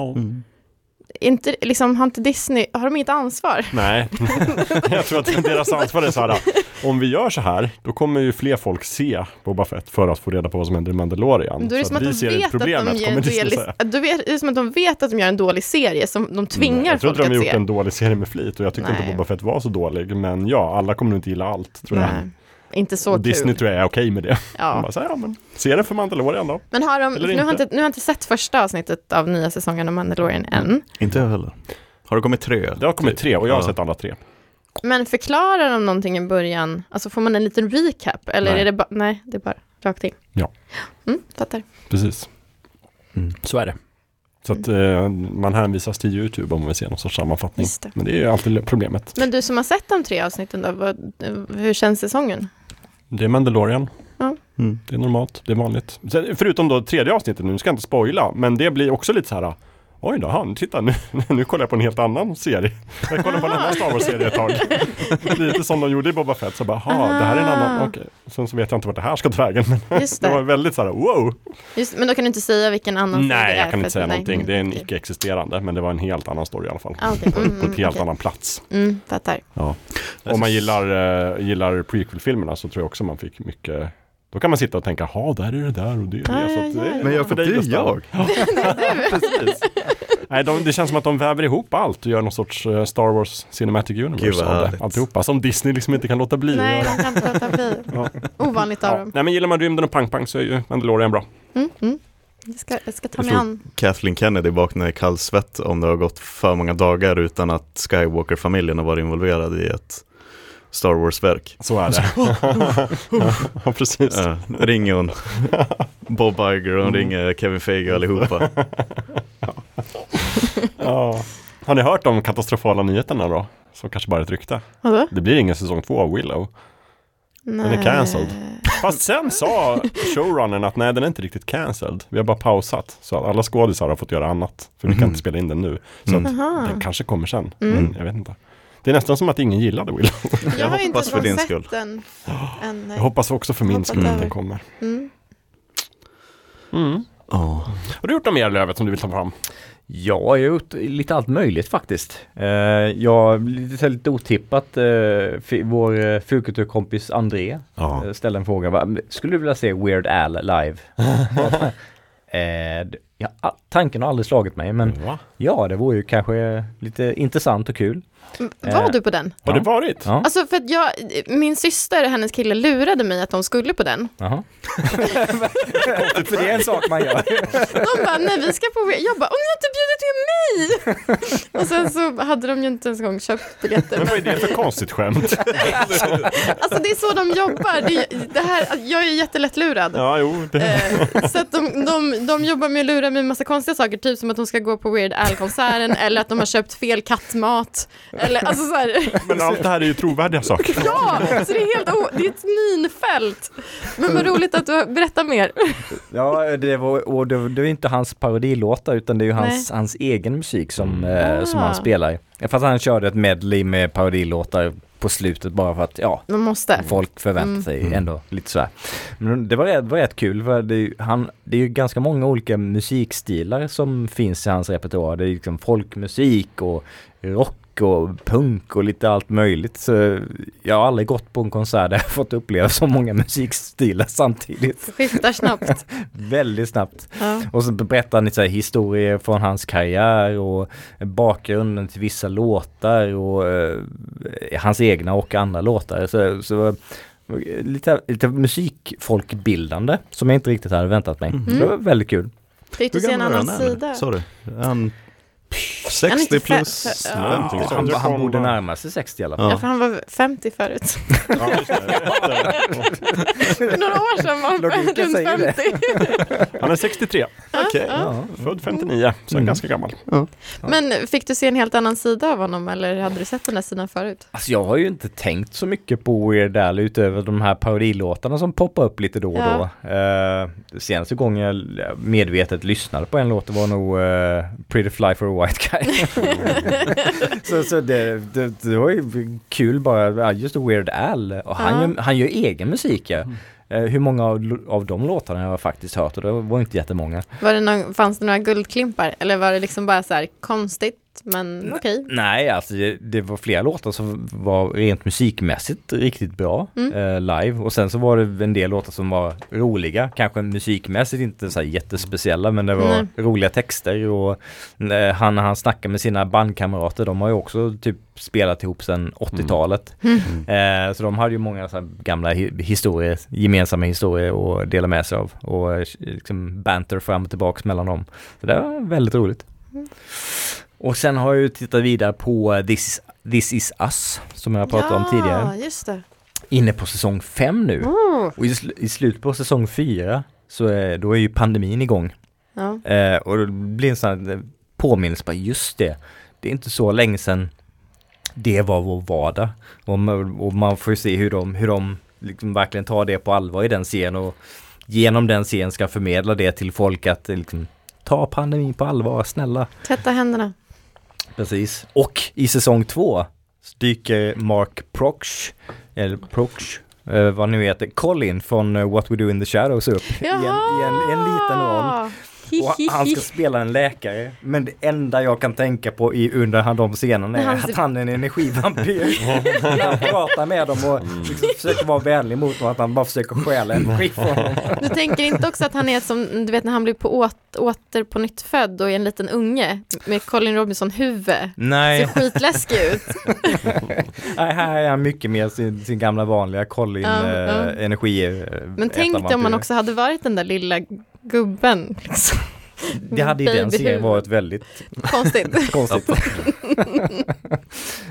inte, liksom, har inte Disney, har de inget ansvar?
Nej, <laughs> jag tror att deras ansvar är så här. Om vi gör så här, då kommer ju fler folk se Boba Fett för att få reda på vad som händer i Mandalorian.
Då är det
så
som att
vi
de
ser
vet att de
problemet,
gör
kommer
en
Disney
dålig,
säga.
att du vet, det är som att de vet att de gör en dålig serie som de tvingar
Mm, jag tror
folk
inte de
att
har gjort
se.
en dålig serie med flit och jag tyckte inte
Nej.
Boba Fett var så dålig. Men ja, alla kommer nog inte gilla allt tror jag.
Nej, inte så
Och
kul.
Disney tror jag är okej med det. De
ja.
bara, så här, ja, men, se det för Mandalorian då.
Men har de,
Eller
nu, har
inte.
inte, nu har jag inte sett första avsnittet av nya säsongen av Mandalorian än.
Inte jag heller. Har det kommit tre?
Det har kommit tre och jag har
Ja.
sett alla tre.
Men förklarar de någonting i början? Alltså får man en liten recap? Eller
Nej.
är det bara, nej, det är bara rakt in.
Ja.
Mm, fattar.
Precis.
Mm.
Så är det. Så att eh, man hänvisas till YouTube om vi ser någon sorts sammanfattning.
Just det.
Men det är ju alltid problemet.
Men du som har sett de tre avsnitten då, vad, hur känns säsongen?
Det är Mandalorian.
Mm.
Det är normalt, det är vanligt. Sen, förutom då tredje avsnittet, nu ska jag inte spoila, men det blir också lite så här Oj då, han, titta nu, <laughs> nu kollar jag på en helt annan serie. Jag kollar på en annan Star Wars-serie ett tag. Lite som de gjorde i Boba Fett, så bara, ha, det här är en annan, okej. Sen så vet jag inte vart det här ska ta vägen, men <laughs>
Just
det var
det.
väldigt så här, wow.
Just, men då kan du inte säga vilken annan serie det
Nej,
är,
jag kan
för
inte
att-
säga
nej.
någonting, det är en
Okej.
icke-existerande, men det var en helt annan story i alla fall.
Ah,
<laughs>
okej. Mm,
På
mm,
en helt
okej.
annan plats.
Mm,
<laughs>
fattar. <laughs>
Ja.
Alltså,
Om man gillar, eh, gillar prequel-filmerna så tror jag också man fick mycket då kan man sitta och tänka, ha där är det där och det är
Ja,
det. Så
ja,
att
ja,
det
ja.
Men jag
för
för
dig
det är
Gustav.
jag.
Precis. Nej, de, det känns som att de väver ihop allt och gör någon sorts eh, Star Wars Cinematic
Gud,
Universe
vad
av
härligt.
det. Alltihopa, som Disney liksom inte kan låta bli. att
Nej,
göra.
de kan inte låta bli.
Ja.
Ovanligt av
Ja.
dem.
Nej, men gillar man rymden och pang-pang så är ju Mandalorian bra.
Mm, mm. Jag, ska, jag ska ta
Jag
mig
tror-
an.
Kathleen Kennedy vaknar i kallsvett om det har gått för många dagar utan att Skywalker-familjen har varit involverad i ett Star Wars-verk.
Så är
<laughs>
det. <laughs> ja, precis.
Eh, ringer hon Bob Iger, hon ringer Kevin Feige och allihopa.
Ja. Har ni hört om katastrofala nyheterna då? Som kanske bara är ett rykte.
Vadå?
Det blir ingen säsong två av Willow.
Den
är cancelled. Fast sen sa showrunnern att nej, den är inte riktigt cancelled. Vi har bara pausat. Så att alla skådisar har fått göra annat. För vi kan
Mhm.
inte spela in den nu. Så
Mm.
att
Aha.
den kanske kommer sen.
Mm.
Men jag vet inte. Det är nästan som att ingen gillade Willow.
Jag har inte
hoppas för din
ens
skull.
sett den än. nej.
Jag hoppas också för min
Hoppas
skull att
över.
den kommer.
Mm.
Mm.
Ja.
Har du gjort något mer Lövet som du vill ta fram?
Ja, jag har gjort lite allt möjligt faktiskt. Eh, jag, lite, så här lite otippat, eh, fi- vår eh, fulkulturkompis André
Ja.
eh, ställde en fråga. Va? Skulle du vilja se Weird Al live? eh, d- ja, a- tanken har aldrig slagit mig, men
Va?
ja, det vore ju kanske lite intressant och kul.
M- Var
Eh.
du på den?
Har det varit?
Ja,
Alltså för att jag, min syster och hennes kille lurade mig att de skulle på den.
jaha. <laughs> För det är en sak man gör.
De bara, nej vi ska på Jag bara, om ni har inte bjudit med mig! Och sen så hade de ju inte ens en gång köpt
Men
biljetter.
vad är det för konstigt skämt?
Alltså det är så de jobbar. Det, är- det här, jag är jättelätt lurad.
<laughs> Ja, jo. Det...
Eh, Så att de, de, de jobbar med att lura mig med massa konstiga saker, typ som att de ska gå på Weird Al-konserten eller att de har köpt fel kattmat. Eller, alltså så här, <laughs>
Men allt det här är ju trovärdiga saker.
ja, så det är helt o, det är ett minfält. Men vad roligt att du berättar mer.
Ja, det var, och det, det är inte hans parodilåtar utan det är ju hans, hans egen musik som, eh, som
Ah.
han spelar. Fast han körde ett medley med parodilåtar på slutet bara för att ja,
De måste.
folk förväntar
Mm.
sig ändå lite sådär. Men det var, rätt- var rätt kul för det är, ju- han, det är ju ganska många olika musikstilar som finns i hans repertoar. Det är liksom folkmusik och rock och punk och lite allt möjligt. Så jag har aldrig gått på en konsert där jag fått uppleva så många musikstilar samtidigt.
<laughs> Skiftar snabbt.
Väldigt snabbt.
Ja.
Och så berättar han lite så här historier från hans karriär och bakgrunden till vissa låtar och eh, hans egna och andra låtar. Så, så eh, lite, lite musikfolkbildande som jag inte riktigt hade väntat mig. Det var väldigt kul.
Fick du se en annan
är han?
sida?
Sa du? Är Han
Han är
60
inte
plus?
fe- fe-
Ja, någonting
ja.
sånt.
du
han
kom-
borde närma sig 60 i alla fall.
Ja,
Ja.
för han var 50 förut.
Ja, just det.
För några år sedan var han
Logiken säger
runt
det.
50.
Han är 63,
Okej.
Ja.
född 59, så
Mm.
ganska gammal.
Men fick du se en helt annan sida av honom eller hade du sett den där sidan förut?
Alltså jag har ju inte tänkt så mycket på Weird Al utöver de här parodilåtarna som poppar upp lite då och
Ja.
då. Eh, senaste gången jag medvetet lyssnade på en låt det var nog eh, Pretty Fly for a White
<laughs>
Guy. så så det, det, det var ju kul bara, ja, just Weird Al. Och han,
Ja. Mm.
gör, han gör egen musik ja. Eh, Hur många av, av de låtarna har jag faktiskt hört och det var inte jättemånga.
Var det någon, fanns det några guldklimpar eller var det liksom bara så här konstigt
Mm.
men okej?
Nej, alltså det, det var flera låtar som var rent musikmässigt riktigt bra
Mm.
eh, live. Och sen så var det en del låtar som var roliga, kanske musikmässigt inte så här jättespeciella men det var
Nej.
roliga texter och eh, han, han snackar med sina bandkamrater, de har ju också typ spelat ihop sedan 80-talet.
Mm.
Eh, så de hade ju många så här gamla hi- historier, gemensamma historier att dela med sig av och eh, liksom banter fram och tillbaks mellan dem. Så det var väldigt roligt. Mm. Och sen har jag ju tittat vidare på eh, This is, This is Us som jag pratade om tidigare.
Ja, just det.
Inne på säsong 5 nu.
Oh.
Och i, sl- i slutet på säsong 4 så är, då är ju pandemin igång.
Ja.
Eh, och då blir det en sån här eh, påminnelse på just det. Det är inte så länge sedan det var vår vardag. Och man, och man får ju se hur de, hur de liksom verkligen tar det på allvar i den scenen och genom den scenen ska förmedla det till folk att eh, liksom, ta pandemin på allvar, snälla.
Tvätta händerna.
Precis. Och i säsong två så dyker Mark Proch, eller Proch, eh, vad nu heter, Colin från eh, What We Do In The
<laughs>
Shadows upp i <laughs> en, i en, en liten roll. Och
Hi, hi,
han
hi.
ska spela en läkare, men det enda jag kan tänka på i under han- de scenerna är
Han-
att han är
<laughs>
en energivampyr. <laughs> han pratar med dem och liksom försöker vara vänlig mot dem, att han bara försöker stjäla energi från dem.
Du tänker inte också att han är som, du vet när han blir på åt, åter på nytt född och är en liten unge med Colin Robinson-huvud. Ser
Nej,
skitläskig
<laughs>
ut.
Nej, här är han mycket mer sin, sin gamla vanliga Colin
Ja,
eh,
ja.
energi. eh,
Men tänk dig om man
ätarvampyr.
också hade varit den där lilla gubben.
<laughs>
Liksom.
Det hade i den serien
Babyhuvud. <laughs>
varit väldigt
Konstigt.
konstigt.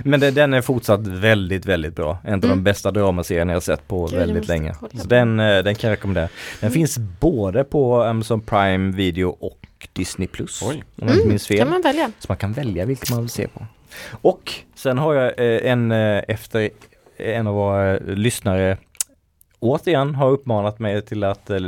Men det, den är fortsatt väldigt, väldigt bra. En av de
Mm.
bästa dramaserierna jag sett på
Gud, jag
väldigt
måste
länge.
kolla. Mm.
Så den, eh, den kan jag rekommendera. Den finns både på Amazon Prime Video och Disney Plus.
Oj.
Om jag inte minns fel.
Mm. Kan man välja?
Så man kan välja vilken man vill se på. Och sen har jag eh, en eh, efter en av våra eh, lyssnare återigen har uppmanat mig till att eh,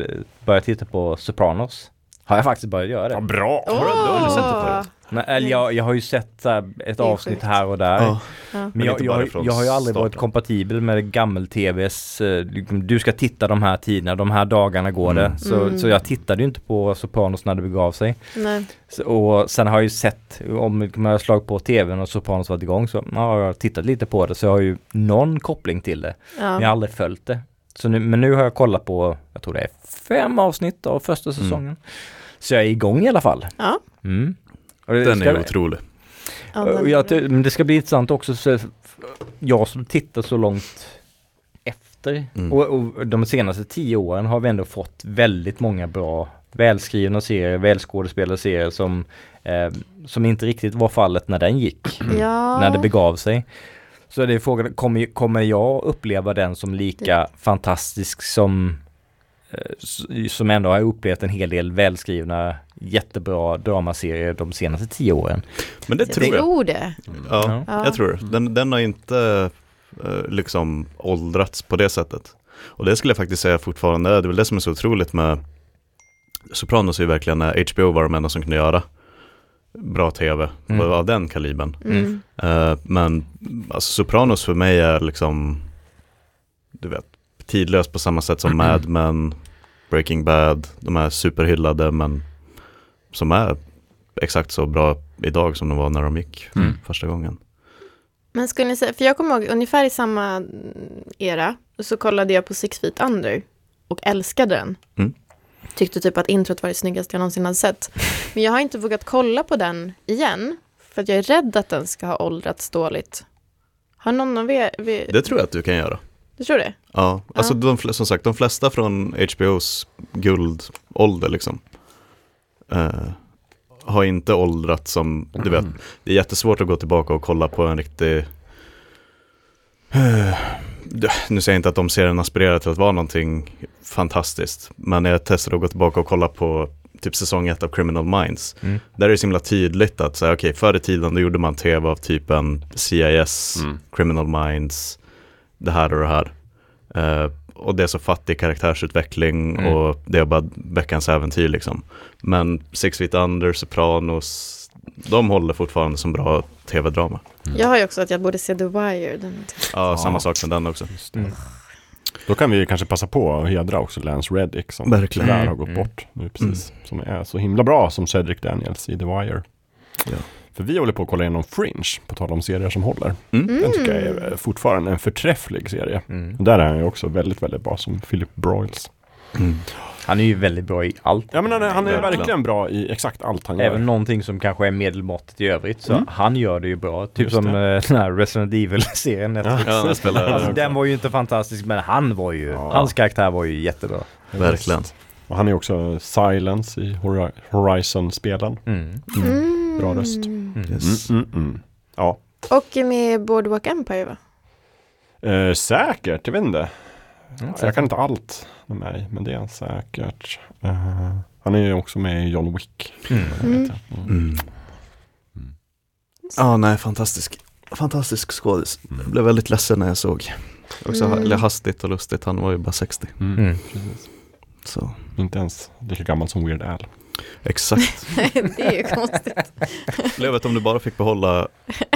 börja titta på Sopranos. Har jag faktiskt börjat göra det.
Ja, bra!
Har du- har du sett det förut?
Nej, eller jag, jag har ju sett så här, ett
Det är
avsnitt
sjukt.
här och där.
Ja.
Men
Men
jag,
inte
jag,
bara
har-
från
jag har ju aldrig varit
starten.
kompatibel med gammel-tvs, eh, liksom, du ska titta de här tiderna, de här dagarna går det.
Mm.
Så,
Mm.
så jag tittade ju inte på Sopranos när det begav sig.
Nej.
Så, och sen har jag ju sett, om jag har slagit på tvn och Sopranos varit igång så ja, har jag tittat lite på det så jag har ju någon koppling till det. Men jag
Ja.
har aldrig följt det. Så nu, men nu har jag kollat på, jag tror det är fem avsnitt av första
Mm.
säsongen. Så jag är igång i alla fall.
Ja.
Mm. Och det
Den
ska-
är otrolig.
Ja,
Eh, och
den-
jag, ty- men det ska bli intressant också, så f- jag som tittar så långt efter
Mm.
och, och de senaste tio åren har vi ändå fått väldigt många bra välskrivna serier, välskådespelade serier som, eh, som inte riktigt var fallet när den gick,
ja.
när det begav sig. Så det är frågan, kommer, kommer jag uppleva den som lika fantastisk som eh, s- som ändå har upplevt en hel del välskrivna, jättebra dramaserier de senaste tio åren.
Men det
jag
tror jag.
tror det.
Ja,
Ja.
jag tror det. Den, den har inte eh, liksom åldrats på det sättet. Och det skulle jag faktiskt säga fortfarande är, det är väl det som är så otroligt med Sopranos är ju verkligen eh, när HBO var de enda som kunde göra bra tv
Mm.
av den kalibern.
Mm.
Eh, men alltså, Sopranos för mig är liksom, du vet, tidlös på samma sätt som Mad Men, Breaking Bad, de här superhyllade men som är exakt så bra idag som de var när de gick
Mm.
första gången.
Men skulle ni säga, för jag kommer ihåg ungefär i samma era, så kollade jag på Six Feet Under och älskade den.
Mm.
Tyckte typ att introt var det snyggaste jag någonsin hade sett. Men jag har inte vågat kolla på den igen, för att jag är rädd att den ska ha åldrats dåligt. Har någon av er, vi,
Det tror jag att du kan göra.
du tror det?
Ja, alltså
Ja.
De, fl- som sagt, de flesta från HBOs guldålder liksom eh, har inte åldrats som, du vet, det är jättesvårt att gå tillbaka och kolla på en riktig eh, d- nu säger jag inte att de serierna aspirerar till att vara någonting fantastiskt, men jag testade att gå tillbaka och kolla på typ säsong ett av Criminal Minds.
Mm.
Där är det så himla tydligt att, så här, okej, förr i tiden då gjorde man tv av typ typen CIS,
Mm.
Criminal Minds, det här och det här. Eh, och det är så fattig karaktärsutveckling
Mm.
och det är bara veckans äventyr liksom. Men Six Feet Under, Sopranos, de håller fortfarande som bra tv-drama.
Jag har ju också att jag borde se The Wire. Den,
Ja,
Ja.
samma sak med den också.
Mm.
Då kan vi ju kanske passa på att hedra också Lance Reddick som
Verkligen.
tyvärr har
Mm.
gått
Mm.
bort nu precis. Som är så himla bra som Cedric Daniels i The Wire.
Ja.
För vi håller på att kolla igenom Fringe, på tal om serier som håller.
Mm.
Den tycker jag är eh, fortfarande en förträfflig serie.
Mm.
Där är han ju också väldigt, väldigt bra som Philip Broyles.
Mm.
Han är ju väldigt bra i allt.
Ja men han är, han är
Verkligen.
verkligen bra i exakt allt han
Även
gör.
någonting som kanske är medelmåttigt i övrigt. Så
Mm.
han gör det ju bra. Typ
Just
som
det.
eh, den här Resident Evil-serien. Netflix.
Ja, jag spelar <laughs>
Alltså, den var ju inte fantastisk men han var ju,
Ja.
hans karaktär var ju jättebra.
Verkligen.
Och han är också Silence i Hori- Horizon-spelen.
Mm.
Mm.
Bra röst.
Yes.
Mm, mm, mm. Ja,
Och med Boardwalk Empire va?
Eh, säkert, jag vet inte.
Mm,
Alltså, jag kan inte allt med mig, men det är han säkert. Eh, han är ju också med i John Wick.
Mm.
Mm. Ja, nej, fantastisk. Fantastisk skådis. Jag blev väldigt ledsen när jag såg. Också
Mm.
eller hastigt och lustigt, han var ju bara 60.
Mm.
Så.
Inte ens lika gammal som Weird Al.
<laughs> Exakt.
det är ju konstigt.
Lövet om du bara fick behålla...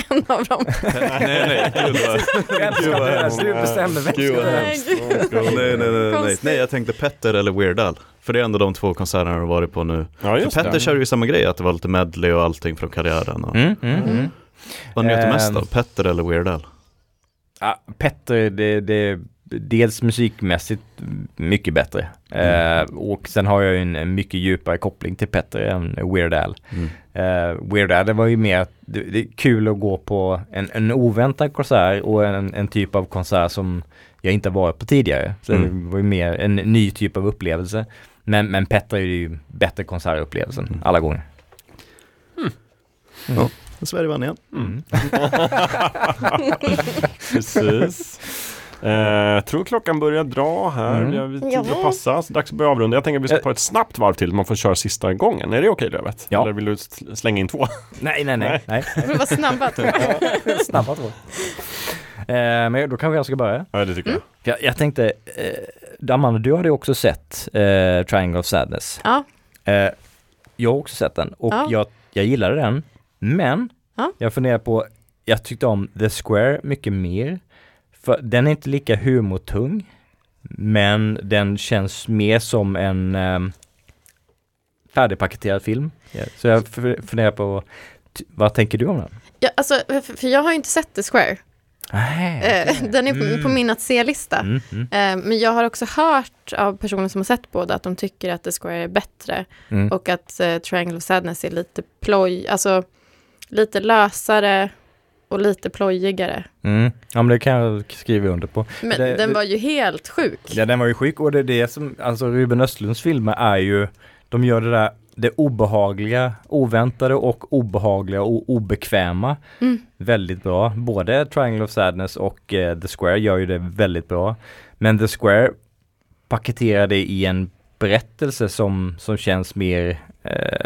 En av dem.
nej,
<laughs>
nej, gud vad...
Vem ska
Gud, vad
dö?
hemskt.
Så du bestämmer vem
Gud,
som
vad
dö.
hemskt. nej, nej, nej, nej.
Konstigt.
nej, jag tänkte Petter eller Weird Al. För det är ändå de två konserterna du har varit på nu.
Ja,
För
just
Petter
det.
kör ju samma grej, att det var lite medley och allting från karriären. Och...
Mm, mm, mm.
Vad njöt du mest
Ehm.
av, Petter eller Weird Al?
Ja, Petter, det, det, dels musikmässigt mycket bättre. Eh, och sen har jag ju en, en mycket djupare koppling till Petter än Weird Al.
Mm.
Eh, Weird Al, det var ju mer att det, det är kul att gå på en, en oväntad konsert och en, en typ av konsert som jag inte har varit på tidigare. Så
Mm.
det var ju mer en ny typ av upplevelse. Men, men Petter är ju bättre konsertupplevelsen
Mm.
alla gånger.
Sverige vann igen.
Mm.
Mm.
<laughs> Precis. Eh, tror klockan börjar dra här.
Mm.
Vi har tid
Ja.
att passa, så dags att börja avrunda. Jag tänker att vi ska
Eh.
ta ett snabbt varv till, man får köra sista gången. Är det okej Lövet?
Ja.
Eller vill du sl- slänga in två?
Nej, nej, nej. nej.
<laughs>
Vi var snabba.
Snabba tror jag. Eh, men då kanske jag ska börja.
Ja, det tycker
Jag, jag tänkte, eh, Amanda, du hade ju också sett eh, Triangle of Sadness.
Ja,
Eh, jag har också sett den och
Ja.
jag, jag gillade den. Men
Ja.
jag funderar på, jag tyckte om The Square mycket mer. För den är inte lika humortung. Men den känns mer som en eh, färdigpaketerad film. Så jag f- funderar på, t- vad tänker du om den?
ja alltså, för, för jag har ju inte sett The Square.
Nej.
Eh, den är på,
Mm.
på min att se-lista.
Mm, mm,
Eh, men jag har också hört av personer som har sett båda att de tycker att The Square är bättre
mm.
och att eh, Triangle of Sadness är lite ploj, alltså lite lösare och lite plojigare.
Mm. Ja men det kan jag skriva under på.
Men
Det-
den
det-
var ju helt sjuk.
Ja den var ju sjuk och det är det som, alltså Ruben Östlunds filmer är ju, de gör det där, det obehagliga, oväntade och obehagliga och obekväma
Mm.
väldigt bra. Både Triangle of Sadness och eh, The Square gör ju det väldigt bra. Men The Square paketerar det i en berättelse som, som känns mer eh,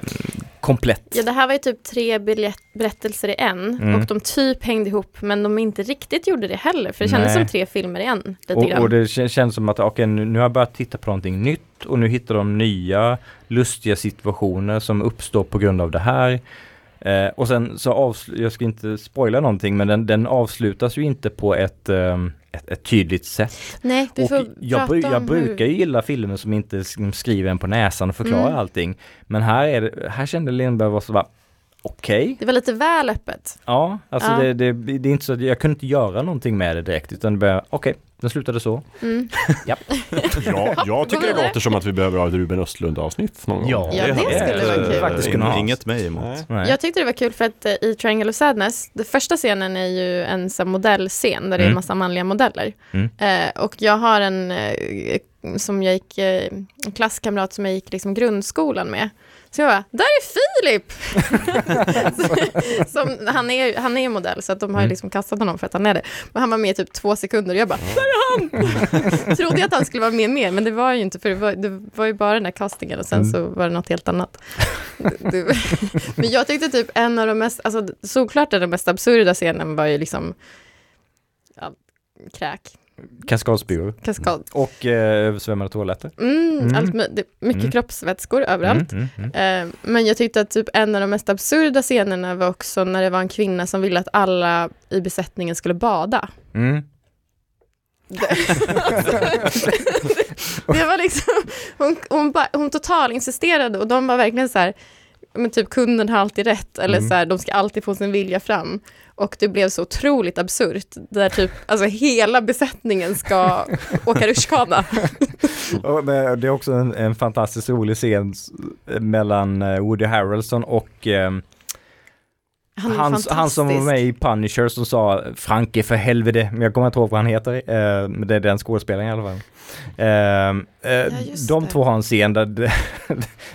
komplett.
Ja, det här var ju typ tre biljett- berättelser i en
Mm.
och de typ hängde ihop men de inte riktigt gjorde det heller för det kändes
Nej.
som tre filmer i en. Lite
Och,
grann.
och det kän- känns som att okej, nu, nu har jag börjat titta på någonting nytt och nu hittar de nya lustiga situationer som uppstår på grund av det här. Eh, och sen så avslutas, jag ska inte spoila någonting, men den, den avslutas ju inte på ett, ehm, ett, ett tydligt sätt.
Nej, vi
Och
får
jag,
prata
bru- jag
om
brukar
hur...
ju gilla filmer som inte s- skriver en på näsan och förklarar
Mm.
allting. Men här, är det, här kände Lindberg var så bara okej.
Det var lite väl öppet.
Ja, alltså
Ja.
Det, det, det är inte så att jag kunde inte göra någonting med det direkt utan det bara okej, den slutade så.
Mm.
Mm. Ja,
gå
jag tycker det
vidare.
låter som att vi behöver ha ett Ruben Östlund-avsnitt någon gång.
Ja, det
hade
skulle
jag
vara
inte-
kul.
Faktiskt kunna ha.
Inget mig emot.
Nej.
Nej.
Jag tyckte det var kul för att eh, i Triangle of Sadness, den första scenen är ju en sån här modellscen där det är
Mm.
en massa manliga modeller.
Mm.
Eh, och jag har en eh, som jag gick, eh, en klasskamrat som jag gick liksom grundskolan med. Så jag bara, där är
<laughs>
Filip! <laughs> som, han, är, han är modell så att de har ju
Mm.
liksom kastat honom för att han är det. Men han var med i typ två sekunder och jag bara, där är han! Trodde jag att han skulle vara med mer, men det var ju inte för det var, det var ju bara den där castingen och sen
Mm.
så var det något helt annat. Det- men jag tyckte typ en av de mest, alltså såklart den mest absurda scenen var ju liksom ja, kräk,
Kaskadsbyrå.
kaskad,
Och eh, översvämmade toaletter.
mm,
Mm.
Allt, mö- det, mycket
Mm.
kroppsvätskor överallt.
Mm, mm,
Eh, men jag tyckte att typ en av de mest absurda scenerna var också när det var en kvinna som ville att alla i besättningen skulle bada.
mm. Mm.
Det, <laughs> alltså, det, det var liksom, hon, hon, ba- hon totalinsisterade och de var verkligen så här, men typ kunden har alltid rätt eller
Mm.
så här, de ska alltid få sin vilja fram. Och det blev så otroligt absurt, där typ alltså hela besättningen
<laughs>
ska åka rutschkana.
Och, men, det är också en, en fantastiskt rolig scen s- mellan eh, Woody Harrelson och ehm,
Han är
han,
fantastisk.
han som var med i Punisher som sa Franke för helvete, men jag kommer inte ihåg vad han heter, eh, men det är den skådespelaren i alla fall. Ehm, eh,
just
de
det.
två har en scen där, <laughs> det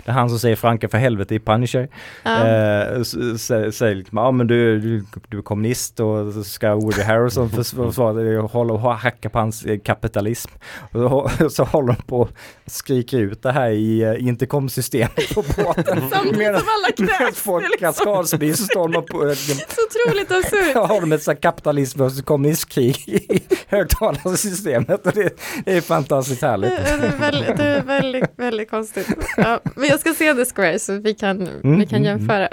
är han som säger Franke för helvete i Punisher
Ja.
Eh, s- sä- Säger liksom, ja men du, du, du är kommunist och så ska Woody Harrelson försv- försvara dig och hålla och ha- hacka på hans eh, kapitalism. Och så, <laughs> så håller de på och skriker ut det här i eh, intercomsystemet på
<laughs>
båten.
Samtidigt
Medan-
som alla kräks.
medan
Det är
<laughs> folk
liksom
kaskadsby så står de och på, eh,
så otroligt absurt.
har de ett sånt här kapitalism och så kommunistkrig i <laughs> högtalarsystemet. Och det, det är fantastiskt härligt.
Det är väldigt, det är väldigt, väldigt konstigt. Ja, men jag ska se The Square så vi kan, vi kan
mm, mm.
jämföra.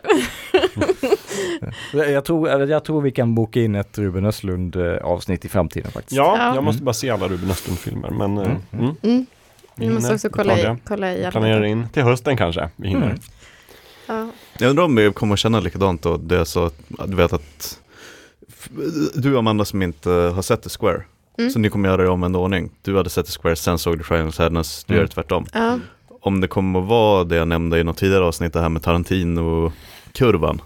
Jag tror, jag tror vi kan boka in ett Ruben Östlund eh, avsnitt i framtiden faktiskt.
Ja,
Ja.
jag måste bara se alla Ruben Östlund-filmer. Men eh, mm.
Mm. Vi
hinner.
måste också
Vi
kolla,
tar
i,
det.
kolla i alla.
Planera in till hösten kanske. Vi hinner.
Mm.
Ja.
Jag undrar om vi kommer att känna likadant då, det är så att ja, du vet att f- du Amanda som inte har sett The Square,
Mm.
så ni kommer göra det om en ordning. Du hade sett The Square, sen såg du Triangle of Sadness, du
Mm.
gör det tvärtom.
Ja.
Om det kommer att vara det jag nämnde i något tidigare avsnitt, det här med Tarantino-kurvan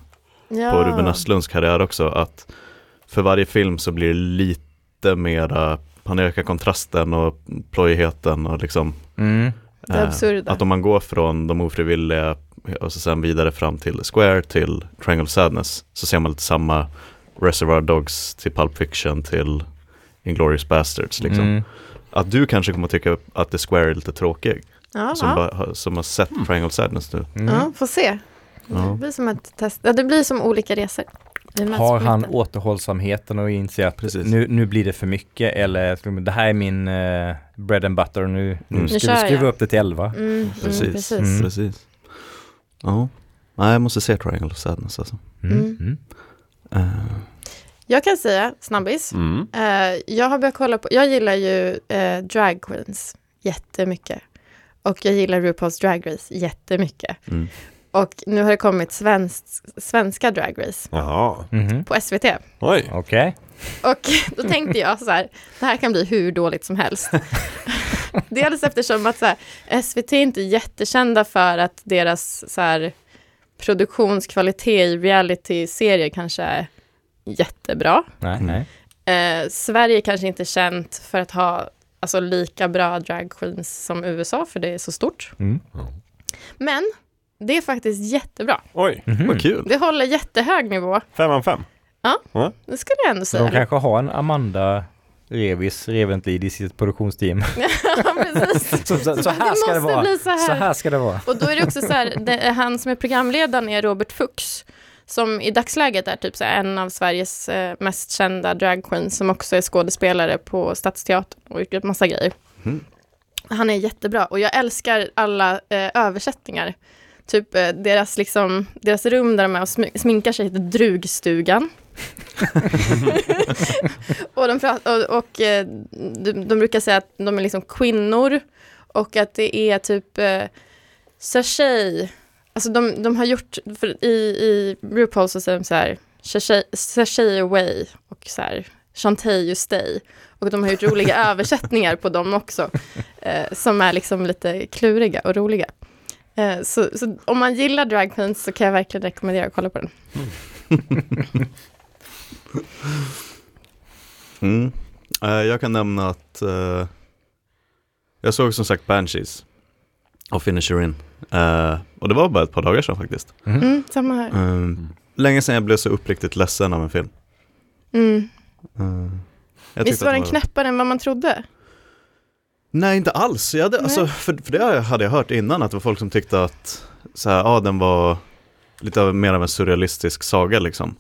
Ja.
på Ruben Östlunds karriär också, att för varje film så blir det lite mera, han ökar kontrasten och plojigheten och liksom
Mm.
Det är
Eh,
absurda.
Att om man går från de ofrivilliga och så sen vidare fram till Square till Triangle of Sadness så ser man lite samma Reservoir Dogs till Pulp Fiction till Inglourious Basterds liksom.
Mm.
Att du kanske kommer tycka att The Square är lite tråkig
Ja,
som,
ja.
bara har- som har sett
Mm.
Triangle of Sadness nu.
Mm.
ja, får se.
Ja.
Det blir som ett test. Ja, det blir som olika resor. Vi möts
Har
på
han
mitten.
återhållsamheten och inser att
Precis.
nu, nu blir det för mycket eller det här är min eh, bread and butter och nu,
Mm.
nu ska
Nu
vi
kör
skruva
jag.
upp det till 11.
Mm, mm,
Precis.
precis.
Mm.
Precis. Ja. Nej, jag måste se Triangle of Sadness alltså.
Mm.
Mm.
Mm.
Eh,
Jag kan säga, snabbis,
Mm.
Eh, jag har börjat kolla på, jag gillar ju eh, drag queens jättemycket. Och jag gillar RuPaul's Drag Race jättemycket.
mm.
Och nu har det kommit svenskt- svenska Drag Race
Jaha.
Mhm.
på SVT.
Oj.
Okej.
Och då tänkte jag så här, det här kan bli hur dåligt som helst. Dels eftersom att så här, SVT är inte jättekända för att deras så här, produktionskvalitet i reality-serier kanske är jättebra.
Nej, nej.
Eh, Sverige kanske inte är känt för att ha alltså, lika bra drag queens som USA, för det är så stort.
Mm.
Men det är faktiskt jättebra.
Oj.
Mm.
Mhm.
Vad kul.
Det håller jättehög nivå,
Fem av fem.
det skulle jag ändå
De
säga.
kanske har en Amanda Revis Reventlid i sitt produktionsteam.
<laughs> Ja, precis.
Så, så, så här
Det
ska det
måste
vara.
bli så här.
Så här ska det vara.
Och då är det också så här, det är han som är programledaren är Robert Fuchs, som i dagsläget är typ så här, en av Sveriges eh, mest kända drag queens, som också är skådespelare på Stadsteatern och gjort en massa grejer.
Mm.
Han är jättebra och jag älskar alla eh, översättningar. Typ eh, deras, liksom, deras rum där de är och smi- sminkar sig heter Drugstugan. <laughs> och de, pra- och, och eh, de, de brukar säga att de är liksom kvinnor och att det är typ eh, sachet. Alltså de, de har gjort, för i, i RuPaul så säger de så här, sachet- sachet away och så här, Chantay you stay. Och de har gjort roliga
<laughs>
översättningar på dem också, eh, som är liksom lite kluriga och roliga. Eh, så, så om man gillar drag queens så kan jag verkligen rekommendera att kolla på den.
Mm. Eh, jag kan nämna att eh, jag såg som sagt Banshees och Finisher In. Eh, och det var bara ett par dagar sedan faktiskt.
Mm, samma här.
Eh, Länge sedan jag blev så uppriktigt ledsen av en film.
Mm.
Eh, jag
Visst
tyckte
var
att
den knäppare än vad man trodde?
Nej, inte alls. Jag hade,
Nej.
alltså, för, för det hade jag hört innan, att det var folk som tyckte att så här, ja, den var lite av, mer av en surrealistisk saga liksom.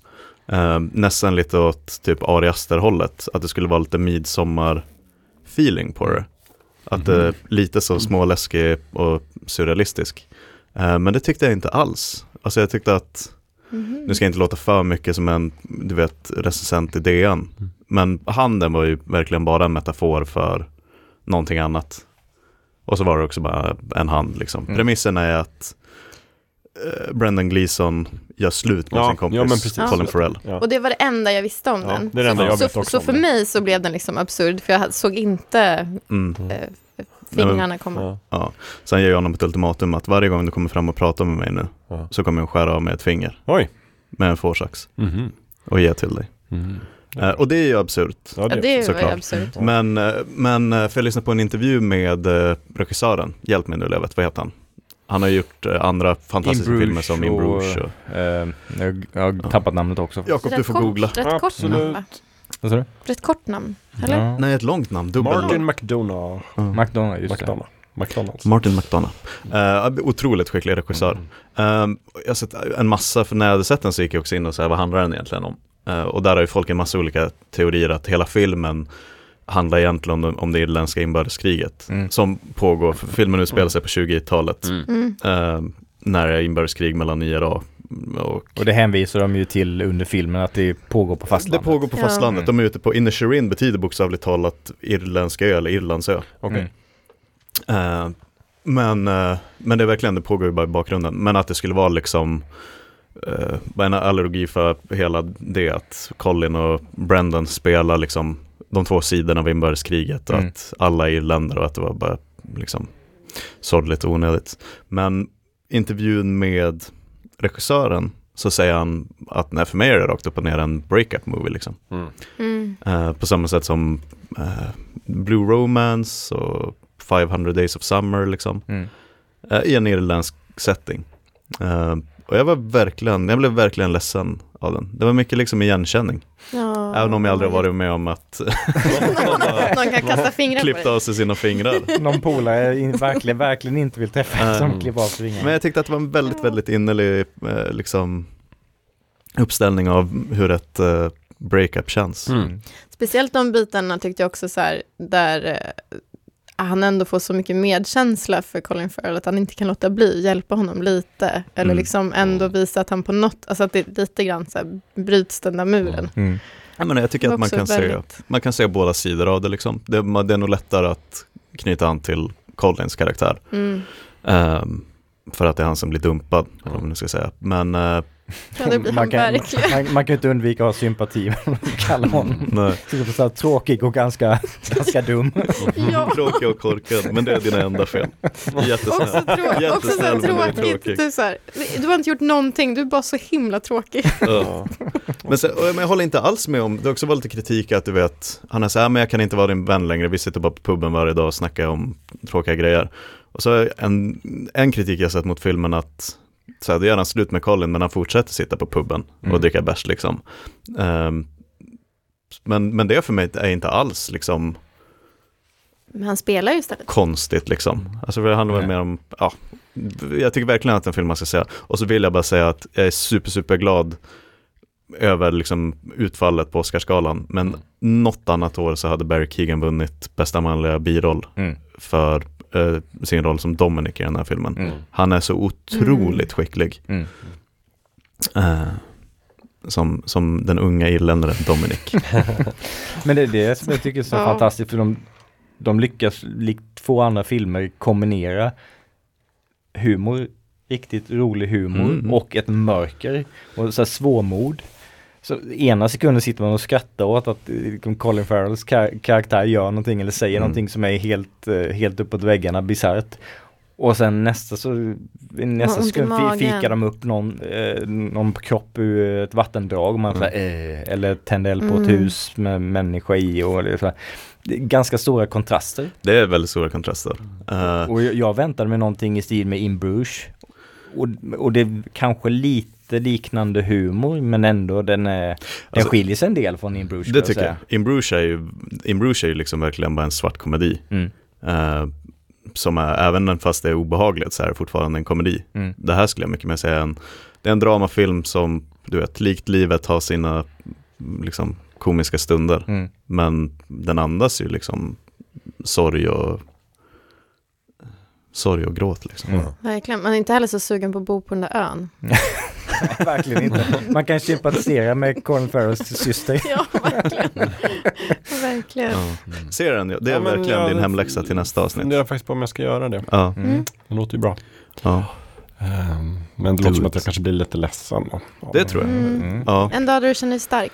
Eh, nästan lite åt typ Ari Aster-hållet, att det skulle vara lite midsommar-feeling på det. Att det är lite så småläskig och surrealistisk. Eh, men det tyckte jag inte alls. Alltså jag tyckte att,
Mm-hmm.
nu ska jag inte låta för mycket som en, du vet, recensent i DN,
Mm.
men handen var ju verkligen bara en metafor för någonting annat. Och så var det också bara en hand liksom.
Mm.
Premissen är att eh, Brendan Gleeson gör slut med
Ja,
sin kompis
ja, men precis.
Colin Farrell.
Ja.
Och det var det enda jag visste om
Ja,
den.
det är det enda
så,
jag vet
så,
också
så
om
för
den.
mig så blev den liksom absurd, för jag hade- såg inte
Mm.
eh, fingrarna komma.
Ja.
Sen ger jag honom ett ultimatum att varje gång du kommer fram och pratar med mig nu
Ja.
så kommer jag skära av mig ett finger
Oj.
med en fårsax
Mhm.
och ge till dig.
Mm.
Eh, och det är ju absurt.
Ja,
Ja, det var ju
såklart.
absurt.
Men, eh, men eh, för jag lyssnade på en intervju med eh, regissören, hjälp mig nu Lövet, vad heter han? Han har gjort eh, andra fantastiska
Bruges
filmer som In
och-
Bruges och...
Eh, jag, jag har tappat namnet också.
Jakob, du
Rätt
får
kort-
googla.
Rätt kort namn,
Absolut.
va?
Vad sa du?
Rätt kort namn, eller?
Ja.
Nej, ett långt namn, dubbel
Martin McDonough.
Ja.
McDonald, just det.
McDonough. McDonalds. Mm.
Martin McDonough. Eh, otroligt skicklig regissör. Eh, jag har sett en massa, för när jag hade sett den så gick jag också in och så här, vad handlar den egentligen om? Eh, och där har ju folk en massa olika teorier att hela filmen handlar egentligen om, om det irländska inbördeskriget
Mm.
som pågår, för filmen utspelar sig på 20-talet
Mm.
eh, när det är inbördeskrig mellan IRA och
Och det hänvisar de ju till under filmen att det pågår på
Det
fastlandet.
pågår på
Ja.
fastlandet,
Mm.
de är ute på, Inisherin betyder bokstavligt talat irländska ö eller Irlandsö.
Okej.
Mm.
Eh, men, eh, men det är verkligen, det pågår ju bara i bakgrunden. Men att det skulle vara liksom eh, bara en allergi för hela det att Colin och Brendan spelar liksom de två sidorna av inbördeskriget och
Mm.
att alla är irländare och att det var bara liksom sorgligt och onödigt. Men intervjun med regissören så säger han att nej, för mig är det rakt upp och ner en breakup movie liksom.
Mm.
Mm.
Eh, på samma sätt som eh, Blue Romance och 500 Days of Summer liksom.
Mm.
Eh, I en irländsk setting. Eh, och jag var verkligen, jag blev verkligen ledsen av den. Det var mycket liksom igenkänning.
Ja.
Även om jag aldrig varit med om att
<laughs> Någon kan kasta fingrar på
klippa
dig.
av sig sina fingrar.
Någon polare jag in- verkligen, verkligen inte vill träffa
Mm.
som klipper av sig
Men
vingarna.
jag tyckte att det var en väldigt, väldigt innerlig eh, liksom uppställning av hur ett eh, breakup känns.
Mm.
Speciellt de bitarna tyckte jag också så här, där eh, han ändå får så mycket medkänsla för Colin Farrell, att han inte kan låta bli, hjälpa honom lite, eller
Mm.
liksom ändå visa att han på något, alltså att det lite grann så här, bryts den där muren.
Mm.
Ja, men jag tycker
Men
att man
också
kan, se,
väldigt-
man kan se båda sidor av det. Liksom. Det, man, det är nog lättare att knyta an till Collins karaktär.
Mm.
ehm, för att det är han som blir dumpad, eller vad man nu ska säga. Men eh,
Ja, det blir han
man, kan,
verkligen.
man, man kan ju inte undvika att ha sympati med honom, kalla honom.
nej,
Så det är så här tråkig och ganska, <laughs> ganska dum.
<laughs> Ja.
tråkig och korkad, men det är dina enda fel.
Också,
Jättesnäll.
trå- också så här
Jättesnäll, men det är
tråkigt.
tråkigt.
Du, så här, du har inte gjort någonting, du är bara så himla tråkig.
Ja. Men, sen, och, men jag håller inte alls med om, det har också varit lite kritik att du vet, han är så här, men jag kan inte vara din vän längre, vi sitter bara på puben varje dag och snackar om tråkiga grejer. Och så är en, en kritik jag sett mot filmen att, så här, det gör han slut med Colin, men han fortsätter sitta på puben och
Mm.
dricka bärs liksom. Ehm, men, men det för mig är inte alls liksom
Men han spelar ju istället.
konstigt liksom. Alltså det handlar väl
Nej.
mer om, ja, jag tycker verkligen att en film man ska se. Och så vill jag bara säga att jag är super, super glad över liksom utfallet på Oscarsgalan. Men något annat år så hade Barry Keegan vunnit bästa manliga biroll
Mm.
för eh, sin roll som Dominic i den här filmen.
Mm.
Han är så otroligt skicklig
Mm.
eh, som, som den unga irländaren Dominic.
Men det är det som jag tycker är så
Ja.
fantastiskt för de, de lyckas likt få andra filmer kombinera humor, riktigt rolig humor
Mm.
och ett mörker och så här svårmod. Så ena sekunden sitter man och skrattar åt att eh, liksom Colin Farrells kar- karaktär gör någonting eller säger
Mm.
någonting som är helt, eh, helt uppåt väggarna, bisarrt. Och sen nästa så, i nästa
ont i
sekund fi-
magen.
fikar de upp någon, eh, någon kropp ur ett vattendrag och man
Mm.
så här, eh, eller tänder eld på
Mm.
ett hus med människa i och det är så här. Det är ganska stora kontraster.
<laughs> Det är väldigt stora kontraster. Eh,
Och jag, jag väntade mig någonting i stil med In Bruges. Och, och det är kanske lite liknande humor men ändå den, är, den
Alltså,
skiljer sig en del från In Bruges.
det
kan
tycker jag.
säga.
In Bruges är ju, In Bruges är ju liksom verkligen bara en svart komedi.
Mm.
Eh, som är, även den fast det är obehagligt så är det fortfarande en komedi.
Mm.
Det här skulle jag mycket mer säga en, det är en dramafilm som, du vet, likt livet har sina liksom komiska stunder.
Mm. <laughs>
Men den andas ju liksom sorg och sorg och gråt liksom.
Mm.
Verkligen, man är inte heller så sugen på att bo på den där ön.
Verkligen inte. Man kan sympatisera med Colin Farrells syster.
Ja, verkligen. <laughs> verkligen.
Ja. Ser den, det är
Ja, men
verkligen
jag
din hemläxa till nästa avsnitt.
Funderar faktiskt på om <laughs> jag ska göra det.
Ja,
Mm.
Det låter ju bra.
ja,
Ehm, men det
Do
låter som att
it.
jag kanske blir lite ledsen. Då. Ja.
det tror jag.
Mm.
Mm.
Ja.
En dag då du känner dig stark.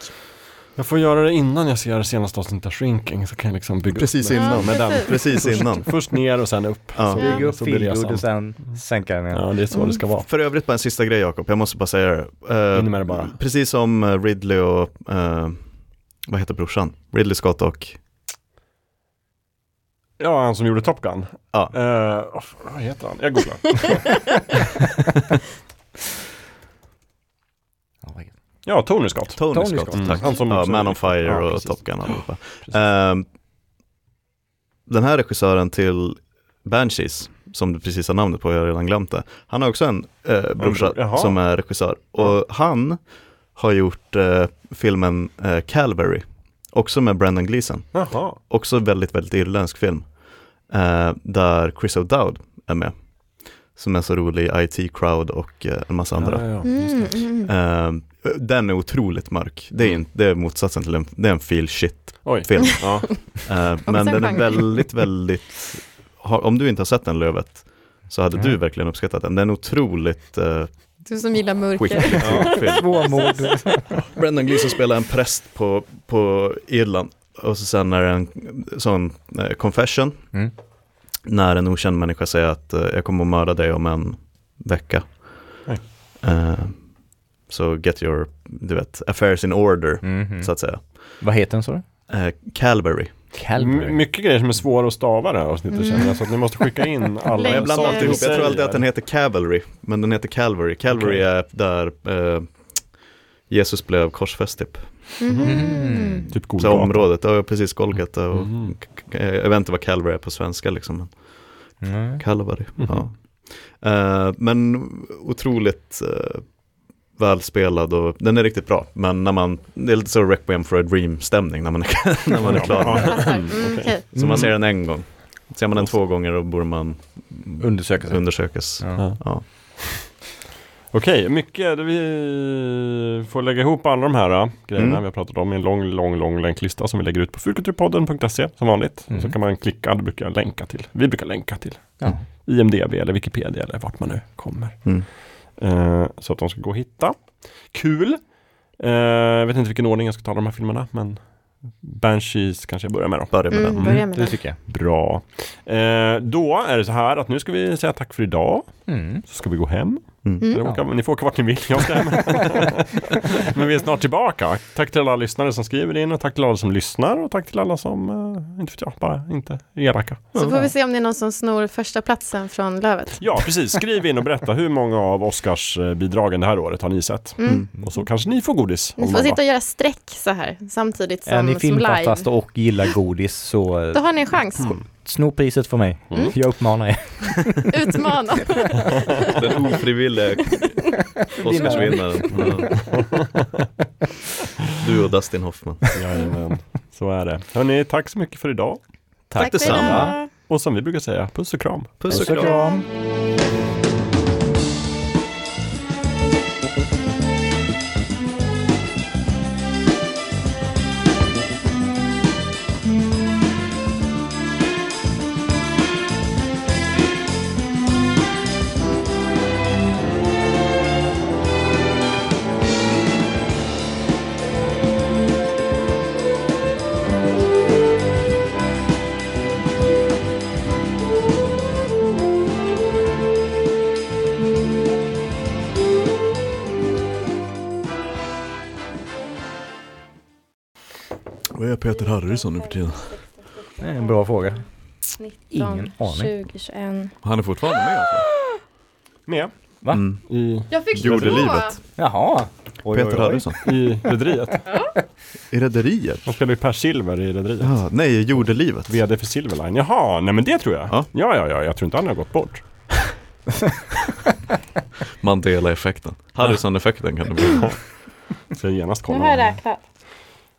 Jag får göra det innan jag ser senaste avsnittet av Shrinking så kan jag liksom bygga
Precis
upp
innan.
med den.
Precis innan.
Först ner och sen upp.
Ja.
Så,
Bygga upp
så blir
feelgood
resan.
och sen sänka den. igen.
Ja, det är så det ska vara.
För övrigt bara en sista grej Jakob, jag måste bara säga det. Eh,
In med det bara.
Precis som eh, Ridley och, eh, vad heter brorsan? Ridley Scott och,
Ja, han som gjorde Top Gun.
ja,
Eh, vad fan, vad heter han? Jag googlar. <laughs> Ja, Tony Scott.
Tony,
Tony
Scott,
Scott.
Mm,
tack.
han som
ja,
också-
Man on Fire
Ja,
och
precis.
Top Gun allihopa.
Precis.
Eh, den här regissören till Banshees, som du precis har namnet på, jag har redan glömt det. Han har också en eh, brorsa
bror, jaha.
som är regissör. Och han har gjort eh, filmen eh, Calvary, också med Brendan Gleeson.
Jaha.
också väldigt, väldigt irländsk film. Eh, där Chris O'Dowd är med. Som är så rolig i IT Crowd och eh, en massa andra.
Ja, ja, ja. Just
Mm,
det.
mm.
Eh, den är otroligt mörk. Det är, inte, det är motsatsen till en, det är en feel shit
Oj.
film.
Ja.
Eh, men
en
den är
genre.
väldigt, väldigt, har, om du inte har sett den Lövet, så hade du
Mm.
verkligen uppskattat den. Den är otroligt eh,
Du som gillar
<laughs>
mörker.
skicklig film.
<laughs>
Svårmod.
Brendan Gleeson spelar en präst på, på Irland och så sen är det en sån eh, confession
Mm.
när en okänd människa säger att eh, jag kommer att mörda dig om en vecka.
Oj.
Eh, så get your, du vet, affairs in order,
Mhm.
så att säga.
Vad heter den sa du?
Eh, Calvary.
M- mycket grejer som är svåra att stava det här avsnittet
Mm.
känner jag, så att ni måste skicka <laughs> in alla
Nej,
Jag blandar
saker
alltid
ni
ihop, jag tror alltid
säger.
att den heter Cavalry, men den heter Calvary. Calvary
Okej.
är där eh, Jesus blev korsfäst typ.
Mhm.
Typ
Så
Golgata.
området, ja precis Golgata och
Mhm.
eh, jag vet inte vad Calvary är på svenska liksom. Men
Mm.
Calvary,
Mhm.
ja. Eh, men otroligt eh, välspelad och den är riktigt bra. Men när man, det är lite så Requiem for a Dream-stämning när man är, <laughs> när man är klar.
Ja.
Passar. Mm, okej.
Så man ser den en gång. Ser man den två gånger då borde man
Undersöka sig.
undersökas.
Ja.
Ja.
Ja.
Okej, mycket. Vi får lägga ihop alla de här äh, grejerna
Mm.
vi har pratat om i en lång, lång, lång länklista som vi lägger ut på fulkulturpodden.se som vanligt. Och Så
Mm.
kan man klicka, det brukar jag länka till. Vi brukar länka till
Ja.
IMDB eller Wikipedia eller vart man nu kommer.
Mm.
Eh, så att de ska gå och hitta. Kul! Eh, jag vet inte vilken ordning jag ska ta de här filmerna, men Banshees kanske jag börjar med då.
Börja med
Mm,
den.
börja med
Det
den.
tycker jag.
Bra. Eh, då är det så här att nu ska vi säga tack för idag,
Mm.
så ska vi gå hem.
Mm.
Eller åka, Ni får åka vart ni vill, jag <laughs> ska hem. Men vi är snart tillbaka. Tack till alla lyssnare som skriver in och tack till alla som lyssnar och tack till alla som, eh, inte vet jag, bara inte är elaka.
Så får vi se om det är någon som snor första platsen från Lövet.
Ja, precis. Skriv in och berätta hur många av Oscarsbidragen det här året har ni sett?
Mm.
Och så kanske ni får godis.
Ni
om
får
några.
sitta och göra streck så här samtidigt
Är ni alltså
som, som live.
filmfantaster och gillar godis så eh,
Då Mm. har ni en chans.
sno priset för mig. Jag uppmanar er.
Mm. <laughs>
Utmana.
Den ofrivilliga <laughs> Oscarsvinnaren. Ja. Du och Dustin Hoffman.
Mm, Jajamän, så är det. Hörni, tack så mycket för idag.
Tack
för idag.
detsamma.
Och som vi brukar säga, puss och kram.
Puss och kram. Vad är Peter Harrison nu för tiden?
Det är en bra fråga.
19,
Ingen aning.
20, 21.
Han är fortfarande med alltså.
Med
Va?
Mm.
i,
Jag fick
Gjorde
två.
livet.
Jaha. Oj,
Peter
oj, oj.
Harrison.
i Rederiet.
I Rederiet?
De spelar ju Per Silver i Rederiet.
Ja, nej, jordelivet.
VD för Silverline. Jaha, nej men det tror jag. Ja,
Ja.
ja, ja, jag tror inte han har gått bort.
Mandela-effekten. Harrison-effekten kan det bli. <laughs>
Så jag genast
Nu
kolla.
har jag räknat.